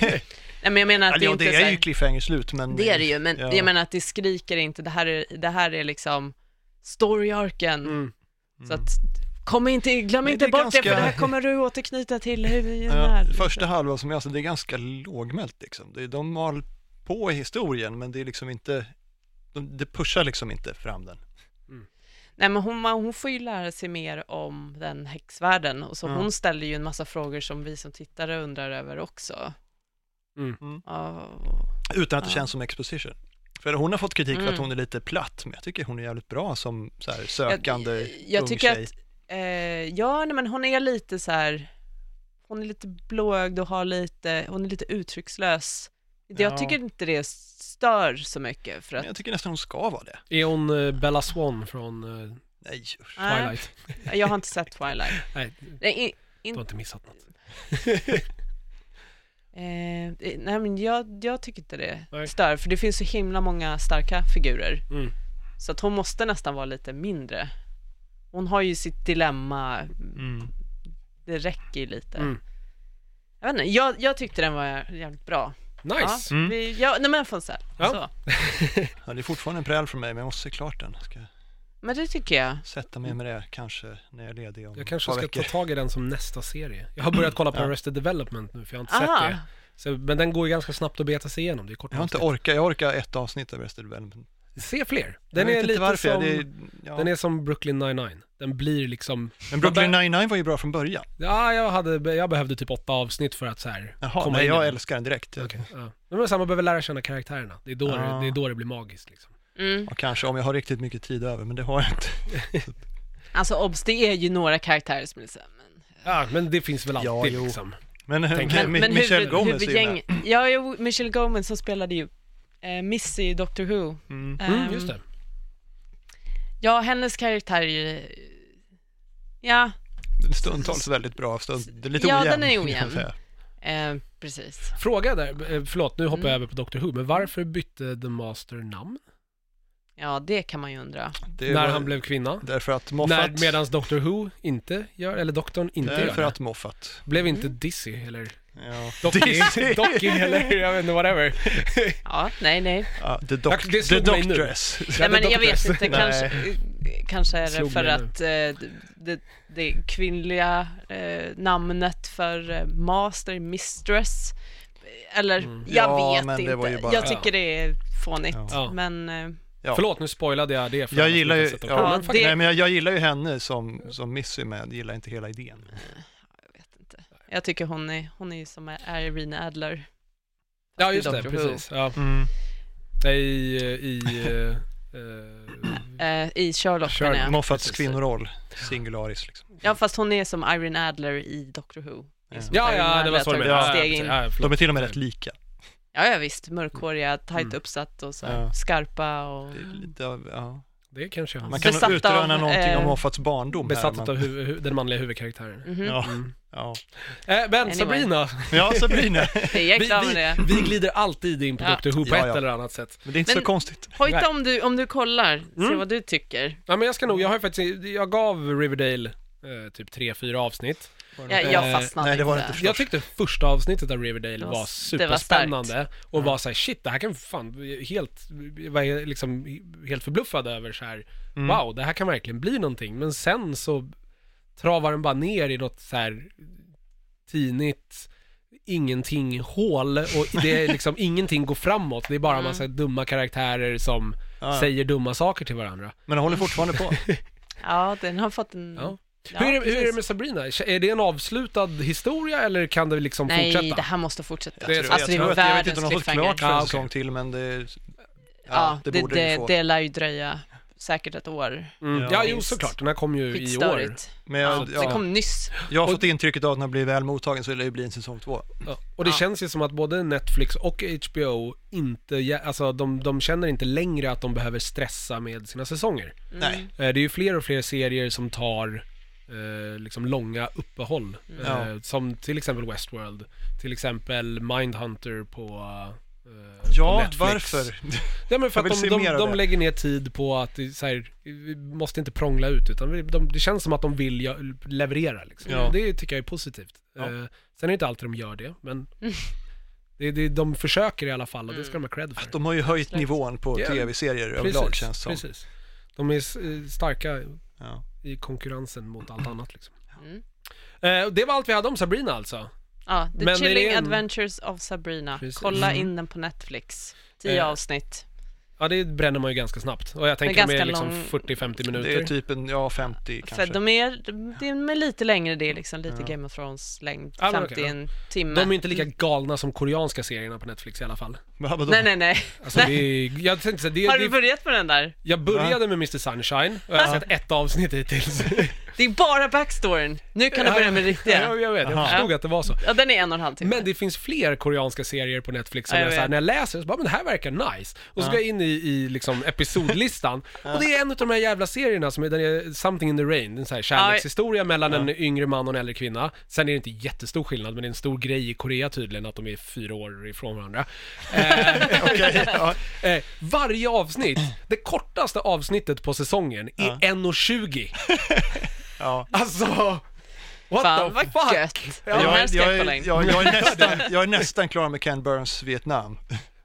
Speaker 2: Nej, men jag menar att
Speaker 1: Alltså,
Speaker 3: Eller
Speaker 2: det är inte
Speaker 3: ja, det
Speaker 2: så
Speaker 3: är
Speaker 2: här...
Speaker 3: ju cliffhanger slut, men...
Speaker 2: Det är det ju, men
Speaker 3: Ja.
Speaker 2: jag menar att det skriker inte, det här är, det här är liksom story-arken.
Speaker 1: Mm.
Speaker 2: Så att, kom inte, glöm
Speaker 3: Men
Speaker 2: inte
Speaker 3: det är
Speaker 2: bort det,
Speaker 3: ganska-
Speaker 2: för det här kommer du återknyta till hur vi
Speaker 3: Ja,
Speaker 2: är. liksom.
Speaker 3: första halvan som jag sa, det är ganska lågmält liksom. Det- De mal på i historien, men det är liksom inte... de- Det pushar liksom inte fram den.
Speaker 2: Nej, men hon, hon får ju lära sig mer om den häxvärlden, och så
Speaker 3: Ja.
Speaker 2: hon ställer ju en massa frågor som vi som tittare undrar över också.
Speaker 1: Mm.
Speaker 2: Ja,
Speaker 3: Utan att det
Speaker 2: Ja.
Speaker 3: känns som exposition. För hon har fått kritik för att
Speaker 2: Mm.
Speaker 3: hon är lite platt, men jag tycker hon är jävligt bra som så här, sökande ung
Speaker 2: jag tycker
Speaker 3: tjej.
Speaker 2: att, eh, ja, nej, men hon är lite så här, hon är lite blåögd och har lite, hon är lite uttryckslös. Jag
Speaker 3: Ja.
Speaker 2: tycker inte det stör så mycket för
Speaker 3: Men
Speaker 2: att
Speaker 3: jag tycker nästan hon ska vara det.
Speaker 1: Är hon eh, Bella Swan från eh,
Speaker 3: Nej, usch.
Speaker 2: Nej,
Speaker 1: Twilight?
Speaker 2: jag har inte sett Twilight.
Speaker 1: Nej,
Speaker 2: Nej, i-
Speaker 1: du har inte missat något.
Speaker 2: eh, i- nej men jag, jag tycker inte det
Speaker 1: Nej.
Speaker 2: stör, för det finns så himla många starka figurer.
Speaker 1: Mm.
Speaker 2: Så att hon måste nästan vara lite mindre. Hon har ju sitt dilemma,
Speaker 3: Mm.
Speaker 2: det räcker ju lite.
Speaker 1: Mm.
Speaker 2: Jag vet inte, jag, jag tyckte den var jävligt bra.
Speaker 1: Nice!
Speaker 2: Ja,
Speaker 3: Mm.
Speaker 2: vi, ja, nej men jag får en säl.
Speaker 1: Ja.
Speaker 2: Så.
Speaker 3: Ja, det är fortfarande en präl från mig, men jag måste se klart den. Ska
Speaker 2: Men det tycker jag.
Speaker 3: sätta
Speaker 2: Mm.
Speaker 3: mig med det kanske när jag är ledig om
Speaker 1: Jag
Speaker 3: ett
Speaker 1: kanske
Speaker 3: par
Speaker 1: ska ta
Speaker 3: veckor.
Speaker 1: tag i den som nästa serie. Jag har börjat kolla på
Speaker 3: Ja.
Speaker 1: Arrested Development nu, för jag har inte
Speaker 2: Aha.
Speaker 1: sett det. Så, men den går ju ganska snabbt att beta sig igenom. Det är kort
Speaker 3: Jag har inte
Speaker 1: avsnitt.
Speaker 3: orkat, jag orkar ett avsnitt av Arrested Development.
Speaker 1: Se fler!
Speaker 3: Jag
Speaker 1: Den
Speaker 3: vet
Speaker 1: är
Speaker 3: inte
Speaker 1: lite
Speaker 3: varför,
Speaker 1: som...
Speaker 3: det är, ja.
Speaker 1: Den är som Brooklyn 99. Den blir liksom...
Speaker 3: Men Brooklyn 99 var ju bra från början.
Speaker 1: Ja, jag, hade, jag behövde typ åtta avsnitt för att så här
Speaker 3: Jaha,
Speaker 1: komma
Speaker 3: nej,
Speaker 1: in i
Speaker 3: jag
Speaker 1: den.
Speaker 3: älskar den direkt.
Speaker 1: Okej, ja. Men det är samma, man behöver lära känna karaktärerna. Det är då,
Speaker 3: Ja.
Speaker 1: det, det, är då det blir magiskt liksom.
Speaker 2: Mm.
Speaker 3: Och kanske om jag har riktigt mycket tid över, men det har jag inte.
Speaker 2: Alltså obs, det är ju några karaktärer som är så här, men
Speaker 1: Ja, men det finns väl alltid
Speaker 3: Ja, jo.
Speaker 1: liksom.
Speaker 3: Men,
Speaker 1: Tänk-
Speaker 3: men,
Speaker 2: Men, men
Speaker 3: Michelle
Speaker 2: huvud,
Speaker 3: Gomez är ju med. Mm.
Speaker 2: huvudgäng, ja, jo, Michelle Gomez som spelade ju eh, Missy i Doctor Who.
Speaker 3: Mm.
Speaker 1: Mm,
Speaker 2: Ehm,
Speaker 1: just det.
Speaker 2: Ja, hennes karaktär är ju... Ja,
Speaker 3: Stundtals väldigt bra, stund, det är lite
Speaker 2: Ja,
Speaker 3: ojämn.
Speaker 2: den är
Speaker 3: kan man
Speaker 2: ojämn.
Speaker 3: säga.
Speaker 2: eh, precis.
Speaker 1: Fråga där, eh, förlåt nu hoppar
Speaker 2: Mm.
Speaker 1: jag över på Doctor Who, men varför bytte The Master namn?
Speaker 2: Ja, det kan man ju undra.
Speaker 3: Det
Speaker 1: när
Speaker 3: var-
Speaker 1: han blev kvinna?
Speaker 3: Därför att Moffat,
Speaker 1: När, medans Doctor Who inte gör, eller doktorn inte
Speaker 3: därför
Speaker 1: gör det.
Speaker 3: att Moffat.
Speaker 1: Blev inte Dizzy eller
Speaker 3: Ja.
Speaker 1: Docky,
Speaker 3: Dizzy.
Speaker 1: Docky eller jag vet inte, whatever.
Speaker 2: Ja, nej, nej.
Speaker 3: Ja, the
Speaker 1: Jag-
Speaker 3: doc,
Speaker 1: det
Speaker 3: the
Speaker 1: slog mig nu.
Speaker 3: Doctress.
Speaker 2: nej men jag vet
Speaker 1: Doctress.
Speaker 2: inte, kanske, kanske är det
Speaker 1: Slog
Speaker 2: för
Speaker 1: mig
Speaker 2: att eh, det, det kvinnliga eh, namnet för eh, master, mistress. Eller, jag
Speaker 3: Mm. Ja,
Speaker 2: vet
Speaker 3: men det
Speaker 2: inte.
Speaker 3: var ju bara-
Speaker 2: Jag tycker det är fånigt.
Speaker 1: Ja.
Speaker 2: Men, eh,
Speaker 3: Ja.
Speaker 1: Förlåt, nu spoilade jag det. För
Speaker 3: Jag
Speaker 1: alla som
Speaker 3: gillar
Speaker 1: inte
Speaker 3: ju-
Speaker 1: sett
Speaker 3: ja,
Speaker 1: Doctor Who, men
Speaker 2: det-
Speaker 1: faktiskt-
Speaker 3: Nej men jag, jag gillar ju henne som, som Missy med, jag gillar inte hela idén.
Speaker 2: jag vet inte. Jag tycker hon är, hon är ju som är Irene Adler.
Speaker 1: Ja, just det,
Speaker 2: Doctor Who.
Speaker 1: precis. Ja.
Speaker 3: Mm.
Speaker 1: Nej, I, i, eh, eh,
Speaker 2: Eh, I Sherlock,
Speaker 1: Sherlock.
Speaker 2: menar jag.
Speaker 3: Moffats
Speaker 1: precis.
Speaker 3: kvinnoroll, singularis liksom.
Speaker 2: Ja, fast hon är som Irene Adler i Doctor Who. Det är som
Speaker 1: ja,
Speaker 2: att Irene
Speaker 1: ja, det
Speaker 2: Adler
Speaker 1: var så
Speaker 2: har
Speaker 1: det
Speaker 2: tagit
Speaker 1: menade.
Speaker 2: ett
Speaker 1: Ja,
Speaker 2: steg
Speaker 1: precis.
Speaker 2: in.
Speaker 1: Ja, förlåt.
Speaker 3: De är till och med rätt lika.
Speaker 2: Ja, ja visst, mörkhåriga, tajt
Speaker 1: Mm.
Speaker 2: uppsatt och så här,
Speaker 3: Ja.
Speaker 2: skarpa och...
Speaker 3: Det är lite av, ja.
Speaker 1: Det kanske är hans.
Speaker 3: Man kan
Speaker 2: Besatt
Speaker 3: nog
Speaker 2: av,
Speaker 3: utröna någonting om
Speaker 2: eh,
Speaker 3: Moffats barndom
Speaker 1: Besatt
Speaker 3: här.
Speaker 1: av hu- hu- den manliga huvudkaraktären.
Speaker 2: Mhm.
Speaker 3: ja,
Speaker 1: Mm.
Speaker 3: ja.
Speaker 1: Eh, men
Speaker 2: Anyway.
Speaker 1: Sabrina,
Speaker 3: ja, Sabrina.
Speaker 2: Jag är
Speaker 1: vi,
Speaker 2: klar med det.
Speaker 1: vi, vi glider alltid in på
Speaker 2: Ja.
Speaker 1: Dr Who på
Speaker 3: Ja,
Speaker 1: ett
Speaker 3: ja.
Speaker 1: eller annat sätt.
Speaker 3: Men det är inte
Speaker 2: Men-
Speaker 3: så konstigt.
Speaker 2: Hojta om du, om du kollar, se
Speaker 1: Mm.
Speaker 2: vad du tycker.
Speaker 1: Ja, men jag ska nog, jag har ju faktiskt, jag gav Riverdale eh, typ tre fyra avsnitt.
Speaker 2: Jag,
Speaker 1: Eh,
Speaker 2: jag fastnade
Speaker 3: nej, det var
Speaker 2: inte.
Speaker 3: inte
Speaker 1: Jag tyckte första avsnittet av Riverdale
Speaker 2: Det
Speaker 1: var,
Speaker 2: var- det var
Speaker 1: superspännande och var såhär shit, det här kan fan, helt, var jag liksom helt förbluffad över så här.
Speaker 3: Mm.
Speaker 1: wow, det här kan verkligen bli någonting. Men sen så travar den bara ner i något så här tinigt ingenting hål och det är liksom ingenting går framåt. Det är bara en
Speaker 2: Mm.
Speaker 1: massa dumma karaktärer som
Speaker 3: Ja,
Speaker 1: säger dumma saker till varandra.
Speaker 3: men jag håller fortfarande
Speaker 2: Alltså,
Speaker 3: på.
Speaker 2: Ja, den har fått en...
Speaker 1: Ja.
Speaker 2: Ja,
Speaker 1: hur, är, det- hur är det
Speaker 2: precis.
Speaker 1: med Sabrina? Är det en avslutad historia eller kan det liksom
Speaker 2: Nej,
Speaker 1: fortsätta?
Speaker 2: det här måste fortsätta.
Speaker 3: Jag, tror,
Speaker 2: alltså, det
Speaker 3: jag, tror
Speaker 2: är
Speaker 3: att, jag vet inte
Speaker 2: världens
Speaker 3: om de har fått
Speaker 2: cliffhanger.
Speaker 3: klart för en
Speaker 1: Ja, okej.
Speaker 3: säsong till, men det, ja,
Speaker 2: Ja,
Speaker 3: det,
Speaker 2: det,
Speaker 3: borde vi
Speaker 2: det,
Speaker 3: få.
Speaker 2: det lär ju dröja säkert ett år.
Speaker 1: Mm. Ja,
Speaker 3: Ja,
Speaker 1: jo
Speaker 2: minst.
Speaker 1: såklart. Den här kom ju i år.
Speaker 2: Skitstörigt.
Speaker 3: men jag,
Speaker 1: Alltså,
Speaker 3: ja,
Speaker 2: Det kom nyss.
Speaker 3: jag har fått intrycket av att när den blir väl mottagen så lär det bli en säsong två.
Speaker 1: Ja. Och det
Speaker 2: Ja.
Speaker 1: känns ju som att både Netflix och HBO inte, jä- alltså de, de känner inte längre att de behöver stressa med sina säsonger.
Speaker 2: Mm.
Speaker 3: Nej.
Speaker 1: Eh, Det är ju fler och fler serier som tar eh, liksom långa uppehåll.
Speaker 3: Mm. Ja.
Speaker 1: Eh, som till exempel Westworld, till exempel Mindhunter på, eh, på
Speaker 3: Ja,
Speaker 1: Netflix.
Speaker 3: varför?
Speaker 1: Ja, men för
Speaker 3: Jag
Speaker 1: att
Speaker 3: vill
Speaker 1: de,
Speaker 3: se mer
Speaker 1: de,
Speaker 3: av
Speaker 1: de
Speaker 3: det.
Speaker 1: lägger ner tid på att det är så här, vi måste inte prångla ut utan vi, de, det känns som att de vill ja, leverera. Liksom.
Speaker 3: Ja.
Speaker 1: Det tycker jag är positivt.
Speaker 3: Ja. Mm.
Speaker 1: Eh, sen är det inte alltid de gör det, men det, det, de försöker i alla fall och det ska de ha cred för.
Speaker 3: Att de har ju höjt
Speaker 2: Absolut.
Speaker 3: nivån på
Speaker 1: Ja,
Speaker 3: tv-serier överlag känns det som.
Speaker 1: precis. De är s- eh, starka
Speaker 3: Ja.
Speaker 1: i konkurrensen mot allt annat. Liksom.
Speaker 2: Mm.
Speaker 1: Eh, det var allt vi hade om Sabrina alltså.
Speaker 2: Ja, The
Speaker 1: Men är det
Speaker 2: Chilling
Speaker 1: en-
Speaker 2: Adventures of Sabrina.
Speaker 1: Precis.
Speaker 2: Kolla
Speaker 1: Mm.
Speaker 2: in den på Netflix. Tio
Speaker 1: Eh,
Speaker 2: avsnitt.
Speaker 1: Ja, det bränner man ju ganska snabbt. Och jag tänker med
Speaker 2: ganska
Speaker 1: liksom
Speaker 2: lång-
Speaker 1: 40-50 minuter.
Speaker 3: Det är typ en, ja 50
Speaker 2: För
Speaker 3: kanske.
Speaker 2: de är, de är lite längre, det är liksom lite
Speaker 3: Ja.
Speaker 2: Game of Thrones-längd.
Speaker 1: Ja, men
Speaker 2: 50
Speaker 1: okej, ja.
Speaker 2: en timme.
Speaker 1: de är inte lika galna som koreanska serierna på Netflix i alla fall.
Speaker 3: Va, vadå?
Speaker 2: Nej, nej, nej.
Speaker 1: Alltså det är, jag tänkte så här, det,
Speaker 2: Har du
Speaker 1: det,
Speaker 2: börjat med den där?
Speaker 1: jag började med Mr Sunshine och jag har sett ett avsnitt hittills.
Speaker 2: Det är bara backstoryn. Nu kan du börja med det
Speaker 1: Ja,
Speaker 2: riktiga.
Speaker 1: jag vet, jag
Speaker 3: Aha.
Speaker 1: förstod att det var så.
Speaker 2: Ja, den är en och en halv timme.
Speaker 1: Men det finns fler koreanska serier på Netflix som
Speaker 2: typ. Ja, jag
Speaker 1: jag så här,
Speaker 2: vet.
Speaker 1: när jag läser så bara, men det här verkar nice. Och så
Speaker 3: Ja.
Speaker 1: går jag in i, i liksom episodlistan och det är en av de här jävla serierna som är, den är Something in the Rain, det är en så här kärlekshistoria mellan en yngre man och en äldre kvinna. Sen är det inte jättestor skillnad, men det är en stor grej i Korea tydligen att de är fyra år ifrån varandra. Eh,
Speaker 3: Okej, ja.
Speaker 1: Eh, varje avsnitt, det kortaste avsnittet på säsongen är
Speaker 3: Ja.
Speaker 1: 1.20.
Speaker 3: ja.
Speaker 1: Alltså, what
Speaker 2: Fan
Speaker 1: the
Speaker 2: vad
Speaker 1: fuck?
Speaker 2: gött!
Speaker 1: Ja,
Speaker 2: de
Speaker 1: jag
Speaker 2: här
Speaker 3: jag,
Speaker 2: ska
Speaker 3: jag,
Speaker 2: jag,
Speaker 3: är-
Speaker 2: kolla in.
Speaker 3: jag, jag, är nästan, jag är nästan klar med Ken Burns Vietnam.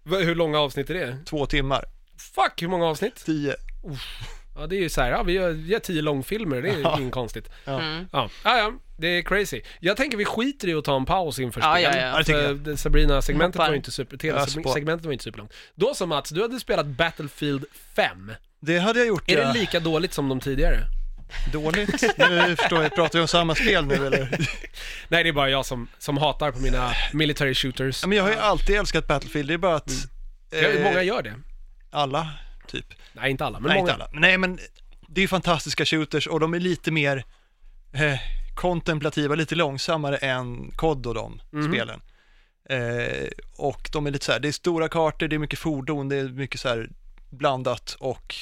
Speaker 1: V- Hur långa avsnitt är det?
Speaker 3: Två timmar,
Speaker 1: Fuck, hur många avsnitt?
Speaker 3: tio.
Speaker 1: Ja, det är ju så här, ja, vi gör, gör tio långfilmer, det är ju inget konstigt. Ja.
Speaker 2: Mm.
Speaker 1: Ja. ja, det är crazy. Jag tänker vi skiter i att ta en paus inför
Speaker 2: Ja,
Speaker 1: spel.
Speaker 2: ja, ja.
Speaker 3: Ja, det tycker jag.
Speaker 1: För Sabrina-segmentet
Speaker 2: Hoppar.
Speaker 1: var ju inte super,
Speaker 3: Jag spar.
Speaker 1: tv-segmentet var ju inte superlångt. Då som Mats, du hade spelat Battlefield 5.
Speaker 3: Det hade jag gjort
Speaker 1: Är
Speaker 3: ja.
Speaker 1: det lika dåligt som de tidigare?
Speaker 3: dåligt. Nu förstår jag, pratar vi om samma spel nu eller?
Speaker 1: Nej, det är bara jag som, som hatar på mina military shooters.
Speaker 3: Ja, Men jag har ju alltid älskat Battlefield, det är bara att
Speaker 1: Mm. Ja,
Speaker 3: eh,
Speaker 1: många gör det.
Speaker 3: alla, typ.
Speaker 1: Nej, inte alla, men
Speaker 3: Nej,
Speaker 1: många.
Speaker 3: inte alla. Nej, men det är ju fantastiska shooters och de är lite mer eh, kontemplativa, lite långsammare än COD och de
Speaker 1: Mhm.
Speaker 3: spelen. Eh, och de är lite så här, det är stora kartor, det är mycket fordon, det är mycket så här blandat och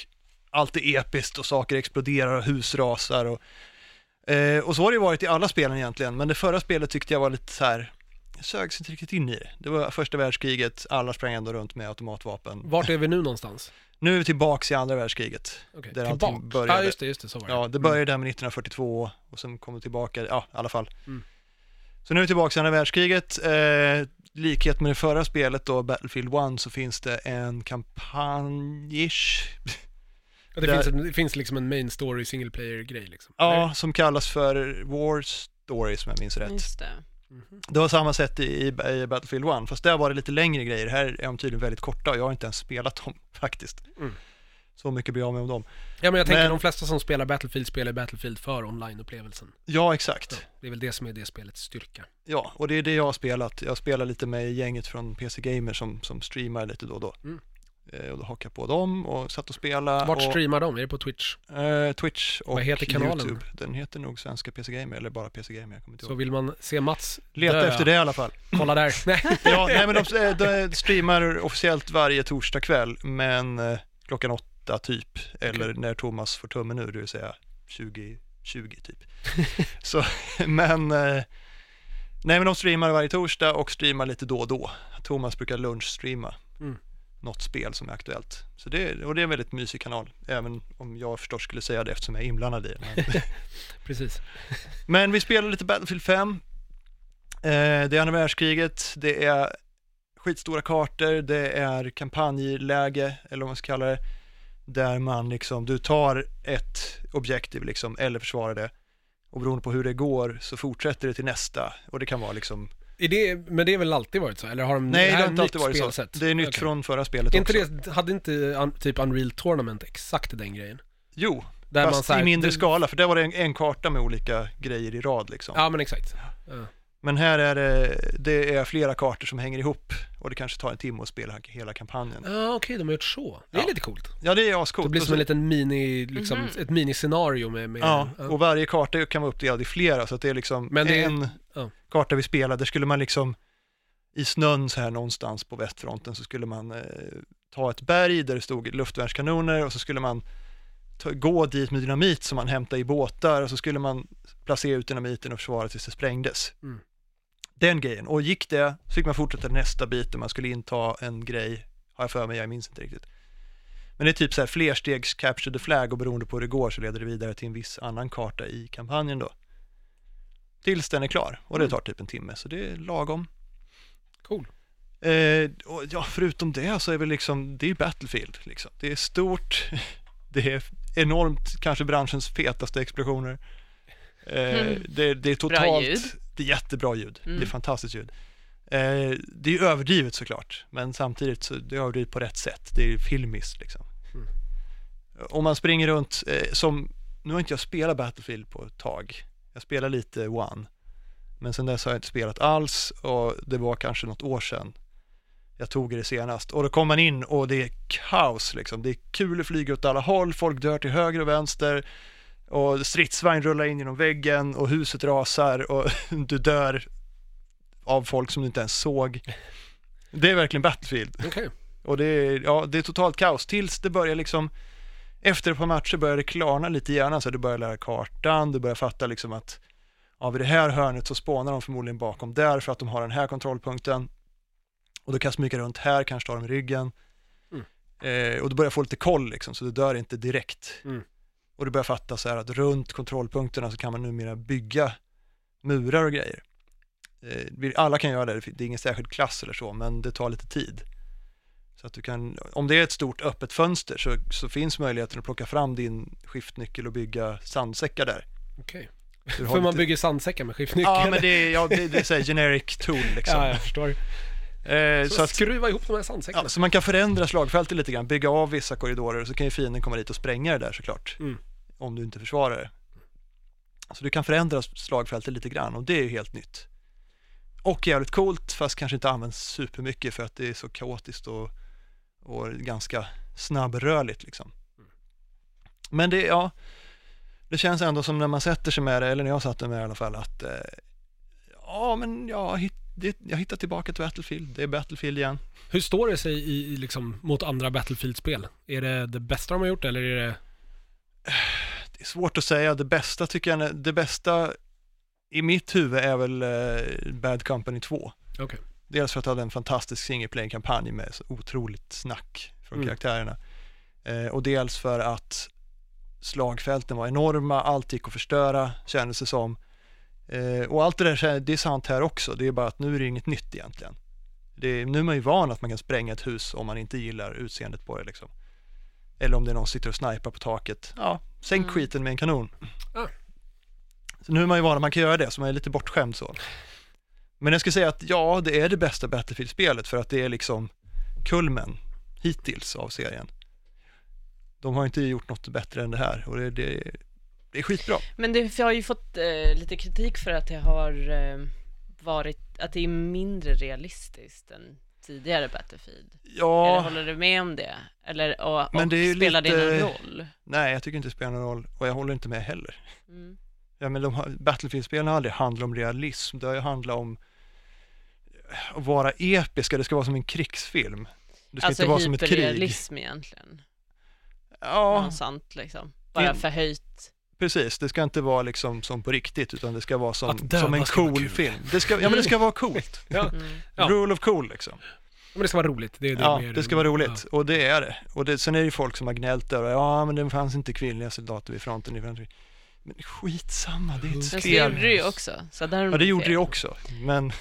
Speaker 3: allt är episkt och saker exploderar och hus rasar och, eh, och så har det ju varit i alla spelen egentligen, men det förra spelet tyckte jag var lite så här, jag sögs inte riktigt in i det. Det var första världskriget, alla sprang ändå runt med automatvapen.
Speaker 1: Vart är vi nu någonstans?
Speaker 3: Nu är vi tillbaks i andra världskriget.
Speaker 1: Okej,
Speaker 3: Där allting
Speaker 1: tillbaka.
Speaker 3: började.
Speaker 1: Ja, just det, just det, Mm. så var det.
Speaker 3: Ja, det började där med 1942 och sen kom det tillbaka, ja i alla fall.
Speaker 1: Mm.
Speaker 3: Så nu är vi tillbaka till andra världskriget. Eh, likhet med det förra spelet då, Battlefield 1, så finns det en kampanj-ish,
Speaker 1: Ja, det,
Speaker 3: där-
Speaker 1: finns en, det finns liksom en main story, single player-grej liksom.
Speaker 3: ja, som kallas för War Stories om jag minns rätt.
Speaker 2: Just det.
Speaker 1: Mhm.
Speaker 3: Det var samma sätt i, i, i Battlefield 1, fast där var det lite längre grejer. Här är de tydligen väldigt korta och jag har inte ens spelat dem faktiskt.
Speaker 1: Mm.
Speaker 3: Så mycket bryr jag mig om dem.
Speaker 1: Ja, men jag tänker
Speaker 3: Men-
Speaker 1: de flesta som spelar Battlefield spelar Battlefield för online-upplevelsen.
Speaker 3: Ja,
Speaker 1: Så
Speaker 3: exakt.
Speaker 1: Det är väl det som är det spelets styrka.
Speaker 3: Ja, och det är det jag har spelat. Jag spelar lite med gänget från PC Gamer som, som streamar lite då och då.
Speaker 1: Mm.
Speaker 3: Eh, och då hakar jag på dem och satt och spelade.
Speaker 1: Vart
Speaker 3: och,
Speaker 1: streamar de? Är det på Twitch?
Speaker 3: eh, Twitch och
Speaker 1: Vad heter kanalen?
Speaker 3: YouTube. Den heter nog Svenska PC Gamer eller bara PC Gamer, jag kommer inte
Speaker 1: Så
Speaker 3: ihåg.
Speaker 1: vill man se Mats
Speaker 3: Leta
Speaker 1: dö,
Speaker 3: efter det i alla fall.
Speaker 1: Kolla där. Nej.
Speaker 3: Ja, nej men de, eh, de streamar officiellt varje torsdag kväll, men eh, klockan åtta typ, eller när Thomas får tummen ur, det vill säga 20, 20 typ. Så, men, eh, nej men de streamar varje torsdag och streamar lite då och då. Thomas brukar lunchstreama
Speaker 1: Mm.
Speaker 3: något spel som är aktuellt. Så det, och det är en väldigt mysig kanal, även om jag förstås skulle säga det eftersom jag är inblandad i det. Men-
Speaker 1: Precis.
Speaker 3: men vi spelar lite Battlefield 5. Eh, det är andra världskriget, det är skitstora kartor, det är kampanjläge, eller vad man ska kalla det, där man liksom, du tar ett objektiv liksom, eller försvarar det, och beroende på hur det går så fortsätter det till nästa, och det kan vara liksom,
Speaker 1: Är det, men det har väl alltid varit så? Eller har de
Speaker 3: nej det
Speaker 1: Mm. här
Speaker 3: har
Speaker 1: är
Speaker 3: inte alltid
Speaker 1: nytt
Speaker 3: varit så,
Speaker 1: spelsätt?
Speaker 3: det är nytt
Speaker 1: Okej.
Speaker 3: från förra spelet
Speaker 1: Är Inte
Speaker 3: också.
Speaker 1: det, hade inte un, typ Unreal Tournament exakt den grejen?
Speaker 3: Jo,
Speaker 1: Där
Speaker 3: fast
Speaker 1: så här-
Speaker 3: i mindre
Speaker 1: det-
Speaker 3: skala, för där var det en, en karta med olika grejer i rad liksom.
Speaker 1: Ja men exakt. Ja.
Speaker 3: Men här är det, det är flera kartor som hänger ihop och det kanske tar en timme att spela hela kampanjen.
Speaker 1: Ja okej, de har gjort så. Det är
Speaker 3: Ja.
Speaker 1: lite coolt.
Speaker 3: Ja, det är
Speaker 1: Det
Speaker 3: ascoolt.
Speaker 1: blir som
Speaker 3: Och så-
Speaker 1: en liten mini, liksom,
Speaker 2: Mhm.
Speaker 1: ett miniscenario med... med
Speaker 3: Ja,
Speaker 1: ja.
Speaker 3: och varje karta kan vara uppdelad i flera så att det är liksom
Speaker 1: Men det är-
Speaker 3: en
Speaker 1: ja.
Speaker 3: karta vi spelade, skulle man liksom i snön så här någonstans på västfronten så skulle man eh, ta ett berg där det stod luftvärnskanoner och så skulle man ta, gå dit med dynamit som man hämtade i båtar och så skulle man placera ut dynamiten och försvara tills det sprängdes.
Speaker 1: Mm.
Speaker 3: Den grejen. Och gick det så fick man fortsätta nästa bit där man skulle inta en grej, har jag för mig, jag minns inte riktigt. Men det är typ så här flerstegs capture the flag och beroende på hur det går så leder det vidare till en viss annan karta i kampanjen då. Tills den är klar och det tar typ en timme så det är lagom.
Speaker 1: Cool.
Speaker 3: Eh, och ja, förutom det så är väl liksom, det är Battlefield liksom. Det är stort, det är enormt, kanske branschens fetaste explosioner. Eh,
Speaker 2: Mm.
Speaker 3: det, det är
Speaker 2: Bra
Speaker 3: totalt,
Speaker 2: ljud.
Speaker 3: det är jättebra ljud,
Speaker 2: Mm.
Speaker 3: det är fantastiskt ljud. Eh, det är överdrivet såklart, men samtidigt så det är överdrivet på rätt sätt, det är filmiskt liksom.
Speaker 1: Mm.
Speaker 3: Om man springer runt, eh, som, nu har inte jag spelat Battlefield på ett tag, jag spelar lite One, men sen dess har jag inte spelat alls och det var kanske något år sedan jag tog det senast. Och då kom man in och det är kaos liksom. Det är kulor flyger åt alla håll, folk dör till höger och vänster och stridsvagn rullar in genom väggen och huset rasar och du dör av folk som du inte ens såg. Det är verkligen Battlefield
Speaker 1: Okej.
Speaker 3: och det är, ja, det är totalt kaos tills det börjar liksom efter ett par matcher börjar det klarna lite i hjärnan så du börjar lära kartan, du börjar fatta liksom att ja, vid det här hörnet så spånar de förmodligen bakom där för att de har den här kontrollpunkten och du kan smyga runt här, kanske ta dem i ryggen eh, och du börjar få lite koll liksom så du dör inte direkt
Speaker 1: Mm.
Speaker 3: och du börjar fatta så här att runt kontrollpunkterna så kan man numera bygga murar och grejer. Eh, vi- alla kan göra det, det är ingen särskild klass eller så men det tar lite tid. Så att du kan, om det är ett stort öppet fönster så, så finns möjligheten att plocka fram din skiftnyckel och bygga sandsäckar där.
Speaker 1: okej.
Speaker 3: Så du har
Speaker 1: För man
Speaker 3: lite-
Speaker 1: bygger sandsäckar med skiftnyckel.
Speaker 3: Ja, men det är, ja, det, det är så här generic tool liksom.
Speaker 1: ja, jag förstår.
Speaker 3: Eh,
Speaker 1: Så,
Speaker 3: så, att,
Speaker 1: skruva ihop de här sandsäckarna.
Speaker 3: ja, så man kan förändra slagfältet lite grann, bygga av vissa korridorer och så kan ju fienden komma dit och spränga det där såklart.
Speaker 1: Mm.
Speaker 3: Om du inte försvarar det. Så du kan förändra slagfältet lite grann och det är ju helt nytt. Och jävligt coolt fast kanske inte används supermycket för att det är så kaotiskt och, och ganska snabbrörligt liksom. Men det, ja, det känns ändå som när man sätter sig med det, eller när jag satte mig med det i alla fall, att eh, ja, men jag, hitt, det, jag hittar tillbaka till Battlefield, det är Battlefield igen.
Speaker 1: Hur står det sig i, i liksom, mot andra Battlefield-spel? Är det det bästa de har gjort eller är det...
Speaker 3: Det är svårt att säga, det bästa tycker jag, det bästa i mitt huvud är väl eh, Bad Company 2.
Speaker 1: Okej.
Speaker 3: Dels för att det hade en fantastisk single kampanj med så otroligt snack från
Speaker 1: Mm.
Speaker 3: karaktärerna. Eh, och dels för att slagfälten var enorma, allt gick att förstöra kändes det som. Eh, och allt det där, kän- det är sant här också, det är bara att nu är det inget nytt egentligen. Det är, nu är man ju van att man kan spränga ett hus om man inte gillar utseendet på det liksom. Eller om det är någon som sitter och snipar på taket, ja, sänk
Speaker 2: Mm.
Speaker 3: skiten med en kanon.
Speaker 1: Ah.
Speaker 3: Så nu är man ju van att man kan göra det, så man är lite bortskämd så. Men jag skulle säga att ja, det är det bästa Battlefield-spelet för att det är liksom kulmen hittills av serien. De har inte gjort något bättre än det här och det, det, det är skitbra.
Speaker 2: Men det, jag har ju fått eh, lite kritik för att det har eh, varit, att det är mindre realistiskt än tidigare Battlefield. Eller
Speaker 3: Ja,
Speaker 2: håller du med om det? Eller och, och
Speaker 3: Men det är ju
Speaker 2: spelar det
Speaker 3: lite-
Speaker 2: någon roll?
Speaker 3: nej jag tycker inte det spelar någon roll och jag håller inte med heller.
Speaker 2: Mm.
Speaker 3: Ja, men de har, Battlefield-spelen har aldrig handlat om realism, det har ju handlat om att vara episka, det ska vara som en krigsfilm. Det ska
Speaker 2: Alltså
Speaker 3: inte vara som ett krig.
Speaker 2: hyperrealism egentligen.
Speaker 3: Ja, alltså.
Speaker 2: Någonsamt liksom. Bara
Speaker 3: Det-
Speaker 2: förhöjt.
Speaker 3: precis. Det ska inte vara liksom som på riktigt utan det ska vara som,
Speaker 1: Att döda
Speaker 3: som en
Speaker 1: ska vara
Speaker 3: cool
Speaker 1: kul.
Speaker 3: film. Det ska, ja, men det ska vara coolt.
Speaker 1: Ja.
Speaker 2: Mm.
Speaker 1: Ja.
Speaker 3: Rule of cool liksom.
Speaker 1: Men det ska vara roligt. Det är det
Speaker 3: Ja,
Speaker 1: mer-
Speaker 3: det ska vara roligt och det är det. Och det, sen är det ju folk som har gnällt över, ja men det fanns inte kvinnliga soldater vid fronten i Frankrike. Men skitsamma, det är
Speaker 1: Mm.
Speaker 3: ett
Speaker 2: Men så gjorde
Speaker 3: spel.
Speaker 2: det ju också. Så där har de
Speaker 3: Ja, det
Speaker 2: fel.
Speaker 3: gjorde det ju också. Men,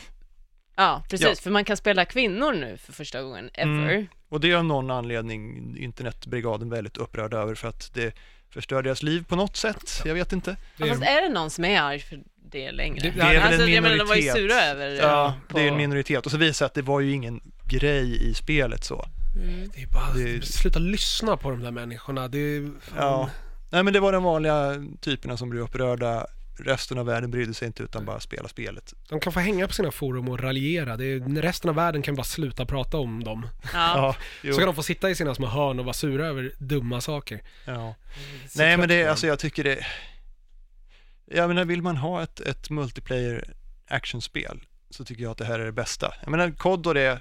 Speaker 2: Ja, precis.
Speaker 3: Ja.
Speaker 2: För man kan spela kvinnor nu för första gången ever.
Speaker 3: Mm. och det är av någon anledning internetbrigaden väldigt upprörd över för att det förstör deras liv på något sätt. Jag vet inte.
Speaker 1: Ja,
Speaker 2: Ja,
Speaker 1: det är
Speaker 2: fast är det någon som är arg för det längre?
Speaker 1: Det- det
Speaker 3: är väl
Speaker 2: alltså,
Speaker 3: en
Speaker 2: jag menar, de var ju
Speaker 3: minoritet.
Speaker 2: sura över det.
Speaker 3: Ja, det är en
Speaker 2: på-
Speaker 3: minoritet. Och så visar det sig att det var ju ingen grej i spelet så.
Speaker 2: Mm.
Speaker 1: Det är bara,
Speaker 3: Det är-
Speaker 1: sluta lyssna på de där människorna. Det är, fan.
Speaker 3: Ja. Nej men det var de vanliga typerna som blev upprörda. Resten av världen brydde sig inte
Speaker 2: Mm.
Speaker 3: utan bara spela spelet.
Speaker 1: De kan få hänga på sina forum och raljera. Det är, resten av världen kan bara sluta prata om dem.
Speaker 2: Ja.
Speaker 3: Ja, jo.
Speaker 1: Så kan de få sitta i sina små hörn och vara sura över dumma saker.
Speaker 3: ja.
Speaker 1: Så
Speaker 3: Nej men
Speaker 1: trött
Speaker 3: det,
Speaker 1: på dem.
Speaker 3: alltså jag tycker det, jag menar vill man ha ett, ett multiplayer actionspel så tycker jag att det här är det bästa. Jag menar COD och det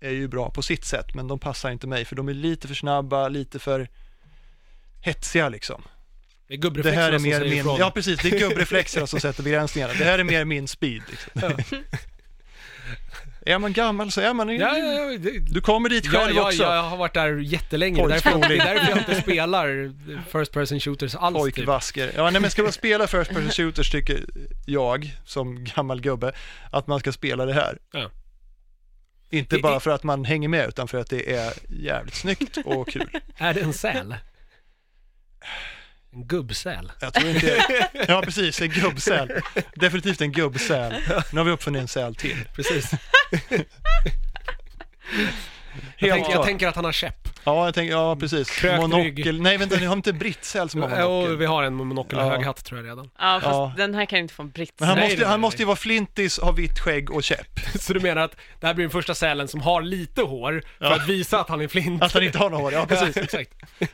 Speaker 3: är ju bra på sitt sätt men de passar inte mig för de är lite för snabba, lite för hetsiga liksom.
Speaker 1: det är
Speaker 3: Det
Speaker 1: gubbreflexerna
Speaker 3: här är
Speaker 1: som
Speaker 3: mer
Speaker 1: säger
Speaker 3: min,
Speaker 1: ifrån.
Speaker 3: ja precis, det är gubbreflexerna som sätter begränsningarna. Det här är mer min speed liksom. Är man gammal så är man ju,
Speaker 1: Ja, ja, ja, det,
Speaker 3: du kommer dit
Speaker 1: Ja,
Speaker 3: själv
Speaker 1: ja,
Speaker 3: också.
Speaker 1: jag har varit där jättelänge. Det är därför, jag- det är därför jag inte spelar First Person Shooters alls. Typ.
Speaker 3: Pojkvasker. Ja, nej, men ska man spela First Person Shooters tycker jag, som gammal gubbe, att man ska spela det här.
Speaker 1: Ja.
Speaker 3: Inte
Speaker 1: Det är-
Speaker 3: bara för att man hänger med, utan för att det är jävligt snyggt och kul.
Speaker 1: Är det en säl? En gubbsäl?
Speaker 3: Jag tror inte... Ja, precis, en gubbsäl. Definitivt en gubbsäl. Nu har vi uppfunnit en säl till.
Speaker 1: Precis. Jag
Speaker 3: Helt
Speaker 1: tänker, jag
Speaker 3: klart.
Speaker 1: tänker att han har käpp.
Speaker 3: Ja, jag tänker, ja precis.
Speaker 1: Krökt
Speaker 3: Monokel.
Speaker 1: rygg.
Speaker 3: Nej, vänta, ni har inte brittsäl som har
Speaker 1: Och vi
Speaker 3: monokel?
Speaker 1: har en med monokel och
Speaker 3: Ja.
Speaker 1: hög hatt tror jag redan.
Speaker 2: ja, fast
Speaker 3: Ja.
Speaker 2: den här kan ju inte få en britt.
Speaker 3: Men han
Speaker 1: Nej,
Speaker 3: måste,
Speaker 1: nej, nej.
Speaker 3: han måste ju vara flintis, ha vitt skägg och käpp.
Speaker 1: Så du menar att det här blir den första sälen som har lite hår för
Speaker 3: Ja.
Speaker 1: att visa att han är flint?
Speaker 3: Att han inte har något hår, ja precis.
Speaker 1: Ja, exakt.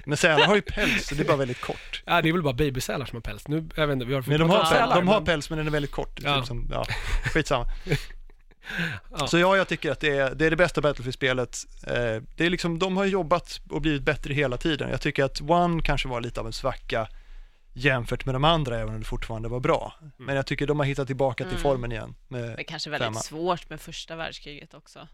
Speaker 3: Men sälar har ju päls, så det är bara väldigt kort.
Speaker 1: Ja, det är väl bara babysälar som har päls. Nu, jag vet inte, vi har
Speaker 3: Men de har,
Speaker 1: pratat om
Speaker 3: päls,
Speaker 1: sälar,
Speaker 3: de har
Speaker 1: men-
Speaker 3: päls men den är väldigt kort.
Speaker 1: Ja.
Speaker 3: Typ som, ja, skitsamma.
Speaker 1: Ja.
Speaker 3: Så ja, jag tycker att det är det, är det bästa Battlefield-spelet. Eh, det är liksom, de har jobbat och blivit bättre hela tiden. Jag tycker att One kanske var lite av en svacka jämfört med de andra, även om det fortfarande var bra.
Speaker 1: Mm.
Speaker 3: Men jag tycker de har hittat tillbaka till
Speaker 2: Mm.
Speaker 3: formen igen. Med,
Speaker 2: Det är kanske väldigt
Speaker 3: Femma.
Speaker 2: svårt med första världskriget också.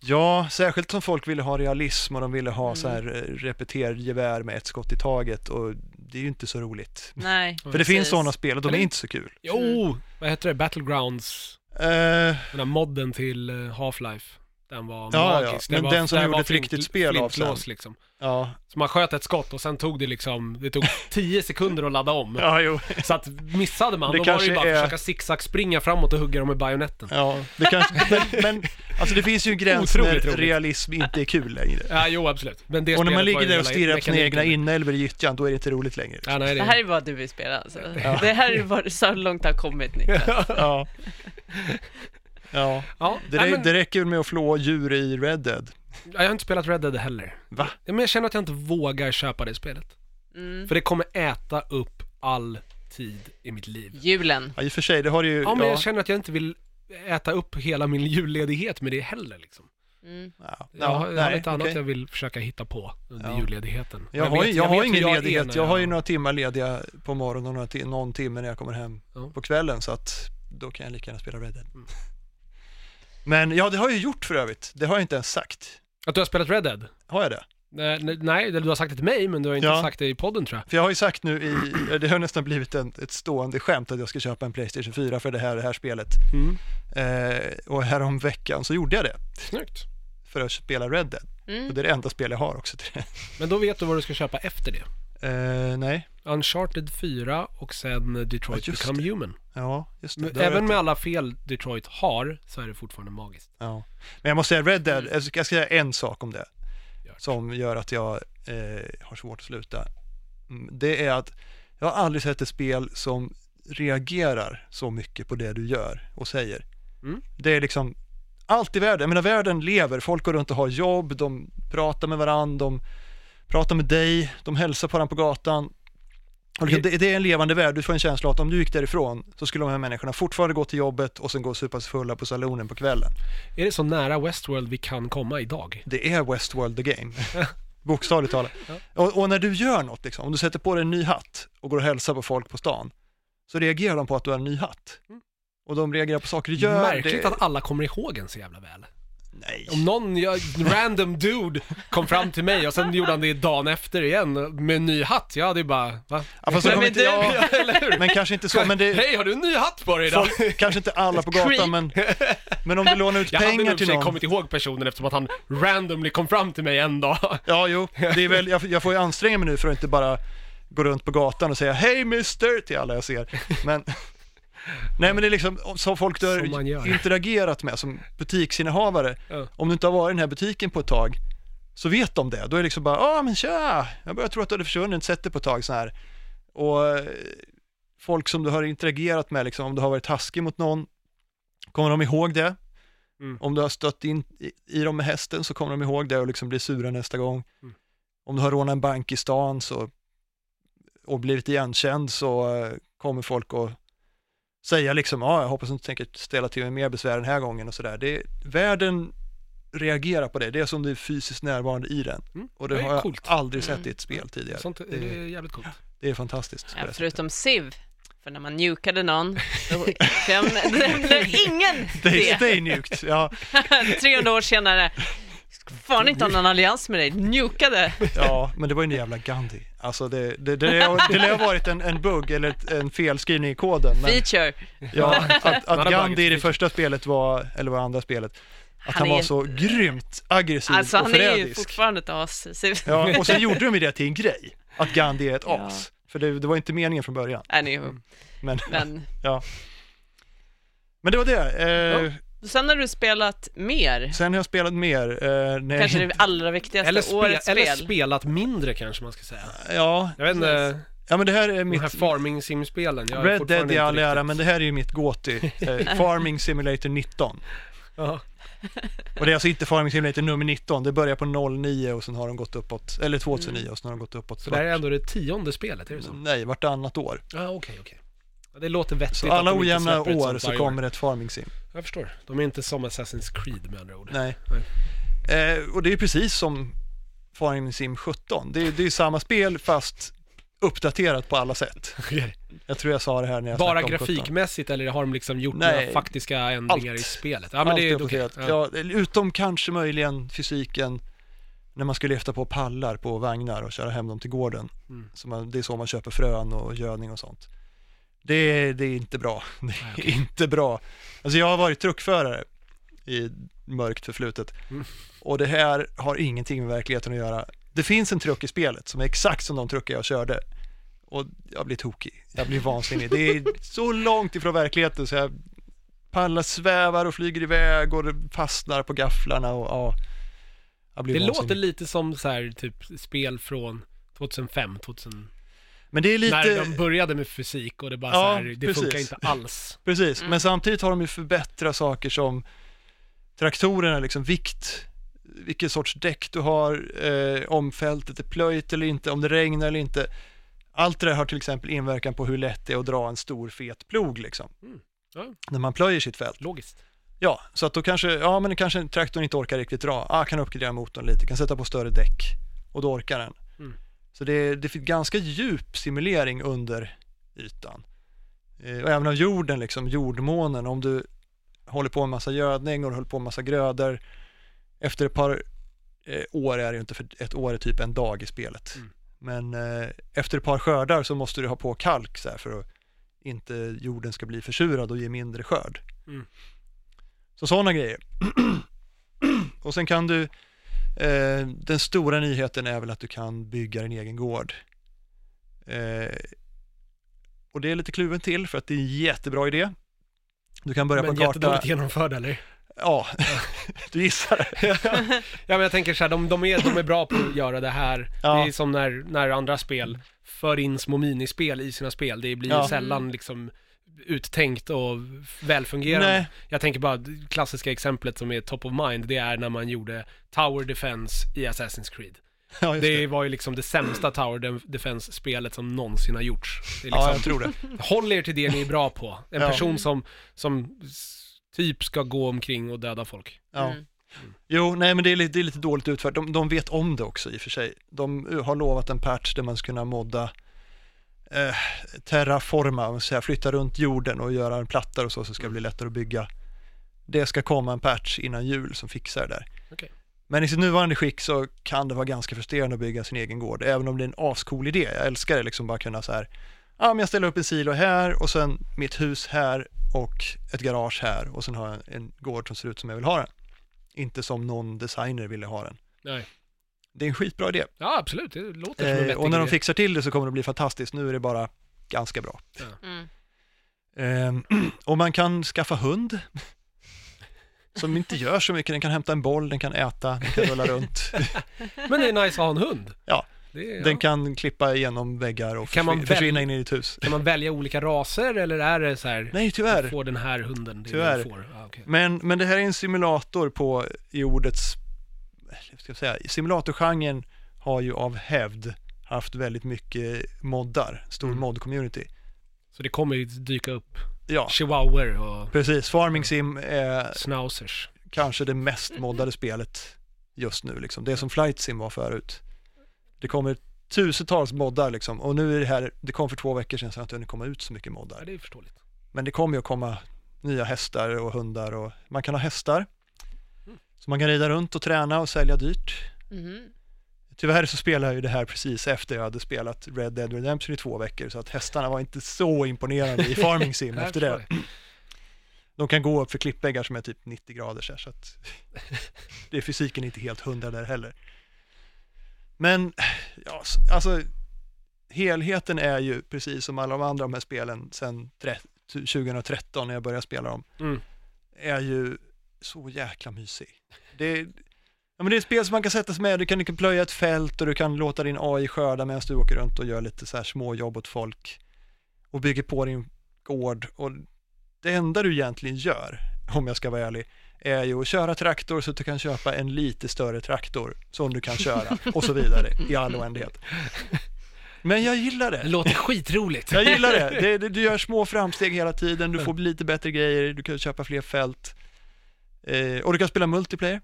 Speaker 3: ja, särskilt som folk ville ha realism och de ville ha så här eh, repetergevär med ett skott i taget och det är ju inte så roligt.
Speaker 2: Nej,
Speaker 3: För det finns sådana spel och de
Speaker 1: Men
Speaker 3: är
Speaker 1: det-
Speaker 3: inte så kul.
Speaker 1: Jo, vad heter det? Battlegrounds,
Speaker 3: Eh,
Speaker 1: den här modden till eh, Half-Life. Den var
Speaker 3: Ja, ja,
Speaker 1: magisk.
Speaker 3: men
Speaker 1: var,
Speaker 3: den som
Speaker 1: där
Speaker 3: gjorde
Speaker 1: var
Speaker 3: ett riktigt
Speaker 1: flint-
Speaker 3: spel av
Speaker 1: flintlås,
Speaker 3: sen.
Speaker 1: liksom.
Speaker 3: ja,
Speaker 1: Så man sköt ett skott och sen tog det liksom, det tog 10 sekunder att ladda om.
Speaker 3: ja, jo.
Speaker 1: Så att missade man,
Speaker 3: Det
Speaker 1: då var det
Speaker 3: kanske
Speaker 1: ju bara
Speaker 3: är-
Speaker 1: att försöka zigzag springa framåt och hugga dem med bajonetten.
Speaker 3: Ja, det kanske, men, men alltså det finns ju en gräns när
Speaker 1: Otroligt roligt.
Speaker 3: realism inte är kul längre.
Speaker 1: Ja, jo absolut. Men det
Speaker 3: Och när man
Speaker 1: spelet var
Speaker 3: ligger
Speaker 1: ju
Speaker 3: där och
Speaker 1: hela
Speaker 3: stirrar på sina
Speaker 1: mekaniken.
Speaker 3: egna inälvor i gyttjan, då är det inte roligt längre.
Speaker 1: Ja, nej, det...
Speaker 2: det här är vad du vill spela alltså. Det här är vad, så långt det har kommit Niklas.
Speaker 3: Ja. Ja.
Speaker 1: ja,
Speaker 3: Det,
Speaker 1: nej,
Speaker 3: rä-
Speaker 1: men,
Speaker 3: det räcker väl med att flå djur i Red Dead.
Speaker 1: Jag har inte spelat Red Dead heller.
Speaker 3: Va?
Speaker 1: Ja, Men jag känner att jag inte vågar köpa det spelet.
Speaker 2: Mm.
Speaker 1: För det kommer äta upp all tid i mitt liv.
Speaker 2: Julen.
Speaker 3: Ja, i och för sig, det har det ju...
Speaker 1: Ja, men
Speaker 3: ja,
Speaker 1: jag känner att jag inte vill äta upp hela min julledighet med det heller liksom.
Speaker 2: Mm.
Speaker 3: ja,
Speaker 1: Jag har, jag har
Speaker 3: nej,
Speaker 1: lite annat
Speaker 3: okej.
Speaker 1: jag vill försöka hitta på under
Speaker 3: Ja.
Speaker 1: julledigheten.
Speaker 3: Jag har, ju-
Speaker 1: vet-
Speaker 3: jag har
Speaker 1: vet hur
Speaker 3: ingen
Speaker 1: jag är
Speaker 3: ledighet.
Speaker 1: när
Speaker 3: Jag har ju några timmar lediga på morgonen och några ti- någon timme när jag kommer hem
Speaker 1: Ja. Mm.
Speaker 3: på kvällen så att då kan jag lika gärna spela Red Dead. Men ja, det har jag ju gjort för övrigt. Det har jag inte ens sagt.
Speaker 1: Att du har spelat Red Dead?
Speaker 3: Har jag det?
Speaker 1: Nej, nej, nej, eller du har sagt det till mig, men du har inte
Speaker 3: Ja.
Speaker 1: sagt det i podden tror jag.
Speaker 3: För jag har ju sagt nu i, det har nästan blivit en, ett stående skämt att jag ska köpa en Playstation 4 för det här, det här spelet. Eh, och häromveckan så gjorde jag det
Speaker 1: Snyggt.
Speaker 3: för att spela Red Dead. Och
Speaker 2: Mm.
Speaker 3: det är det enda spel jag har också till det.
Speaker 1: Men då vet du vad du ska köpa efter det.
Speaker 3: Eh, nej,
Speaker 1: Uncharted 4 och sen Detroit
Speaker 3: Ja, just
Speaker 1: Become Human.
Speaker 3: ja, just det.
Speaker 1: Men
Speaker 3: Det har jag
Speaker 1: Även
Speaker 3: inte-
Speaker 1: med alla fel Detroit har, så är det fortfarande magiskt.
Speaker 3: Ja. Men jag måste säga Red Dead, jag ska jag ska säga en sak om det
Speaker 1: Mm. Gör det.
Speaker 3: som gör att jag eh, har svårt att sluta. Mm, Det är att jag har aldrig sett ett spel som reagerar så mycket på det du gör och säger.
Speaker 1: Mm.
Speaker 3: Det är liksom allt i världen, jag menar världen lever, folk går runt och har jobb, de pratar med varandra, de pratar med dig, de hälsar på varandra på gatan. Och liksom, det, det är en levande värld, du får en känsla att om du gick därifrån så skulle de här människorna fortfarande gå till jobbet och sen gå och supa sig fulla på salonen på kvällen.
Speaker 1: Är det så nära Westworld vi kan komma idag?
Speaker 3: Det är Westworld the game. Bokstavligt talat. Och, och när du gör något, liksom, om du sätter på dig en ny hatt och går och hälsar på folk på stan, så reagerar de på att du har en ny hatt.
Speaker 1: Mm.
Speaker 3: Och de reagerar på saker du gör.
Speaker 1: Märkligt
Speaker 3: det...
Speaker 1: att alla kommer ihåg en så jävla väl.
Speaker 3: Nej.
Speaker 1: Om någon jag, random dude kom fram till mig och sen gjorde han det dagen efter igen med en ny hatt. Jag hade ju bara, va?
Speaker 3: Ja, fast Alltså, så
Speaker 1: Vem
Speaker 3: kommer
Speaker 1: är
Speaker 3: inte
Speaker 1: du?
Speaker 3: jag...
Speaker 1: Eller hur?
Speaker 3: Men kanske inte så, men det...
Speaker 1: Hej, har du en ny hatt på dig idag?
Speaker 3: Folk, kanske inte alla på
Speaker 1: Creep.
Speaker 3: gatan, men, men om du lånar ut
Speaker 1: Jag hade nog i
Speaker 3: pengar
Speaker 1: och för
Speaker 3: till
Speaker 1: sig
Speaker 3: någon.
Speaker 1: kommit ihåg personen eftersom att han randomly kom fram till mig en dag.
Speaker 3: Ja, jo, det är väl, jag, jag får ju anstränga mig nu för att inte bara gå runt på gatan och säga hej mister till alla jag ser. Men, nej men det är liksom som folk du
Speaker 1: Som man
Speaker 3: har
Speaker 1: gör.
Speaker 3: interagerat med som butiksinnehavare.
Speaker 1: Ja.
Speaker 3: Om du inte har varit i den här butiken på ett tag så vet de det. Då är det liksom bara, ja men tja, jag börjar tro att du hade försvunnit, sett dig på ett tag så här. Och eh, folk som du har interagerat med, liksom, om du har varit taskig mot någon, kommer de ihåg det?
Speaker 1: Mm.
Speaker 3: Om du har stött in i, i dem med hästen så kommer de ihåg det och liksom blir sura nästa gång.
Speaker 1: Mm.
Speaker 3: Om du har rånat en bank i stan så, och blivit igenkänd så eh, kommer folk att säga liksom, ja jag hoppas du inte tänker ställa till med mer besvär den här gången och sådär. Världen reagerar på det, det är som du är fysiskt närvarande i den.
Speaker 1: Mm.
Speaker 3: Och det,
Speaker 1: är
Speaker 3: har jag
Speaker 1: coolt.
Speaker 3: aldrig sett
Speaker 2: Mm.
Speaker 3: i ett spel tidigare.
Speaker 1: Sånt är det är jävligt coolt.
Speaker 3: Det är fantastiskt. på
Speaker 2: Ja,
Speaker 3: det
Speaker 2: förutom Siv. För när man njukade någon, då nämnde ingen
Speaker 3: sättet. det
Speaker 2: det.
Speaker 3: är stenmjukt. Ja,
Speaker 2: 300 år senare. Fan inte ha någon allians med dig, njukade.
Speaker 3: ja, men det var ju en jävla Gandhi. Alltså det, det, det, det lär ha varit en, en bugg eller ett, en felskrivning i koden. Men typ,
Speaker 2: Feature.
Speaker 3: ja, att,
Speaker 1: har
Speaker 3: att Gandhi
Speaker 1: buggat.
Speaker 3: i det första spelet var, eller var det andra spelet,
Speaker 2: Han
Speaker 3: att han,
Speaker 2: är
Speaker 3: var
Speaker 2: en-
Speaker 3: så grymt aggressiv
Speaker 2: Alltså
Speaker 3: och
Speaker 2: han är ju
Speaker 3: förrädisk.
Speaker 2: fortfarande ett as. Siv.
Speaker 3: Ja, och sen gjorde de ju det till en grej, att Gandhi är ett
Speaker 2: Ja.
Speaker 3: as. För det, det var inte meningen från början.
Speaker 2: Anywho.
Speaker 3: Men, men.
Speaker 2: Men
Speaker 3: det var det. Eh,
Speaker 2: sen har du spelat mer.
Speaker 3: Sen har jag spelat mer. Eh, när
Speaker 2: Kanske
Speaker 3: jag,
Speaker 2: det allra viktigaste,
Speaker 1: Eller, spe-
Speaker 2: årets spel.
Speaker 1: eller spelat mindre kanske man ska säga.
Speaker 3: ja,
Speaker 1: Jag vet inte,
Speaker 3: ja, men det här är
Speaker 1: de här
Speaker 3: mitt...
Speaker 1: farming sim-spelen. jag är
Speaker 3: Red
Speaker 1: fortfarande
Speaker 3: Dead
Speaker 1: inte
Speaker 3: i all ära,
Speaker 1: riktigt-
Speaker 3: men det här är ju mitt gåti. Eh, Farming Simulator 19.
Speaker 1: Ja.
Speaker 3: Och det är alltså inte Farming Simulator nummer 19, det börjar på 09 och sen har de gått uppåt, eller 2009 och sen har de gått uppåt.
Speaker 1: Mm. Så det här är ändå det tionde spelet, är det
Speaker 3: vart-
Speaker 1: så?
Speaker 3: Nej, vartannat år.
Speaker 1: Ja, okej, okej. Ja, Det låter vettigt
Speaker 3: Så
Speaker 1: att
Speaker 3: alla
Speaker 1: de inte
Speaker 3: ojämna
Speaker 1: släpper ett
Speaker 3: år
Speaker 1: sånt
Speaker 3: så
Speaker 1: varje
Speaker 3: kommer ett Farming Sim.
Speaker 1: Jag förstår. De är inte som Assassin's Creed med andra ord.
Speaker 3: Nej. Eh, och det är precis som Farming Sim 17. Det är, det är samma spel fast uppdaterat på alla sätt.
Speaker 1: Okej.
Speaker 3: Jag tror jag sa det här när jag
Speaker 1: Bara
Speaker 3: snackade om 17.
Speaker 1: grafikmäkt eller har de liksom gjort
Speaker 3: Nej.
Speaker 1: några faktiska ändringar
Speaker 3: Allt.
Speaker 1: i spelet? Ja, men det är
Speaker 3: Allt
Speaker 1: okej.
Speaker 3: uppdaterat. Ja. utom kanske möjligen fysiken när man ska lyfta på pallar på vagnar och köra hem dem till gården.
Speaker 1: Mm.
Speaker 3: Så man, det är så man köper frön och gödning och sånt. Det, är- det är inte bra. Det är inte bra. Alltså jag har varit truckförare i mörkt förflutet
Speaker 1: Mm.
Speaker 3: och det här har ingenting med verkligheten att göra. Det finns en truck i spelet som är exakt som de truckar jag körde och jag blir tokig. Jag blir vansinnig. Det är så långt ifrån verkligheten så jag pallar svävar och flyger iväg och det fastnar på gafflarna och ja. Jag blir
Speaker 1: Det
Speaker 3: vansinnig.
Speaker 1: låter lite som så här, typ spel från 2005, 2000,
Speaker 3: Men det är lite...
Speaker 1: när de började med fysik och det bara
Speaker 3: Ja,
Speaker 1: så här, det
Speaker 3: precis.
Speaker 1: funkar inte alls.
Speaker 3: Precis,
Speaker 2: Mm.
Speaker 3: men samtidigt har de ju förbättrat saker som traktorerna, liksom vikt, vilken sorts däck du har, eh, om fältet är plöjt eller inte, om det regnar eller inte. Allt det där har till exempel inverkan på hur lätt det är att dra en stor fet plog liksom.
Speaker 1: Mm. Ja.
Speaker 3: När man plöjer sitt fält.
Speaker 1: Logiskt.
Speaker 3: Ja, så att då kanske, ja men kanske traktorn inte orkar riktigt dra. Ah, kan uppgradera motorn lite, kan sätta på större däck och då orkar den.
Speaker 1: Mm.
Speaker 3: Så det, det fick ganska djup simulering under ytan. Eh, och även av jorden, liksom jordmånen, om du håller på med massa gödning och du håller på med massa grödor. Efter ett par eh, år är det ju inte, för ett år är typ en dag i spelet.
Speaker 1: Mm.
Speaker 3: Men eh, efter ett par skördar så måste du ha på kalk så här för att inte jorden ska bli försurad och ge mindre skörd.
Speaker 1: Mm.
Speaker 3: Så sådana grejer. och sen kan du, eh, den stora nyheten är väl att du kan bygga din egen gård. Eh, och det är lite kluven till för att det är en jättebra idé. Du kan börja
Speaker 1: Men
Speaker 3: på en karta.
Speaker 1: jättedåligt genomförd eller?
Speaker 3: Ja, du gissar det.
Speaker 1: Ja men jag tänker så här, de, de, är, de är bra på att göra det här.
Speaker 3: Ja.
Speaker 1: Det är som när, när andra spel för in små minispel i sina spel. Det blir
Speaker 3: Ja.
Speaker 1: sällan liksom uttänkt och välfungerande.
Speaker 3: Nej.
Speaker 1: Jag tänker bara, det klassiska exemplet som är top of mind, det är när man gjorde Tower Defense i Assassin's Creed.
Speaker 3: Ja, just
Speaker 1: Det,
Speaker 3: det.
Speaker 1: var ju liksom det sämsta Tower Def- Defense-spelet som någonsin har gjorts. Det är
Speaker 3: Ja,
Speaker 1: liksom,
Speaker 3: jag tror det.
Speaker 1: Håll er till det ni är bra på. En
Speaker 3: Ja.
Speaker 1: person som, som s- typ ska gå omkring och döda folk.
Speaker 3: Ja.
Speaker 2: Mm.
Speaker 3: Jo, nej men det är lite, det är lite dåligt utfört. De, de vet om det också i och för sig. De eh, har lovat en patch där man ska kunna modda eh, terraforma, och så här, flytta runt jorden och göra en plattare och så, så ska det bli lättare att bygga. Det ska komma en patch innan jul som fixar det där.
Speaker 1: Okej.
Speaker 3: Men i sitt nuvarande skick så kan det vara ganska frustrerande att bygga sin egen gård, även om det är en ascool idé. Jag älskar det liksom bara kunna så här, ja men jag ställer upp en silo här och sen mitt hus här och ett garage här och sen har jag en gård som ser ut som jag vill ha den. Inte som någon designer ville ha den.
Speaker 1: Nej.
Speaker 3: Det är en skitbra idé.
Speaker 1: Ja, absolut. Det låter som en
Speaker 3: Eh,
Speaker 1: vettig
Speaker 3: och när de
Speaker 1: idé.
Speaker 3: fixar till det så kommer det bli fantastiskt. Nu är det bara ganska bra.
Speaker 2: Mm.
Speaker 3: Ehm, och man kan skaffa hund. Som inte gör så mycket. Den kan hämta en boll, den kan äta, den kan rulla runt.
Speaker 1: Men det är nice att ha en hund.
Speaker 3: Ja.
Speaker 1: Det är,
Speaker 3: Den
Speaker 1: ja.
Speaker 3: kan klippa igenom väggar och
Speaker 1: Kan man
Speaker 3: försvin-
Speaker 1: väl-
Speaker 3: försvinna in i ditt hus.
Speaker 1: Kan man välja olika raser eller är det så här,
Speaker 3: Nej,
Speaker 1: du
Speaker 3: tyvärr.
Speaker 1: får den här hunden, det
Speaker 3: Tyvärr.
Speaker 1: är det du får. Ah, okej.
Speaker 3: Men, men det här är en simulator på i ordets, eh, vad ska jag säga, simulatorgenren har ju av hävd haft väldigt mycket moddar, stor
Speaker 1: Mm.
Speaker 3: mod-community.
Speaker 1: Så det kommer ju dyka upp
Speaker 3: Ja,
Speaker 1: chihuahuor och
Speaker 3: precis. Farming Sim är
Speaker 1: schnauzers.
Speaker 3: kanske det mest moddade spelet just nu liksom. Det som Flight Sim var förut. Det kommer tusentals moddar liksom och nu är det här, det kom för två veckor sedan så jag har inte hunnit komma ut så mycket moddar.
Speaker 1: Ja, det är förståeligt.
Speaker 3: Men det kommer ju att komma nya hästar och hundar och man kan ha hästar. Så man kan rida runt och träna och sälja dyrt.
Speaker 2: Mhm.
Speaker 3: Tyvärr så spelade jag ju det här precis efter jag hade spelat Red Dead Redemption i två veckor så att hästarna var inte så imponerande i Farming Sim
Speaker 1: Jag
Speaker 3: efter
Speaker 1: förstår
Speaker 3: det. De kan gå upp för klippväggar som är typ 90 grader så, här, så att det är fysiken inte helt hundra där heller. Men ja, s- alltså helheten är ju precis som alla de andra de här spelen sedan tre- 2013 när jag började spela dem
Speaker 1: Mm.
Speaker 3: är ju så jäkla mysig. Det är, ja, men det är ett spel som man kan sätta sig med, du kan, du kan plöja ett fält och du kan låta din AI skörda medan du åker runt och gör lite så här småjobb åt folk och bygger på din gård och det enda du egentligen gör, om jag ska vara ärlig, är ju att köra traktor så att du kan köpa en lite större traktor som du kan köra och så vidare i all oändlighet. Men jag gillar det.
Speaker 1: Det låter skitroligt.
Speaker 3: Jag gillar det. det, det du gör små framsteg hela tiden, du får lite bättre grejer, du kan köpa fler fält. Eh, och du kan spela multiplayer.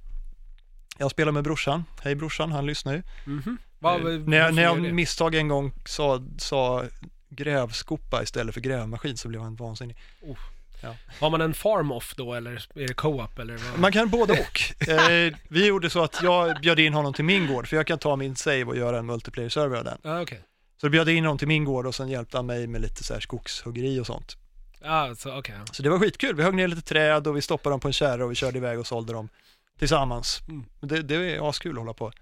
Speaker 3: Jag spelar med brorsan. Hej brorsan, han lyssnar ju.
Speaker 1: Mhm. Va,
Speaker 3: Eh,
Speaker 1: va,
Speaker 3: när jag, när jag av
Speaker 1: varför gör det?
Speaker 3: misstag en gång sa, sa grävskopa istället för grävmaskin så blev han vansinnig.
Speaker 1: Har man en farm-off då eller är det co-op eller vad?
Speaker 3: Man kan både och. Eh, vi gjorde så att jag bjöd in honom till min gård, för jag kan ta min save och göra en multiplayer-server av den.
Speaker 1: Ja, okej.
Speaker 3: Så då bjöd jag in honom till min gård och sen hjälpte han mig med lite så här skogshuggeri och sånt.
Speaker 1: Ja, så okej. ja.
Speaker 3: Så det var skitkul. Vi högg ner lite träd och vi stoppade dem på en kärra och vi körde iväg och sålde dem tillsammans.
Speaker 1: Mm.
Speaker 3: Det, det är askul att hålla på.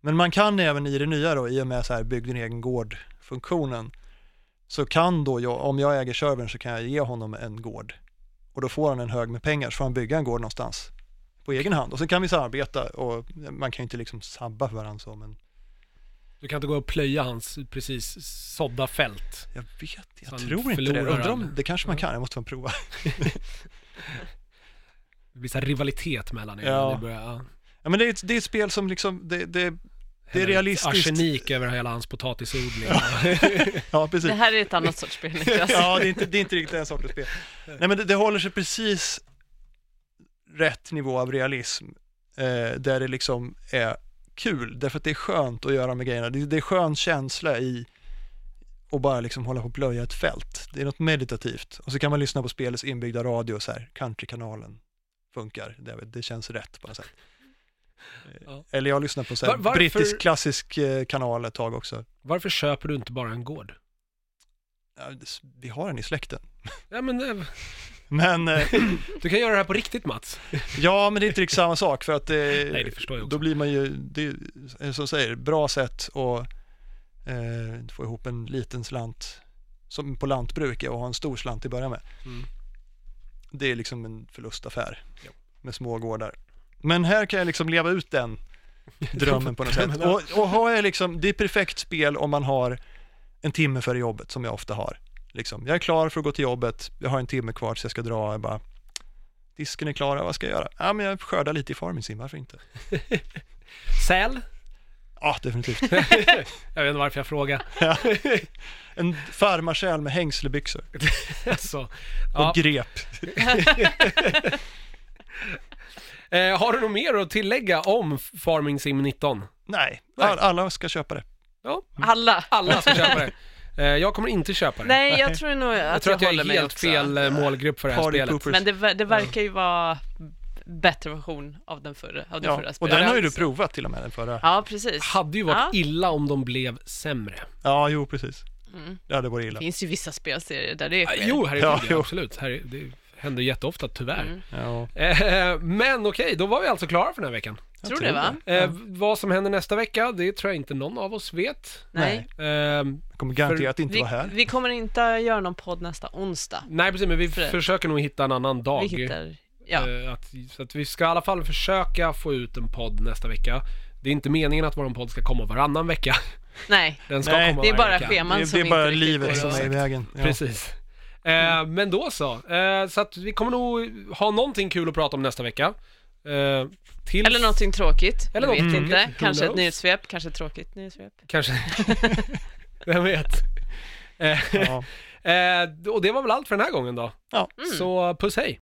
Speaker 3: Men man kan även i det nya då, i och med så här bygg din egen gård-funktionen, så kan då jag, om jag äger servern så kan jag ge honom en gård. Och då får han en hög med pengar så får han bygga en gård någonstans på egen hand. Och sen kan vi samarbeta och man kan ju inte liksom sabba för varandra så men
Speaker 1: Du kan inte gå och plöja hans precis sådda fält.
Speaker 3: jag vet, jag
Speaker 1: Så han
Speaker 3: tror inte det.
Speaker 1: förlorar
Speaker 3: Undrar om,
Speaker 1: han.
Speaker 3: det kanske man
Speaker 1: Ja.
Speaker 3: kan, jag måste fan prova.
Speaker 1: Det blir så här rivalitet mellan er.
Speaker 3: Ja.
Speaker 1: Det börjar, ja.
Speaker 3: Ja, men det, är ett, det är ett spel som liksom, det, det Det är realistiskt.
Speaker 1: Arsenik över hela hans potatisodling.
Speaker 3: Ja, precis.
Speaker 2: Det här är ett annat sorts spel Niklas.
Speaker 3: Ja, det är inte, det är inte riktigt den sortens spel. Nej, men det, det håller sig precis rätt nivå av realism, eh, där det liksom är kul, därför att det är skönt att göra med grejerna. Det, det är skön känsla i att bara liksom hålla på och plöja ett fält. Det är något meditativt. Och så kan man lyssna på spelets inbyggda radio, så här, countrykanalen funkar, det, det känns rätt på något sätt. Eh,
Speaker 1: Ja.
Speaker 3: Eller jag lyssnar på så här,
Speaker 1: Var- varför-
Speaker 3: brittisk klassisk eh, kanal ett tag också.
Speaker 1: Varför köper du inte bara en gård?
Speaker 3: Ja, det- Vi har den i släkten.
Speaker 1: Ja, men, eh,
Speaker 3: Men eh,
Speaker 1: du kan göra det här på riktigt Mats.
Speaker 3: Ja, men det är inte riktigt samma sak för att eh,
Speaker 1: Nej, det förstår jag också.
Speaker 3: då blir man ju, det är ju, som jag säger, bra sätt att eh, få ihop en liten slant som på lantbruk är att ha en stor slant till att börja med.
Speaker 1: Mm.
Speaker 3: Det är liksom en förlustaffär
Speaker 1: Ja.
Speaker 3: med små gårdar. Men här kan jag liksom leva ut den drömmen på något sätt.
Speaker 1: Drömmen, ja.
Speaker 3: Och, och har jag liksom, det är perfekt spel om man har en timme före jobbet som jag ofta har. Liksom, jag är klar för att gå till jobbet, jag har en timme kvar så jag ska dra, jag bara Disken är klar, vad ska jag göra? Ja, men jag skördar lite i Farmingsim, varför inte?
Speaker 1: Säl?
Speaker 3: Ja, definitivt.
Speaker 1: Jag vet inte varför jag frågar.
Speaker 3: Ja. en farmarsjäl med hängslebyxor
Speaker 1: Alltså,
Speaker 3: och
Speaker 1: ja.
Speaker 3: grep.
Speaker 1: eh, har du något mer att tillägga om Farming Sim 19?
Speaker 3: Nej,
Speaker 1: Nej.
Speaker 3: All, alla ska köpa det.
Speaker 1: Ja,
Speaker 2: Alla.
Speaker 1: alla ska köpa det. Eh, jag kommer inte köpa det.
Speaker 2: Nej, alltså jag tror nog att
Speaker 1: jag tror att jag,
Speaker 2: håller
Speaker 1: är
Speaker 2: mig
Speaker 1: helt
Speaker 2: också.
Speaker 1: fel eh, målgrupp för det här
Speaker 3: Party
Speaker 1: spelet.
Speaker 3: poopers.
Speaker 2: Men det, ver- det verkar ju vara bättre version av den förra, av den
Speaker 3: ja.
Speaker 2: förra
Speaker 3: Och
Speaker 2: spelet.
Speaker 3: den har ju du provat till och med, den förra.
Speaker 2: Ja, precis.
Speaker 1: Hade ju varit
Speaker 2: Ja.
Speaker 1: illa om de blev sämre.
Speaker 3: Ja, jo, precis.
Speaker 2: Mm.
Speaker 3: Det hade varit
Speaker 2: Det
Speaker 3: illa.
Speaker 2: finns ju vissa spelserier där det
Speaker 1: Ah,
Speaker 2: sker.
Speaker 1: Jo, herregud,
Speaker 3: Ja,
Speaker 1: ja,
Speaker 3: jo.
Speaker 1: absolut. Här, är- det händer jätteofta, tyvärr.
Speaker 2: Mm.
Speaker 3: Ja.
Speaker 1: Eh, men okej, då var vi alltså klara för den här veckan.
Speaker 3: Jag
Speaker 2: Tror det, va?
Speaker 1: Eh, Vad som händer nästa vecka, det tror jag inte någon av oss vet.
Speaker 2: Nej.
Speaker 1: Eh,
Speaker 3: Jag kommer garanterat inte
Speaker 2: Vi,
Speaker 3: vara här.
Speaker 2: vi kommer inte göra någon podd nästa onsdag.
Speaker 1: nej, precis, men vi
Speaker 2: För-
Speaker 1: försöker nog hitta en annan dag.
Speaker 2: Vi hittar, ja.
Speaker 1: Eh, Att, så att vi ska i alla fall försöka få ut en podd nästa vecka. Det är inte meningen att vår podd ska komma varannan vecka.
Speaker 2: Nej,
Speaker 1: Den ska
Speaker 3: Nej.
Speaker 1: komma
Speaker 2: det är
Speaker 1: varje
Speaker 2: bara
Speaker 1: vecka.
Speaker 2: scheman
Speaker 3: Det,
Speaker 2: som
Speaker 3: det är bara
Speaker 2: inte riktigt går
Speaker 3: livet som
Speaker 2: att-
Speaker 3: är i vägen. Ja.
Speaker 1: Precis. Eh, Men då så. Eh, så att vi kommer nog ha någonting kul att prata om nästa vecka. Eh, tills...
Speaker 2: Eller någonting tråkigt,
Speaker 1: Eller
Speaker 2: Eller vet
Speaker 1: något tråkigt.
Speaker 2: inte.
Speaker 1: Who
Speaker 2: Kanske ett
Speaker 1: knows?
Speaker 2: nyhetssvep, kanske ett tråkigt nyhetssvep.
Speaker 1: Kanske. Vem vet. Eh,
Speaker 3: Ja.
Speaker 1: eh, och det var väl allt för den här gången då.
Speaker 2: Mm.
Speaker 3: Ja.
Speaker 1: Så puss hej.